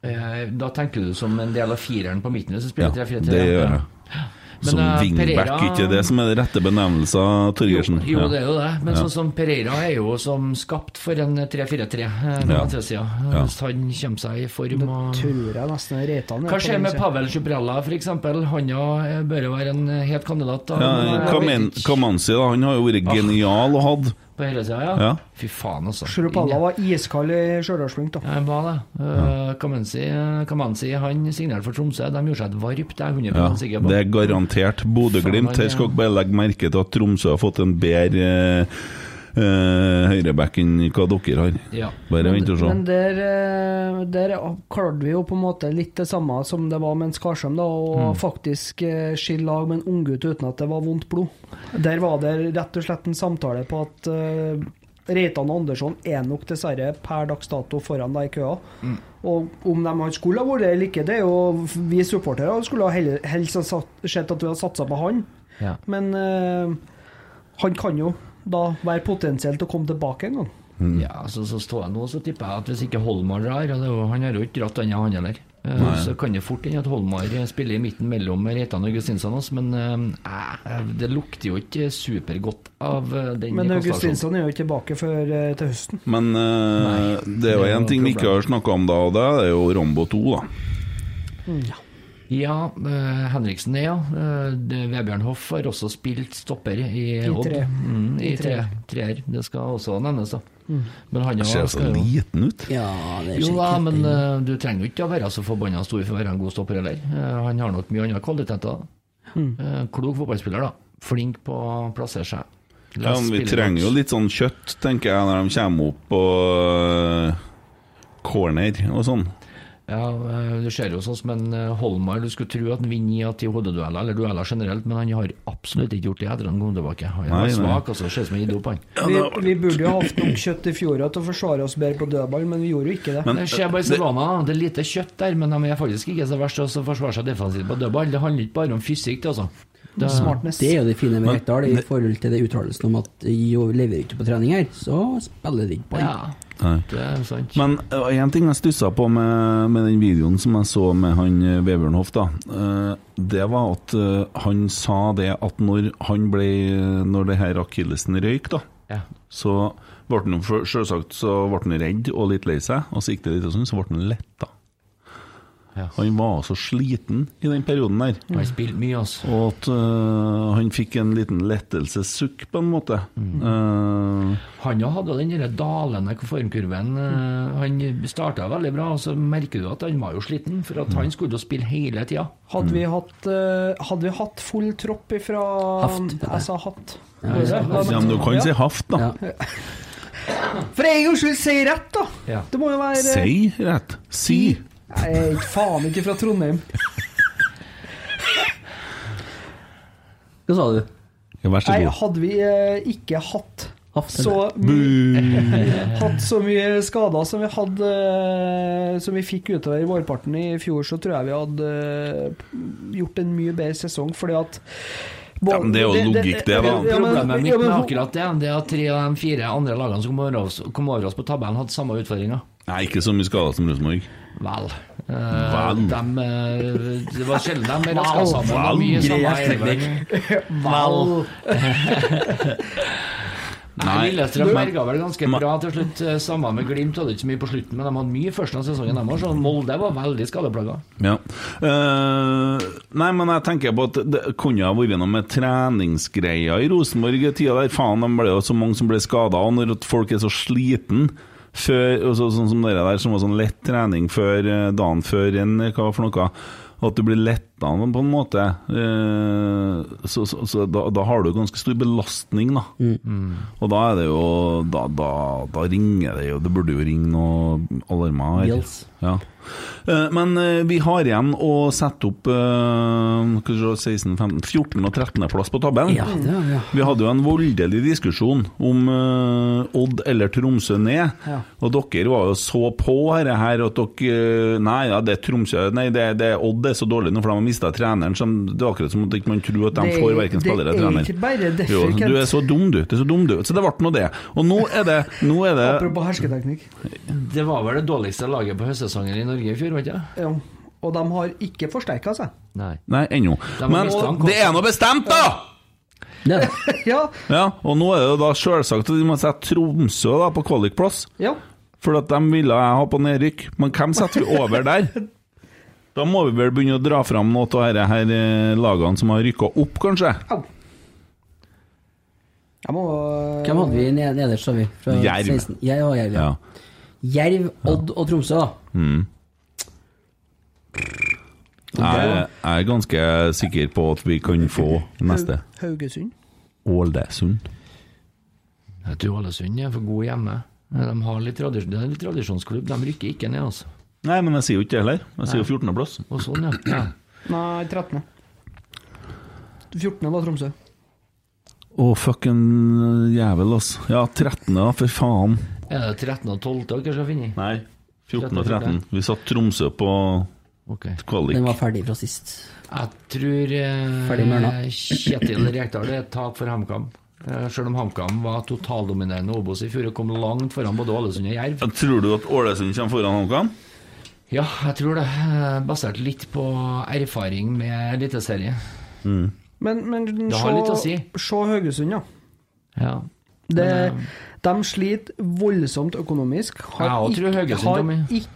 Eh, da tenker du som en del av fireren på midten hvis du Ja, spiller det 3-4-3. gjør jeg. Men, Som eh, wingback, Pereira- ikke det som er den rette benevnelsen, Torgersen? Jo, jo, det ja. er jo det. Men sånn som Pereira er jo som skapt for en 3-4-3 eh, på Ja. venstresida. Ja. Hvis han kommer seg i form og Tror jeg nesten Reitan er Hva på skjer den med siden. Pavel Chuprella f.eks.? Han ja, eh, bør jo være en helt kandidat. Da. Ja, Men eh, jeg Kamen- vet ikke. Kamanzi, da, han har jo Ah. vært genial og hatt. På hele sida, ja. Ja. Fy faen, altså. Shrupalla var iskald i Stjørdalsblink, da. Ja, han var det. Eh, Kamanzi, Kamanzi han signerte for Tromsø. De gjorde seg et varp, det er jeg 100 Ja, sikker på. det er garantert Bodø-Glimt. Her skal dere bare legge merke til at Tromsø har fått en bedre eh, eh, høyreback enn hva dere har. Ja. Bare vent og se. Men der, eh, der klarte vi jo på en måte litt det samme som det var med en Skarsheim, da, å faktisk eh, skille lag med en unggutt uten at det var vondt blod. Der var det rett og slett en samtale på at eh, Reitan og Andersson er nok dessverre per dags dato foran deg i køa. Og om de han skulle ha vært der eller ikke, det er jo vi supportere skulle ha heller, helst ha satt- sett at vi hadde satsa på han. Ja. Men eh, han kan jo da være potensielt å komme tilbake en gang. Mm. Ja, så, så står jeg nå så tipper jeg at hvis ikke Holmar drar og det, er jo- Han har jo ikke dratt denne han heller. eh, Så kan det fort hende at Holmar spiller i midten mellom Reitan og Augustinsson. også, Men eh, det lukter jo ikke supergodt av eh, den konstellasjonen. Men Augustinsson er jo ikke tilbake før eh, til høsten. Men eh, det er det jo er én noe ting vi ikke problem. har snakka om da, og det er jo Rambo 2, da. Ja, eh, Henriksen er ja. Eh, det- Vebjørn Hoff har også spilt stopper i I Odd. tre. Mm, I I tre. tre. Treer. Det skal også nevnes, da. Men han Ser jo, så skal jo liten ut. Ja, det er jo da, sikkert men det. eh, du trenger jo ikke å være så forbanna stor for å være en god stopper heller. Eh, han har nok mye andre kvaliteter. Eh, klok fotballspiller, da. Flink på å plassere seg. Ja, men vi trenger jo litt sånn kjøtt, tenker jeg, når de kommer opp på eh, corner og sånn. Ja, eh, Du ser jo sånn som en eh, Holmar, du skulle tro at han vinner ni av ti hodedueller, eller dueller generelt, men han har absolutt ikke gjort det etter at han kom tilbake. Han Nei, nei. er svak, altså. Ser ut som en idiot, han. Vi, vi burde jo ha hatt nok kjøtt i fjor til å forsvare oss bedre på dødball, men vi gjorde jo ikke det. Men- Det skjer bare i Savana, da. Det er lite kjøtt der, men de er faktisk ikke så verst også å forsvare seg defensivt på dødball. Det handler ikke bare om fysikk, det, altså. Det, Smartness. Det er jo det fine med Men- Rekdal i forhold til det uttalelsen om at jo, leverer ikke på trening her, så spiller det ikke ball. ja, Nei. det er sant. Men én ting jeg stussa på med, med den videoen som jeg så med han eh, Vebjørn Hoff, da. eh, Det var at eh, han sa det at når han ble eh, Når det her akillesen røyk, da, Ja. så ble han jo for- selvsagt så ble han redd og litt lei seg, og så gikk det litt sånn, så ble han letta. Ja. Han var så sliten i den perioden der. Han har spilt mye, altså. Og at øh, han fikk en liten lettelsessukk, på en måte. Eh, Han jo hadde den der dalende formkurven. eh, Han starta veldig bra, og så merker du at han var jo sliten, for at han skulle jo spille hele tida. Hadde vi hatt, eh, hadde vi hatt full tropp ifra um, Haft, det er. Jeg sa hatt. ja, men du kan si haft, da. Ja. For en gangs skyld, si rett, da! Ja. Det må jo være Si rett. Si. Jeg er ikke faen ikke fra Trondheim. Hva sa du? Ja, vær så Nei, god. hadde vi eh, ikke hatt Haft, så mye Hatt så mye skader som vi hadde eh, Som vi fikk utover i vårparten i fjor, så tror jeg vi hadde eh, gjort en mye bedre sesong, fordi at Ja, men det er jo logikk, det, da. ja, men- Problemet mitt ja, men- med akkurat det, det er at tre av de fire andre lagene som kom over oss, kom over oss på tabellen, hadde samme utfordringer. Nei, ikke så mye skader som Rosenborg. Vel. Eh, Vel. dem, eh, det var sjelden de raska sammen. Det Vel. var mye samme elver. Nei, Nei. Lillestrøm berga vel ganske Ma- bra til slutt. eh, Samme med Glimt, hadde ikke så mye på slutten, men de hadde mye i første av sesongen. De var sånn, Molde var veldig skadeplaga. Ja. Eh, nei, men jeg tenker på at det kunne ha vært noe med treningsgreier i Rosenborg i tida der. Faen, de ble jo så mange som ble skada, og når at folk er så sliten før, og så, sånn som dere der, som var sånn lett trening før eh, dagen før en eh, hva for noe, at du blir letta på en måte, eh, så, så, så da, da har du ganske stor belastning, da. Og da er det jo Da, da, da ringer det jo, det burde jo ringe noen alarmer. her. Yes. Ja. Eh, Men eh, vi har igjen å sette opp eh, hva skal vi se, 16, 15, 14. og 13. plass på tabellen. Ja, det er, ja. Vi hadde jo en voldelig diskusjon om eh, Odd eller Tromsø ned. Og dere var jo så på her, her at dere eh, Nei, ja, det er Tromsø Nei, det, det er Odd det er så dårlig nå, for de har mista treneren. Som, det er akkurat som at ikke man ikke tror at de Det- får verken spillere det er eller trener. ikke bare derfor, jo, Kent. du er så dum, du. Det er så dum, du. Så det ble nå det. Og nå er det, nå er det Apropos hersketeknikk. Det var vel det dårligste laget på høstsesongen i Norge i fjor, var det ikke? Ja. Og de har ikke forsterka seg. Nei. Nei, ennå. De har Men mistet han, det er nå bestemt, da! Det er det. Ja, Ja, og nå er det jo da selvsagt at de må sette Tromsø da på kvalikplass, ja. for at de ville jeg ha på nedrykk. Men hvem setter vi over der? Da må vi vel begynne å dra fram noe av disse her eh, lagene som har rykka opp, kanskje? Au. Jeg må eh, Hvem hadde vi ned- nederst, sa vi? Fra Jerv. 16. Jeg og Jerv, ja. Ja. Jerv, Odd og Tromsø, da. Jeg, jeg er ganske sikker på at vi kan få neste. Haugesund. Ålesund. Jeg tror Ålesund er for gode hjemme. Eh, De har litt tradisjon, det er en litt tradisjonsklubb. De rykker ikke ned, altså. Nei, men jeg sier jo ikke det heller. Jeg sier jo 14.-plass. Og sånn, ja. ja. Nei, 13. 14. var Tromsø. Å, fucken jævel, altså. Ja, 13., da, for faen. Er det 13. og 12. dere skal finne? Nei, 14. og 13. Vi satt Tromsø på Ok. Kvalik. Den var ferdig fra sist. Jeg tror Ferdig med eh, Ørna. Kjetil Rekdal er et tak for HamKam. Eh, Selv om HamKam var totaldominerende Obos i fjor og kom langt foran både Ålesund og Jerv. Ja, Tror du at Ålesund kommer foran HamKam? Ja, jeg tror det. eh, Basert litt på erfaring med eliteserie. Men, men Det har litt å si. se Høgesund, ja. Ja. Det, de sliter voldsomt økonomisk. Har, eh, Jeg tror ikke, Haugesund, har Tommy. ikke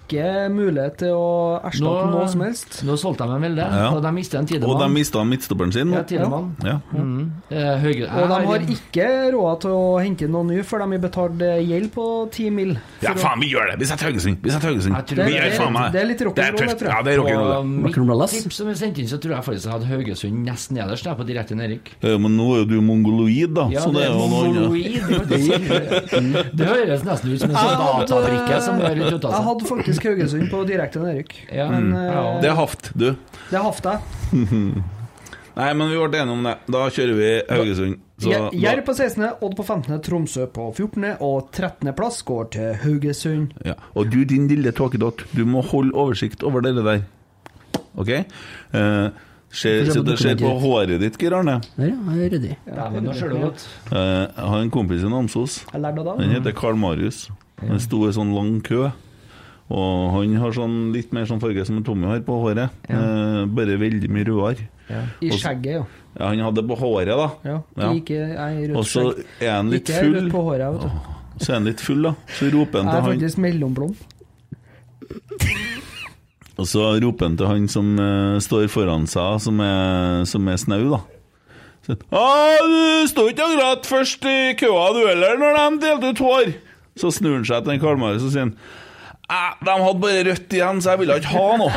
mulighet til å erstatte noe som helst. nå solgte de en veldig, Ja. og de mistet en Og de Tidemann. mista midtstopperen sin. Ja, Tidemann. Ja. Eh, Hauge- Og de Jeg har ikke råd til å hente inn noen ny, for de har betalt eh, gjeld på 10 mill. ja, faen, vi gjør det! Vi setter Haugesund! Vi setter Haugesund! Jeg tror Vi det er gjør faen litt- meg det er litt rock'n'roll, tøft. det tror jeg. Ja, det er rock'n'roll. det. På Rock'n'roll, mitt ass. tips som jeg sendte inn, så tror jeg faktisk jeg hadde Haugesund nesten nederst der på direkte Erik. Ja, Eh, men nå er jo du mongoloid, da. Ja, så det er jo noe annet. mongoloid. faktisk. Det høres nesten ut som en sånn databrikke som har rundt altså- Jeg seg. hadde faktisk Haugesund på direkte nedrykk. Ja, Men jeg eh, også. Det er haft, du. det hafta jeg. Nei, men vi ble enige om det. Da kjører vi Haugesund. Så Jer- Jerv da, på 16., Odd på 15., Tromsø på 14., og 13. plass går til Haugesund. ja. Og du, din lille tåkedott, du må holde oversikt over det der. OK? Eh, ser, Få se på sitter og ser på dokumentet. håret ditt, Geir Arne. Der, ja. Jeg er ryddig. Ja, men da ser det godt. Eh, jeg har en kompis i Namsos. Jeg lærte det da. Han heter Carl Marius. Han sto i sånn lang kø. Og han har sånn litt mer sånn farge som Tommy har på håret. Eh, bare veldig mye rødere. I Og så- skjegget, jo. Ja, han hadde på håret, da. Ja. Ja. Ikke jeg er Og rødt så skjegg. er han litt Ikke jeg er full. rødt på håret, vet du. Så er han litt full, da. Så roper han Jeg til er han faktisk mellomblond. Og så roper han til han som eh, står foran seg, som er, som er snau, da. Så, «Ah, du sto ikke akkurat først i køa du heller, når de delte ut hår! Så snur han seg til den Karl-Marius og sier han, «Eh, de hadde bare rødt igjen, så jeg ville ikke ha noe.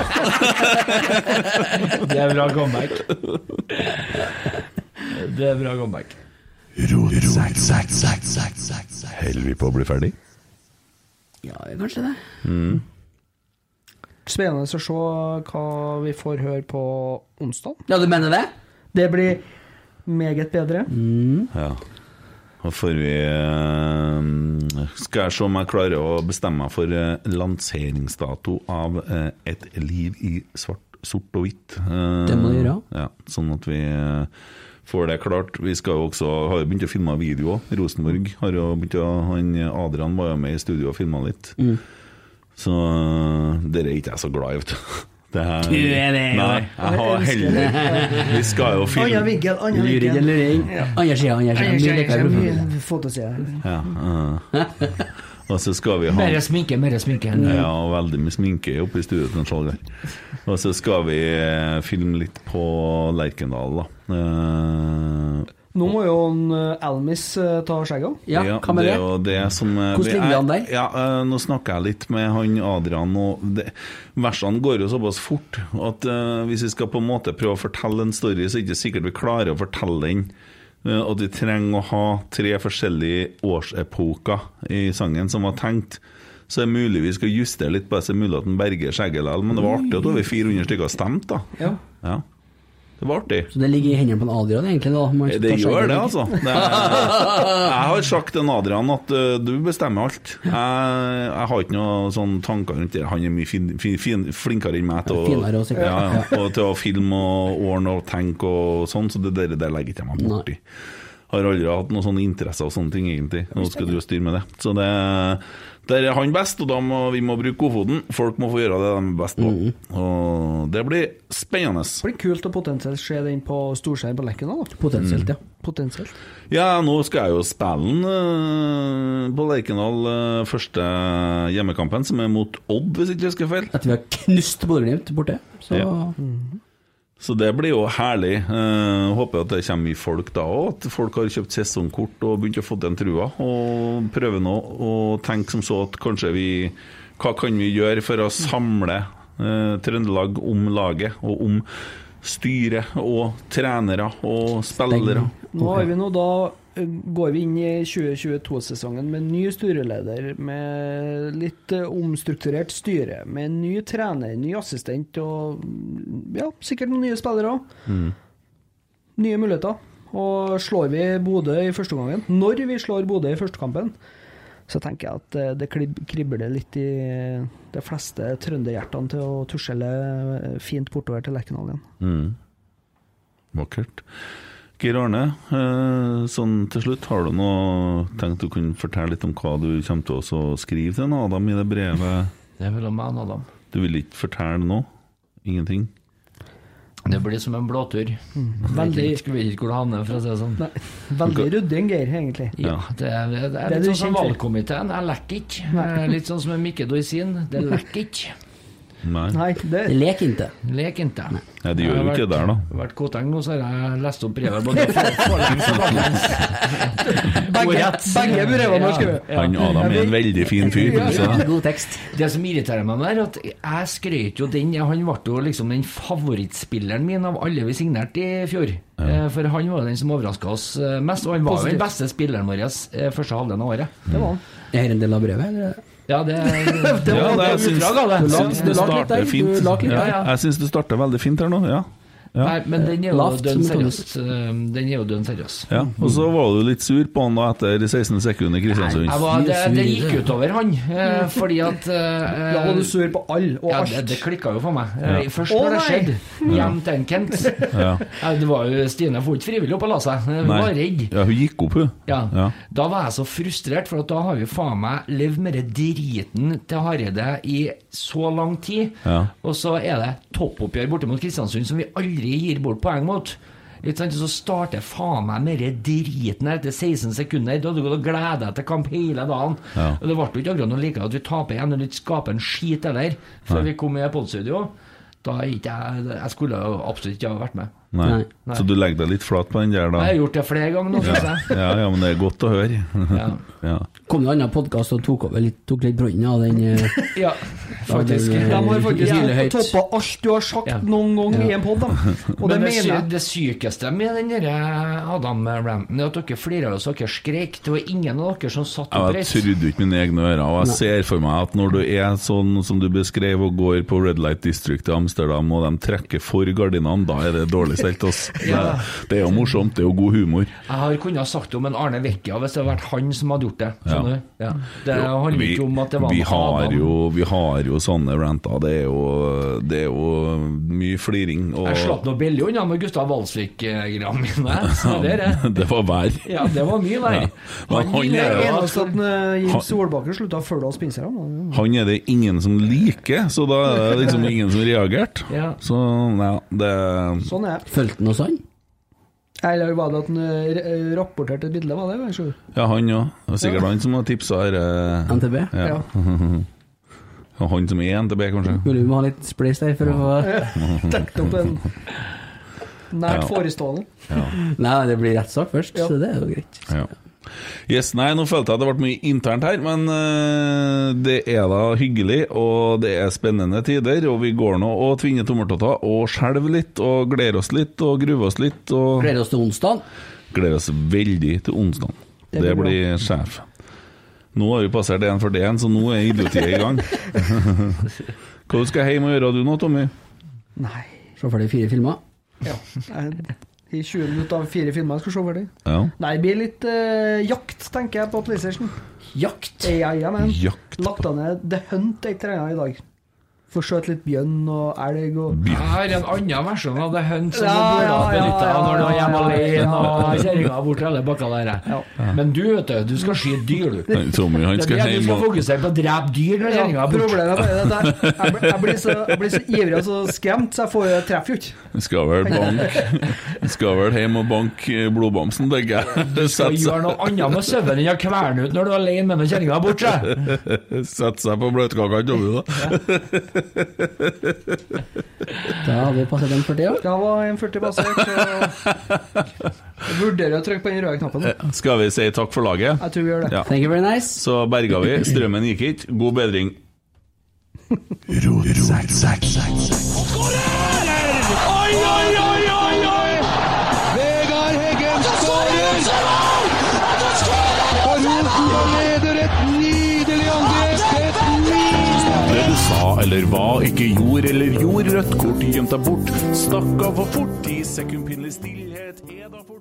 Det er bra comeback. Det er bra comeback. Holder vi på å bli ferdig? Ja, kanskje det. Spennende å se hva vi får høre på onsdag. Ja, du mener det? Det blir meget bedre. Mm. Ja. Da får vi eh, Skal jeg se om jeg klarer å bestemme meg for eh, lanseringsdato av eh, Et liv i svart, sort og hvitt. Eh, Det må du gjøre. Ja, sånn at vi eh, får det klart. Vi skal jo også, har jo begynt å filme videoer. Rosenborg har jo begynt å han Adrian var jo med i studio og filma litt. Mm. Så eh, dere er ikke jeg så glad i, vet du. Det er, Du er det, nei, Gunnar. jeg har heller Vi skal jo Annen filme vinkel, annen Luring vinkel. eller luring? Andre sida, andre Jeg sida. Mye likere kjenner- jeg profil. kjenner mye fotoside. Ja, ja. Og så skal vi ha Mer sminke, mer sminke. ja, og veldig mye sminke oppe i studio til en Skjold der. Og så skal vi eh, filme litt på Lerkendal, da. Eh, Nå må jo en eh, Almis eh, ta skjegget òg. Ja, hva med det? det? er jo det som eh, Hvordan vi- ligger han jeg- der? Ja, eh, nå snakker jeg litt med han Adrian, og det, versene går jo såpass fort at eh, hvis vi skal på en måte prøve å fortelle en story, så er det ikke sikkert vi klarer å fortelle den. Eh, at vi trenger å ha tre forskjellige årsepoker i sangen som var tenkt. Så er det mulig vi skal justere litt på det, så er det mulig at den berger skjegget likevel, men det var artig at over 400 stykker stemte, da. Ja. Ja. Det var artig. Så det ligger i hendene på en Adrian, egentlig? da man skal Det ta seg gjør i det, dag. altså. Det er, jeg har sagt til Adrian at ø, du bestemmer alt. Jeg, jeg har ikke noe sånn tanker rundt det. Han er mye fin, fin, fin, flinkere enn meg til å, Finere og sikkert. ja, ja, og til å filme og ordne og tenke og sånn, så det der, der legger ikke jeg meg borti. Har aldri hatt noen sånne interesser og sånne ting, egentlig. Nå skal du jo styre med det. Så det, der er han best, og da må vi må bruke godfoten. Folk må få gjøre det de er best på. Og det blir spennende. Det blir kult å potensielt se den på storskjerm på Lekena, da. Mm. Potensielt, ja. Potensielt. Ja, nå skal jeg jo spille den eh, på Lerkendal eh, første hjemmekampen, som er mot Odd, hvis ikke jeg husker feil. Etter vi har knust Bodø-Glimt borte, så Ja. Så det blir jo herlig. Eh, håper at det kommer mye folk da òg, at folk har kjøpt sesongkort og begynt å få den trua. Og prøver nå å tenke som så at kanskje vi Hva kan vi gjøre for å samle eh, Trøndelag om laget og om styret og trenere og spillere? Nå har vi nå da eh, går vi inn i 2022-sesongen med ny styreleder, med litt eh, omstrukturert styre, med en ny trener, ny assistent og mm, ja, sikkert noen nye spillere òg. Nye muligheter. Og slår vi Bodø i første omgangen Når vi slår Bodø i første kampen, så tenker jeg at eh, det klib- kribler litt i eh, de fleste trønderhjertene til å tusjele eh, fint bortover til Lerkendal igjen. Mm. Vakkert. Geir Arne, eh, sånn til slutt, har du noe tenkt du kunne fortelle litt om hva du kommer til å også skrive til en Adam i det brevet? Det er mellom meg og Adam. Du vil ikke fortelle noe? Ingenting? Det blir som en blåtur. Veldig, Jeg vet ikke hvor det havner, for å si det sånn. nei, veldig ryddig, Geir, egentlig. Ja, det er, det er, Det er litt du sånn som kjent for. valgkomiteen. Jeg lekker ikke. Det er Litt sånn som en Mikke Dorsin. Det lekker ikke. Nei. Nei, det, Det leker ikke. Lek ikke. Nei, de gjør jo ikke det der, da. Jeg har vært Koteng nå, så har jeg lest opp brevet. Både for- forlengs og baklengs. begge, begge brevene har skrevet. Ja. Han Adam er en veldig fin fyr. kan du si det? God tekst. Det som irriterer meg der, at jeg skrøt jo den Han ble jo liksom den favorittspilleren min av alle vi signerte i fjor. Eh, For han var jo den som overraska oss eh, mest, og han var jo den Positivt. beste spilleren vår eh, første halvdelen av året. Det var han. Er dette en del av brevet, eller? Ja, det, det Ja, det, jeg syns, utdrag av det. syns Du det lak litt starter der, du fint. lak litt Ja, der, ja. jeg syns det starter veldig fint her nå. Ja. Ja. Nei, men den er jo Lavt dønn som seriøs. Eh, Den er jo dønn seriøs. Ja. Og så var du litt sur på han da etter 16 sekunder i Jeg Kristiansund. var, det, det gikk utover han, eh, fordi at eh, Da var du sur på alle og ja, alt. det, det klikka jo for meg. Eh, Først Å, når det nei! skjedde, hjem til en Kent. Ja. Ja, det var jo, Stine for ikke frivillig opp og la seg. Eh, Hun Nei. var redd. Ja, hun gikk opp, hun. Ja. Ja. Da var jeg så frustrert, for at da har vi faen meg levd med det driten til Hareide i så lang tid. Ja. Og så er det toppoppgjør borte mot Kristiansund som vi aldri gir bort poeng mot. Ikke sant? Så starter faen meg med det driten her etter 16 sekunder. Du hadde gått og gleda deg til kamp hele dagen. Ja. Og det ble jo ikke akkurat noe like at vi taper igjen og ikke skaper en skit heller, før vi kom i podstudio. Da er ikke jeg Jeg skulle jo absolutt ikke ha vært med. Nei. Nei. Nei. Så du legger deg litt flat på den der, da? Jeg har gjort det flere ganger nå, syns jeg. Ja, ja, men det er godt å høre. Ja. Ja. Kom det en annen podkast og tok, over litt, tok litt brønnen av den eh, Ja, faktisk. Ja, det- De har faktisk Stille høyt. toppa alt du har sagt Ja. noen gang i en pod, og det Men det, mener sy jeg. det sykeste med den der eh, Adam-ranten er at dere flirer og dere skrek. Det var ingen av dere som satt Ja, Jeg oppreist. trodde ikke mine egne ører. Og jeg ser for meg at når du er sånn som du beskrev, og går på Red Light District i Amsterdam, og de trekker for gardinene, da er det dårlig stelt. ass. Det, Ja. det er jo morsomt, det er jo god humor. Jeg har kunnet ha sagt det om en Arne Vecchia hvis det hadde vært han som hadde gjort det. Skjønner Ja. du? Ja. Det handler Vi, ikke om at det var vi, en har Adam. jo, vi har jo sånne ranter. Det er jo, det er jo mye fliring. Og Jeg slapp noe billig unna med Gustav Walsvik-greiene mine. Så det, er det. det var vær. Ja, det var mye Ja. der. Men han ville er jo- jo at- Eneste at eh, Jim Solbakken slutta å følge oss pinserne. Han er det ingen som liker, så da er det liksom ingen som reagerte. Ja. Så ja, det Sånn er det. Fulgte den hos han? Eller var det at han eh, r- eh, rapporterte et bilde, var det? Sjur? Ja, han òg. Det var sikkert han som har tipsa her. eh, NTB? Ja. Og Han som er NTB, kanskje. Mulig vi må ha litt spleis der for å få Dekket opp en Ja. nært forestående. Nei, det blir rettssak først, så det er jo greit. Ja. Yes, nei, nå følte jeg at det ble mye internt her, men eh, det er da hyggelig, og det er spennende tider, og vi går nå og tvinner tommeltotter og skjelver litt, og gleder oss litt, og gruer oss litt, og Gleder oss til onsdag. gleder oss veldig til onsdag. Det Det blir bra. blir sjef. Nå har vi passert 1.41, så nå er idiotiet i gang. Hva du skal hjem og gjøre du nå, Tommy? Nei Se for deg fire filmer. ja. Jeg- I 20 minutter av fire filmer jeg skal se over det. Ja. Nei, det blir litt eh, jakt, tenker jeg, på PlayStation. Jakt. Ja, ja, men. Jakt. Lagt ned The Hunt jeg trener i dag. Får skjøt litt bjørn og elg og Jeg har en annen versjon av The Hunt som Ja, ja, ja, Nora benytta ja, når du var ja, hjemme ja, ja, alene ja. og kjerringa var borte alle bakka der. jeg. Men du, vet du, du skal skyte dyr, du. Tommy, han Det skal er det du hjem skal og fokusere på å drepe dyr når Ja, kjerringa er borte. Problemet er bare det at jeg, jeg, blir- jeg, blir så, jeg blir så ivrig og så skremt, så jeg får jeg treffer jo ikke. Skal vel bank Skal vel hjem og banke blodbamsen, tenker jeg. Og Sette gjør seg, noe annet med søvnen enn å kverne ut når du er alene med når kjerringa er borte. sette seg på bløtkaka til Tommy, da. Da har vi passet den for tida. Da var 1,40 basert, så jeg vurderer å trykke på den røde knappen. nå. Skal vi si takk for laget? Jeg tror vi gjør det. Ja. Thank you very nice. Så berga vi. Strømmen gikk ikke. God bedring. Oi, oi, oi, oi, oi! Vegard Heggen skårer! Og Rosenborg leder et nydelig angrep! Et nydelig Det du sa eller var, ikke gjorde eller gjorde. Rødt kort gjemt deg bort. Stakk av for fort i sekundpinnelig stillhet. Er da for